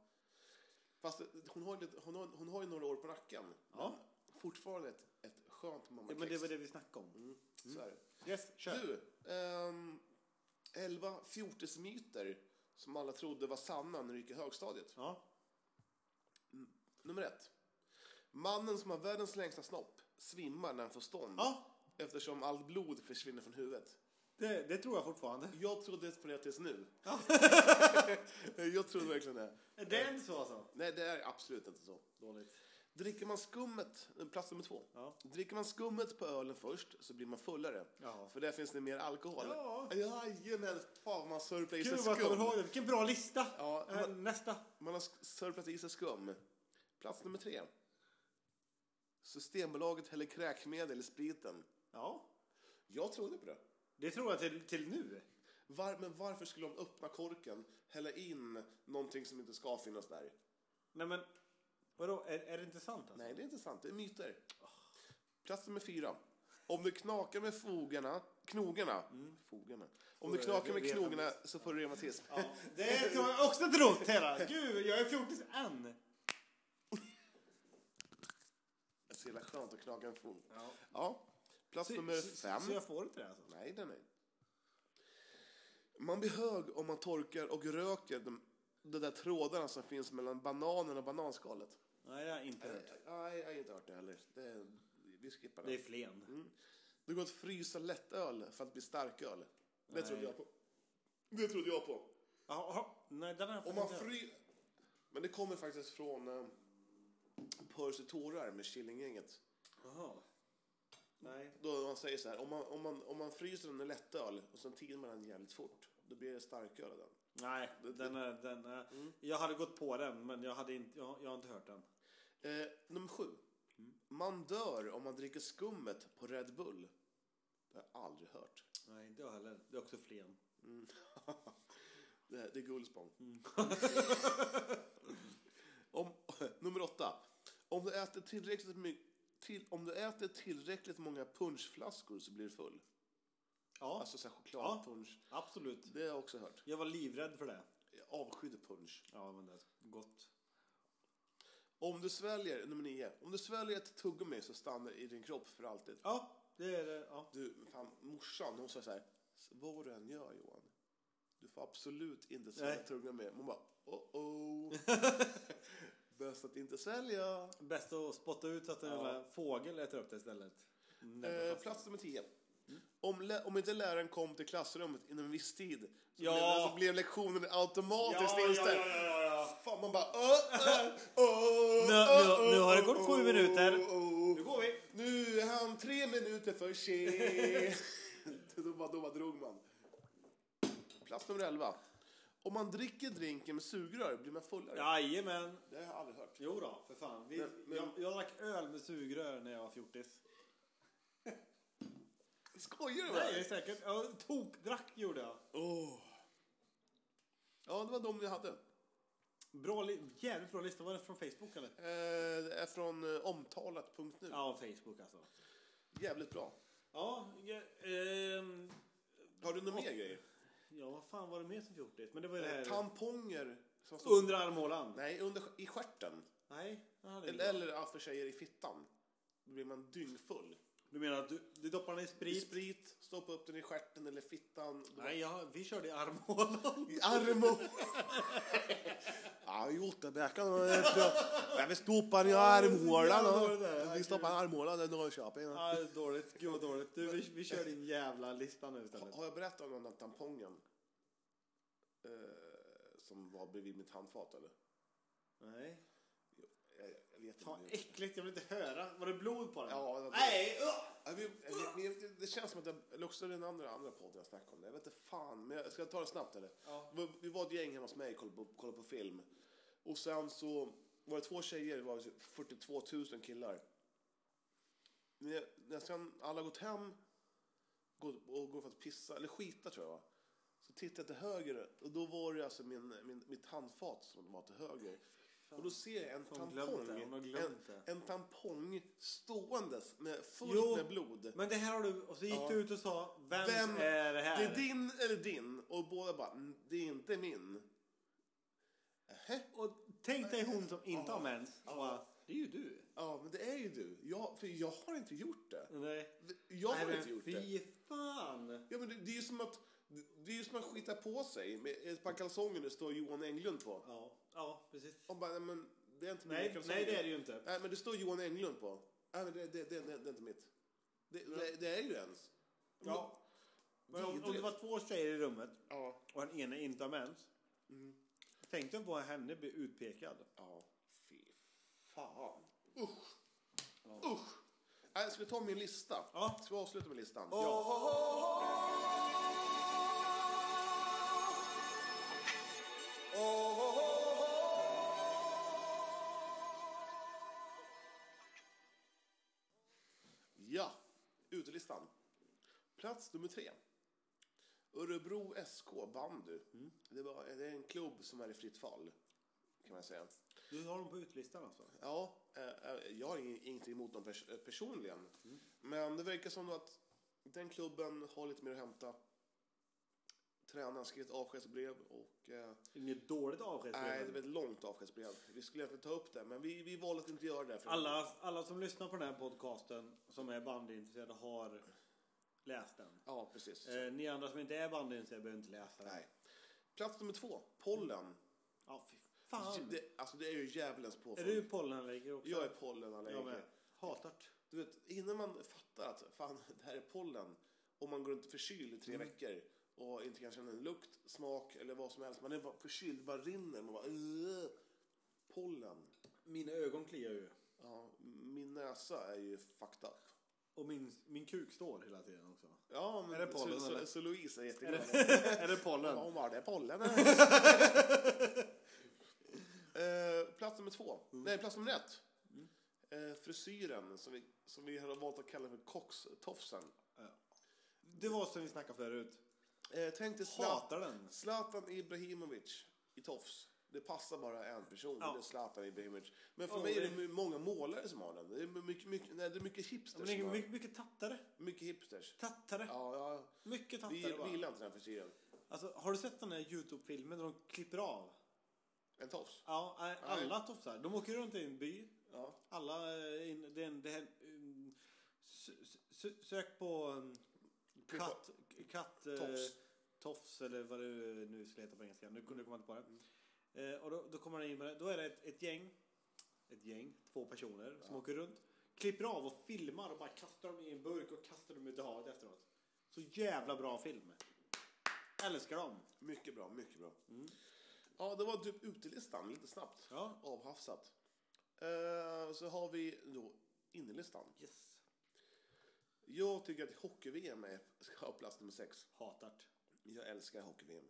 C: Fast eh, hon har, lite, hon, har, hon har ju några år på nacken.
A: Ja.
C: Men fortfarande ett, ett skönt
A: Ja,
C: mammakex.
A: men det var det vi snackade om.
C: Så är det.
A: Yes, kör.
C: Mm. Du, ehm, 11 fjortismyter som alla trodde var sanna när du gick i högstadiet.
A: Ja.
C: Nummer ett. Mannen som har världens längsta snopp svimmar när han får stånd.
A: Ja,
C: Eftersom allt blod försvinner från huvudet.
A: det, det tror jag fortfarande.
C: Jag trodde på det tills nu. jag trodde verkligen det.
A: Är det inte så alltså?
C: Nej, det är absolut inte så.
A: Dåligt.
C: Dricker man skummet, eh, plats nummer två.
A: Ja.
C: Dricker man skummet på ölen först så blir man fullare.
A: Ja.
C: För där finns det mer alkohol.
A: Ja.
C: Jajamän, fan vad man sörplar i sig
A: Gud vad jag kommer ihåg
C: skum.
A: det. Vilken bra lista.
C: Ja,
A: Eh,
C: men-
A: Nästa.
C: Man har sk- sörplat i sig skum. Plats nummer tre. Systembolaget häller kräkmedel i spriten.
A: Ja,
C: Jag trodde på det.
A: det tror jag till, till nu.
C: Var, men varför skulle de öppna korken, hälla in någonting som inte ska finnas där?
A: Nej men, vadå, är, är det inte sant alltså?
C: Nej, det är inte sant. Det är myter. Plats nummer fyra. Om du knakar med fogarna, knogarna, Mm, fogarna. Om du
A: Får-
C: knakar med
A: re-
C: knogarna så får du reumatism.
A: Ja, det tror jag också trott hela. Gud, jag är fjortis än.
C: Det är så jävla skönt att knaka med fog. Ja. Plats nummer fem.
A: Så jag får inte det alltså?
C: Nej, den är. Man blir hög om man torkar och röker de, de där trådarna som finns mellan bananen och bananskalet.
A: Nej, det har jag inte hört.
C: Nej, jag har inte hört det heller. Det, vi skippar
A: Det är
C: det.
A: Flen.
C: Mm. Det går att frysa lättöl för att bli starköl. Det
A: Nej.
C: trodde jag på. Det trodde jag på.
A: Jaha, jaha. nej, den har jag
C: Om
A: faktiskt
C: man
A: inte hört.
C: fry... Men det kommer faktiskt från eh, Percy Tårar med Killinggänget.
A: Jaha. Nej.
C: Då man säger så här, om man, om man, om man fryser den i lättöl och sen tinar man den jävligt fort, då blir det starköl av den.
A: Nej, den är, den är,
C: Mm.
A: jag hade gått på den men jag, hade inte, jag, har- jag har inte hört den.
C: Eh, nummer sju. Man dör om man dricker skummet på Red Bull. Det har jag aldrig hört.
A: Nej, inte jag heller. Det är också Flen.
C: Det, det är Gullspång.
A: Mm.
C: om, nummer åtta. Om du, äter tillräckligt my- till, om du äter tillräckligt många punschflaskor så blir du full.
A: Ja,
C: Alltså så här chokladpunsch.
A: absolut.
C: Det har jag också hört.
A: Jag var livrädd för det.
C: Jag avskydde punch.
A: Ja, men det är gott.
C: Om du sväljer, nummer nio, om du sväljer ett tuggummi så stannar det i din kropp för alltid.
A: Ja, det är det. Ja.
C: Du, fan, morsan, hon sa så här, "Så vad du än gör Johan, du får absolut inte svälja
A: Nej.
C: tuggummi. Hon bara, oh-oh. Bäst att inte svälja.
A: Bäst att spotta ut så att en
C: Ja.
A: jävla fågel äter upp det istället. Never
C: Eh,
A: fast.
C: plats nummer 10. Om, lä- om inte läraren kom till klassrummet inom en viss tid så,
A: Ja.
C: blev, så blev lektionen automatiskt
A: Ja, ja,
C: inställd.
A: ja, ja, ja, ja.
C: Fan, man bara... "Åh, åh, åh,
A: Nu- nu-
C: åh,
A: nu har det
C: åh,
A: gått sju
C: åh,
A: minuter.
C: åh, åh."
A: Nu går vi.
C: Nu är han tre minuter för sen. då, bara, då bara drog man. Plats nummer 11. Om man dricker drinken med sugrör blir man fullare.
A: Jajamän.
C: Det har jag aldrig hört.
A: Jo då, för fan. Vi,
C: Men- men-
A: jag, jag drack öl med sugrör när jag var fjortis.
C: Skojar du med
A: Nej, det är
C: mig?
A: säkert. Jag tokdrack gjorde jag.
C: Åh. Ja, det var de jag hade.
A: Bra, li- jävligt bra lista. Var det från Facebook eller?
C: Eh, Det är från eh, omtalat.nu.
A: Ja, Facebook alltså.
C: Jävligt bra.
A: Ja, ja, ehm,
C: Har du några mer grejer?
A: ja, vad fan var det mer som fjortis? Men det var ju det här.
C: Tamponger. Som står-
A: Under armhålan?
C: Nej, under, i stjärten.
A: Nej. det hade
C: Eller,
A: jag inte.
C: eller ja, för tjejer i fittan. Då blir man dyngfull.
A: Du menar att du, du doppar den i
C: I
A: sprit?
C: sprit, stoppa upp den i stjärten eller fittan. Då-
A: Nej, jag, vi körde i armhålan.
C: I armo. ja, Jotterbäcken. Jag vill stoppa den i armhålan.
A: Ja, det är så
C: då.
A: jävla det där.
C: Vi stoppar den i armhålan i Norrköping. då.
A: Ja, det är dåligt. Gud vad dåligt. Du, vi, vi kör din jävla lista nu istället.
C: Har jag berättat om den där tampongen? Eh, som var bredvid mitt handfat eller?
A: Nej.
C: Jag, jag vet inte.
A: Fan, äckligt. Jag vill inte höra. Var det blod på den?
C: Ja, det var-
A: Nej! ugh!
C: Ja, vi- vi- vi- Det känns som att jag, eller också den andra, andra podden jag snackade om det. Jag vet inte fan, men jag ska jag ta det snabbt eller?
A: Ja.
C: Vi, vi var ett gäng hemma hos mig och kollade på, kollade på film. Och sen så var det två tjejer, det var 42 000 killar. När, när sen alla gått hem går- och går för att pissa, eller skita tror jag va? Så tittade jag till höger och då var det alltså min, min, mitt handfat som var till höger. Och då ser jag en
A: Hon har glömt
C: tampong,
A: det, hon har
C: en,
A: glömt det.
C: en tampong ståendes med, fullt
A: Jo,
C: med blod.
A: Men det här har du... Och så gick
C: Ja.
A: du ut och sa, vems
C: Vem-
A: är det här?
C: Det är din eller din. Och båda bara, "Mm, det är inte min.
A: Och tänk dig hon som inte
C: Ja.
A: har mens. som bara, Det är ju du.
C: Ja, men det är ju du. Jag, för jag har inte gjort det.
A: Nej.
C: Jag har
A: Nej,
C: inte
A: men
C: gjort det.
A: fy fan.
C: Ja, men det, det är ju som att, det är ju som att skita på sig med ett par kalsonger det står Johan Englund på.
A: Ja, ja precis.
C: Och bara, "Nej, men det är inte mina
A: Nej,
C: kalsonger.
A: nej, det är det ju inte.
C: Nej, men det står Johan Englund på. Nej, men det, det, det, det, det är inte mitt. Det, det, det är ju ens.
A: Ja. Men om, om det
C: Vidrigt.
A: var två tjejer i rummet
C: Ja. Mm.
A: och den ena inte har mens. Tänk dig vad henne blir utpekad.
C: Ja, fy fan. Usch. Usch. Äh, ska vi ta min lista?
A: Ja.
C: Ska vi avsluta med listan? Ja, utelistan. Plats nummer tre. Örebro SK bandy. Det, var, det är en klubb som är i fritt fall, kan man säga.
A: Du har dem på utlistan alltså?
C: Ja, eh, eh, jag har ing- ingenting emot dem pers- eh, personligen. Men det verkar som att den klubben har lite mer att hämta. Tränaren har skrivit avskedsbrev och... Eh,
A: Inget dåligt
C: nej, det var
A: avskedsbrev.
C: ett långt avskedsbrev. Vi skulle egentligen ta upp det, men vi, vi valde att inte göra det. För
A: Alla, alla som lyssnar på den här podcasten som är bandyintresserade har läst den.
C: Ja, precis.
A: Eh, ni andra som inte är bandyintresserade behöver inte läsa den.
C: Nej. Plats nummer två, pollen.
A: Ja, fy fan.
C: Det, alltså det är ju djävulens
A: Är
C: påfund.
A: du pollenallergiker också?
C: Jag är pollenallergiker.
A: Jag med. Hatart.
C: Du vet, innan man fattar att fan, det här är pollen och man går runt förkyld i tre veckor och inte kan känna en lukt, smak eller vad som helst. Man är bara förkyld, det bara rinner. Man bara, "Ugh." pollen.
A: Mina ögon kliar ju.
C: Ja, min näsa är ju fucked up.
A: Och min, min kuk står hela tiden också.
C: Ja, men
A: Är det pollen,
C: så,
A: eller?
C: så, så Louise är jätteglad.
A: är det pollen?
C: Ja, hon bara, det är pollen. Eh, plats nummer två.
A: Mm.
C: Nej, plats nummer ett. Eh, frisyren som vi, som vi har valt att kalla för kockstofsen.
A: Det var som vi snackade förut.
C: Eh, tänk dig
A: Hatar den.
C: Zlatan Ibrahimovic i tofs. Det passar bara en person,
A: Ja.
C: det är Zlatan Ibrahimovic. Men för
A: Ja,
C: mig är
A: det-
C: det my- många målare som har den. Det är mycket, mycket, nej, det är mycket hipsters.
A: Men det är
C: som har-
A: mycket, mycket tattare.
C: mycket hipsters.
A: Tattare.
C: Ja, ja.
A: Mycket tattare
C: Vi, vi
A: bara.
C: gillar inte den här frisyren.
A: Alltså, har du sett den här Youtube-filmen där de klipper av?
C: En tofs?
A: Ja, eh, alla tofsar. De åker runt i en by.
C: Ja.
A: Alla, eh, in, det är en, det här, um, sö- sö- sök på um,
C: Klippa-
A: katt, katt eh,
C: Tofs.
A: tofs eller vad det nu skulle heta på engelska. Nu kunde jag komma inte på det. Eh, och då, då kommer den in med det. Då är det ett, ett gäng, ett gäng, två personer som åker runt, klipper av och filmar och bara kastar dem i en burk och kastar dem ut i havet efteråt. Så jävla bra film. Älskar dem.
C: Mycket bra, mycket bra. Ja, det var typ utelistan, lite snabbt.
A: Ja.
C: Avhafsat. Eh, så har vi då innelistan.
A: Yes.
C: Jag tycker att hockey-VM är- ska ha plats nummer sex.
A: Hatart.
C: Jag älskar hockey-VM.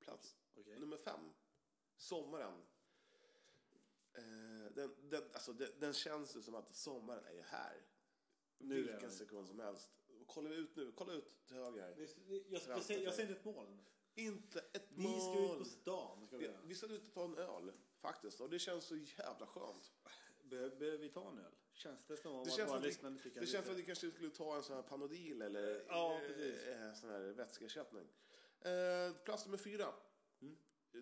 C: Plats
A: Okej.
C: nummer fem. Sommaren. Eh, den, den, alltså, den, den känns ju som att sommaren är ju här.
A: är
C: Vilken
A: den.
C: sekund som helst. Kollar vi ut nu, kolla ut till höger här.
A: Jag, jag, ser- jag ser inte ett moln.
C: Inte ett
A: Vi ska ut på
C: mål.
A: stan. Ska vi
C: Vi,
A: göra.
C: vi ska ut och ta en öl, faktiskt. Och det känns så jävla skönt.
A: Behöver, behöver vi ta en öl? Känns det som om
C: Det
A: att
C: känns,
A: våra
C: som att,
A: lyssnare
C: vi,
A: tycker
C: det
A: att
C: känns som att
A: vi...
C: vi kanske skulle ta en sån här Panodil eller
A: Ja,
C: eh,
A: precis.
C: eh, sån här vätskeersättning. Eh, plats nummer fyra.
A: Mm.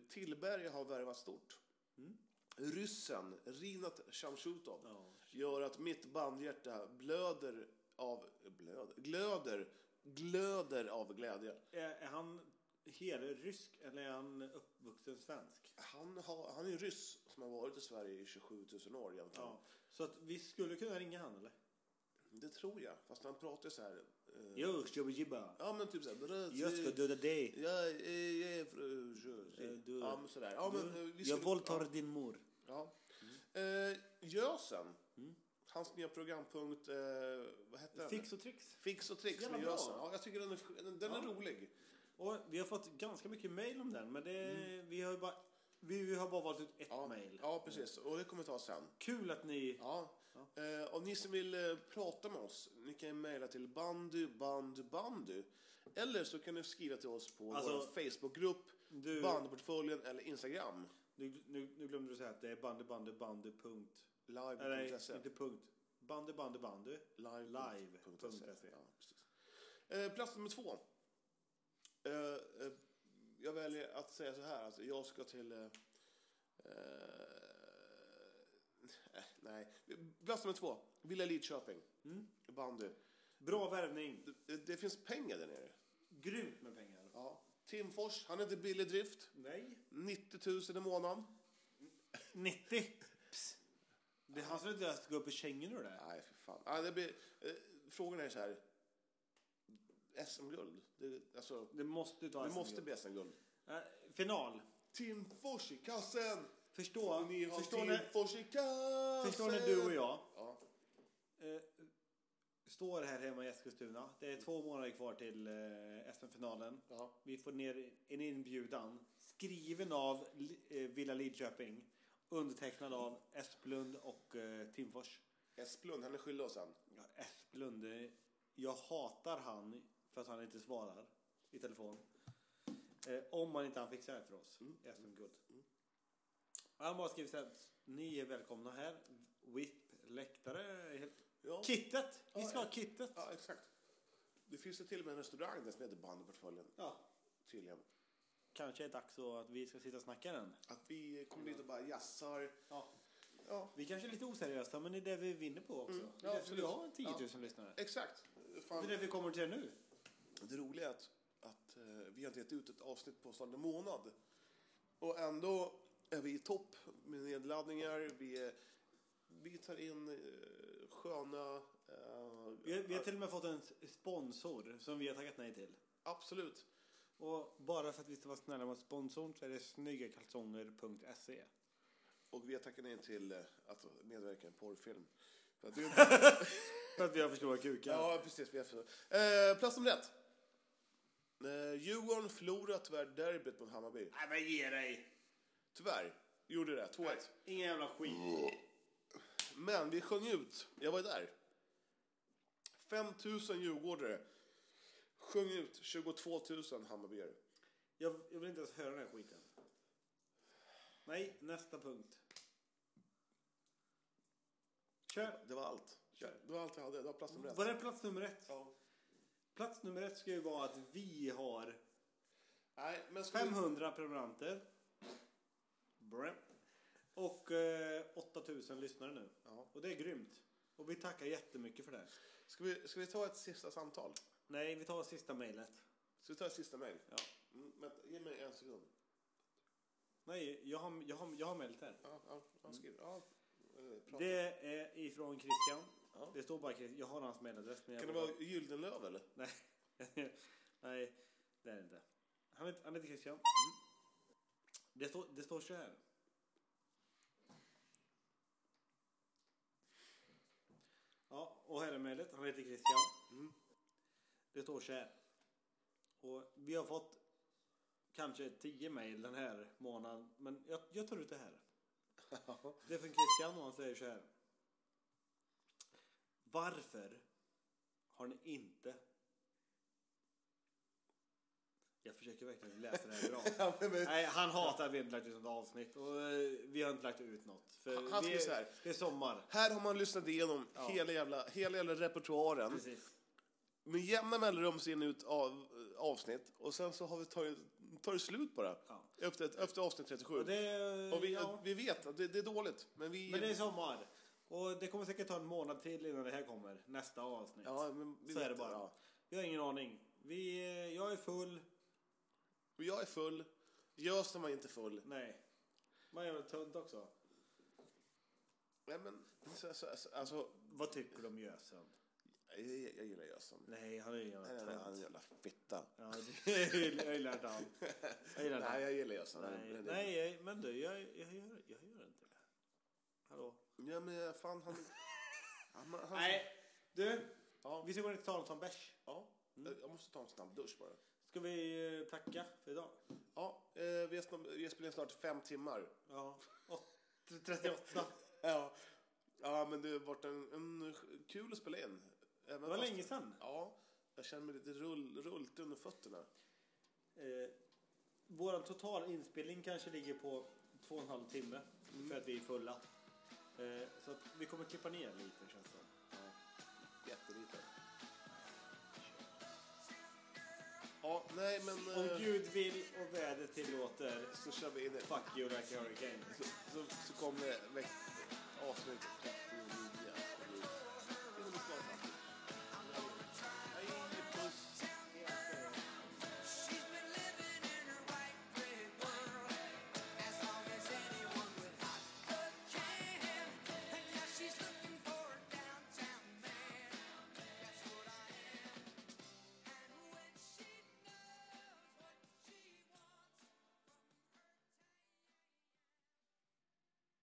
C: Tillberga har värvat stort. Ryssen Rinat Shamshutov
A: Ja.
C: gör att mitt bandhjärta blöder av... Blöder? Glöder. Glöder av glädje.
A: Är, är han helrysk eller är han uppvuxen svensk?
C: Han, har, han är en ryss som har varit i Sverige i 27 000 år egentligen.
A: Ja. Så att vi skulle kunna ringa han eller?
C: Det tror jag. Fast han pratar så här... Eh,
A: Jo, tjobba jibba.
C: Ja, men typ så här...
A: Jag ska döda dig.
C: Jag är, jag är fru...
A: Eh, du-
C: ja, men sådär. Ja, men, eh, vi
A: Du, jag
C: skulle-
A: våldtar din mor.
C: Ja. ja. Eh, Gösen. Hans nya programpunkt, eh, vad hette den?
A: Mm. Fix och tricks.
C: Fix och tricks
A: Jävla
C: med
A: bra.
C: Gösen. Ja, jag tycker den är, den, den är rolig.
A: Och vi har fått ganska mycket mail om den men det, vi, har ju bara, vi, vi har bara valt ut ett
C: Mm. Ja,
A: mail.
C: ja, precis. Och det kommer vi ta sen.
A: Kul att ni...
C: Ja. Eh, och ni som vill eh, prata med oss, ni kan ju mejla till bandy, bandy, bandy. Eller så kan ni skriva till oss på
A: Alltså,
C: vår Facebookgrupp,
A: du-
C: bandyportföljen eller Instagram.
A: Nu, nu, nu glömde du säga att det är bandy, bandy, bandy, punkt. Nej,
C: Live.se.
A: inte punkt. Bandy, bandy, bandy.
C: Live.
A: Live.
C: Punkt se.
A: Punkt se.
C: Ja, precis. Eh, plats nummer två. Eh, eh, jag väljer att säga så här. Alltså, jag ska till... Eh, eh, nej. Plats nummer två. Villa Lidköping. Bandy.
A: Bra värvning.
C: Det, det finns pengar där nere.
A: Grymt med pengar.
C: Ja. Tim Fors, han är inte billig drift.
A: Nej.
C: 90 000 i månaden.
A: 90. Psst. Det han skulle inte ens gå upp i kängen ur det.
C: Nej, för fan. Ah, det blir, eh, frågan är så här. SM-guld. Det, alltså,
A: Det måste ta
C: det
A: SM
C: måste
A: guld.
C: bli SM-guld.
A: Eh, Final.
C: Tim Fors i kassen!
A: Förstå.
C: Ni har
A: Förstår
C: Tim
A: ni,
C: Fors i kassen!
A: förstår ni du och jag
C: Ja.
A: eh, står här hemma i Eskilstuna. Det är två månader kvar till eh, SM-finalen.
C: Ja.
A: Vi får ner en inbjudan skriven av Li- eh, Villa Lidköping. Undertecknad av Esplund och eh, Timfors.
C: Esplund, han är skyldig oss en.
A: Ja, Esplund, eh, jag hatar han för att han inte svarar i telefon. Eh, om han inte han fixar det för oss.
C: Mm.
A: Esplund Guld. Han bara skriver så här. Ni är välkomna här. Whip, läktare. Helt...
C: Ja.
A: Kittet! Vi ska
C: Ja,
A: ha kittet.
C: Ja, exakt. Det finns ju till och med en restaurang där som heter Bandyportföljen.
A: Ja.
C: Tydligen.
A: Kanske är det dags så att vi ska sitta och snacka den.
C: Att vi kommer dit och bara jassar.
A: Ja.
C: Ja.
A: Vi kanske är lite oseriösa men det är det vi vinner på också. det är därför vi
C: Mm. absolut.
A: har 10 000
C: Ja.
A: lyssnare.
C: Exakt.
A: Det är
C: Fan.
A: det vi kommer till nu.
C: Det roliga är att, att eh, vi har inte gett ut ett avsnitt på snart en månad. Och ändå är vi i topp med nedladdningar. Vi, är- vi tar in eh, sköna... eh,
A: Vi har, vi har till och med fått en sponsor som vi har tackat nej till.
C: Absolut.
A: Och bara för att vi ska vara snälla mot sponsorn så är det snyggakalsonger.se.
C: Och vi har tackat nej till eh, att medverka i en porrfilm. För att det-
A: För att vi har för stora kukar.
C: ja, precis. Vi har för... eh, plats nummer ett. Eh, Djurgården förlorar tyvärr derbyt mot Hammarby.
A: Nej men ge dig!
C: Tyvärr gjorde det. 2-1.
A: Ingen jävla skit.
C: Men vi sjöng ut. Jag var ju där. 5 000 djurgårdare sjöng ut 22 000 Hammarbyare.
A: Jag, jag vill inte ens höra den här skiten. Nej, nästa punkt. Kör!
C: Det var allt. Ja, Det var allt jag hade. Det var plats nummer ett.
A: Var det plats nummer ett?
C: Ja.
A: Plats nummer ett ska ju vara att vi har
C: Nej, men ska vi-
A: 500 prenumeranter. Brr. Och eh, 8000 lyssnare nu.
C: Ja.
A: Och det är grymt. Och vi tackar jättemycket för det.
C: Ska vi, ska vi ta ett sista samtal?
A: Nej, vi tar sista mejlet.
C: Ska vi ta ett sista mejl?
A: Ja.
C: Mm, vänta, ge mig en sekund.
A: Nej, jag har, jag har, jag har mejlet här.
C: Ja, ja, han skriver. Ja, eh, prata.
A: Det är ifrån Christian.
C: Ja.
A: Det står bara Christian. Jag har hans mejladress. men jag
C: Kan det
A: vågar-
C: vara Gyldenlöv eller?
A: Nej. Nej, det är det inte. Han heter, han heter Christian.
C: Mm.
A: Det, står, det står så här. Ja, och här är mejlet. Han heter Christian.
C: Mm.
A: Det står så här. Och vi har fått kanske tio mejl den här månaden. Men jag, jag tar ut det här. Det är från Christian och han säger så här. Varför har ni inte... Jag försöker verkligen läsa det här bra. Nej, han hatar att vi inte lagt ut något avsnitt och eh, vi har inte lagt ut något. För
C: Han- han
A: vi,
C: skriver så här.
A: Det är sommar.
C: Här har man lyssnat igenom hela, jävla, hela jävla repertoaren.
A: Precis.
C: Med jämna mellanrum ser ni ut av, avsnitt och sen så har vi tagit, tar det slut bara.
A: Ja.
C: Efter, ett- efter avsnitt 37.
A: Och det,
C: Och vi,
A: ja,
C: vi vet att det, det är dåligt, men vi...
A: men det är sommar. Och det kommer säkert ta en månad till innan det här kommer. Nästa avsnitt.
C: ja, men vi
A: så
C: vet
A: är det bara.
C: Ja.
A: Jag har ingen aning. Vi, eh, jag är full.
C: Och jag är full. Gösen var inte full.
A: Nej. Man är väl tunt också.
C: Nej, men så, så, så, alltså,
A: Vad tycker du om Gösen?
C: jag, jag, jag gillar Gösen.
A: Nej, han är ju en
C: Han är- han är en
A: tönt.
C: jävla fitta.
A: Ja, det- jag gillar inte han. Jag gillar inte
C: Nej,
A: han.
C: jag gillar Gösen. Han är-
A: Nej,
C: han är-
A: nej, men du, jag, jag, gör, jag gör inte det. Hallå?
C: Ja, men fan han... han, han
A: Nej, du.
C: Ja.
A: Vi Mm. ska gå ner till talet om bärs.
C: Ja, jag måste ta en snabb dusch bara.
A: Ska vi eh, tacka för idag?
C: Ja, eh, vi har snab- vi har spelat in snart fem timmar.
A: Ja. Åt- 38.
C: Ja, ja men det har varit en, en kul att spela in. Även
A: Det var länge sedan.
C: Ja, jag känner mig lite rull, rullt under fötterna.
A: Eh, Vår total inspelning kanske ligger på två och en halv timme för att vi är fulla. Eh, så att vi kommer klippa ner lite känns det som.
C: Jättelite. Ja, nej men...
A: Om
C: Eh,
A: Gud vill och vädret tillåter,
C: så kör vi in det.
A: fuck you like a hurricane.
C: Så, så, så kommer veck- avsnitt 39.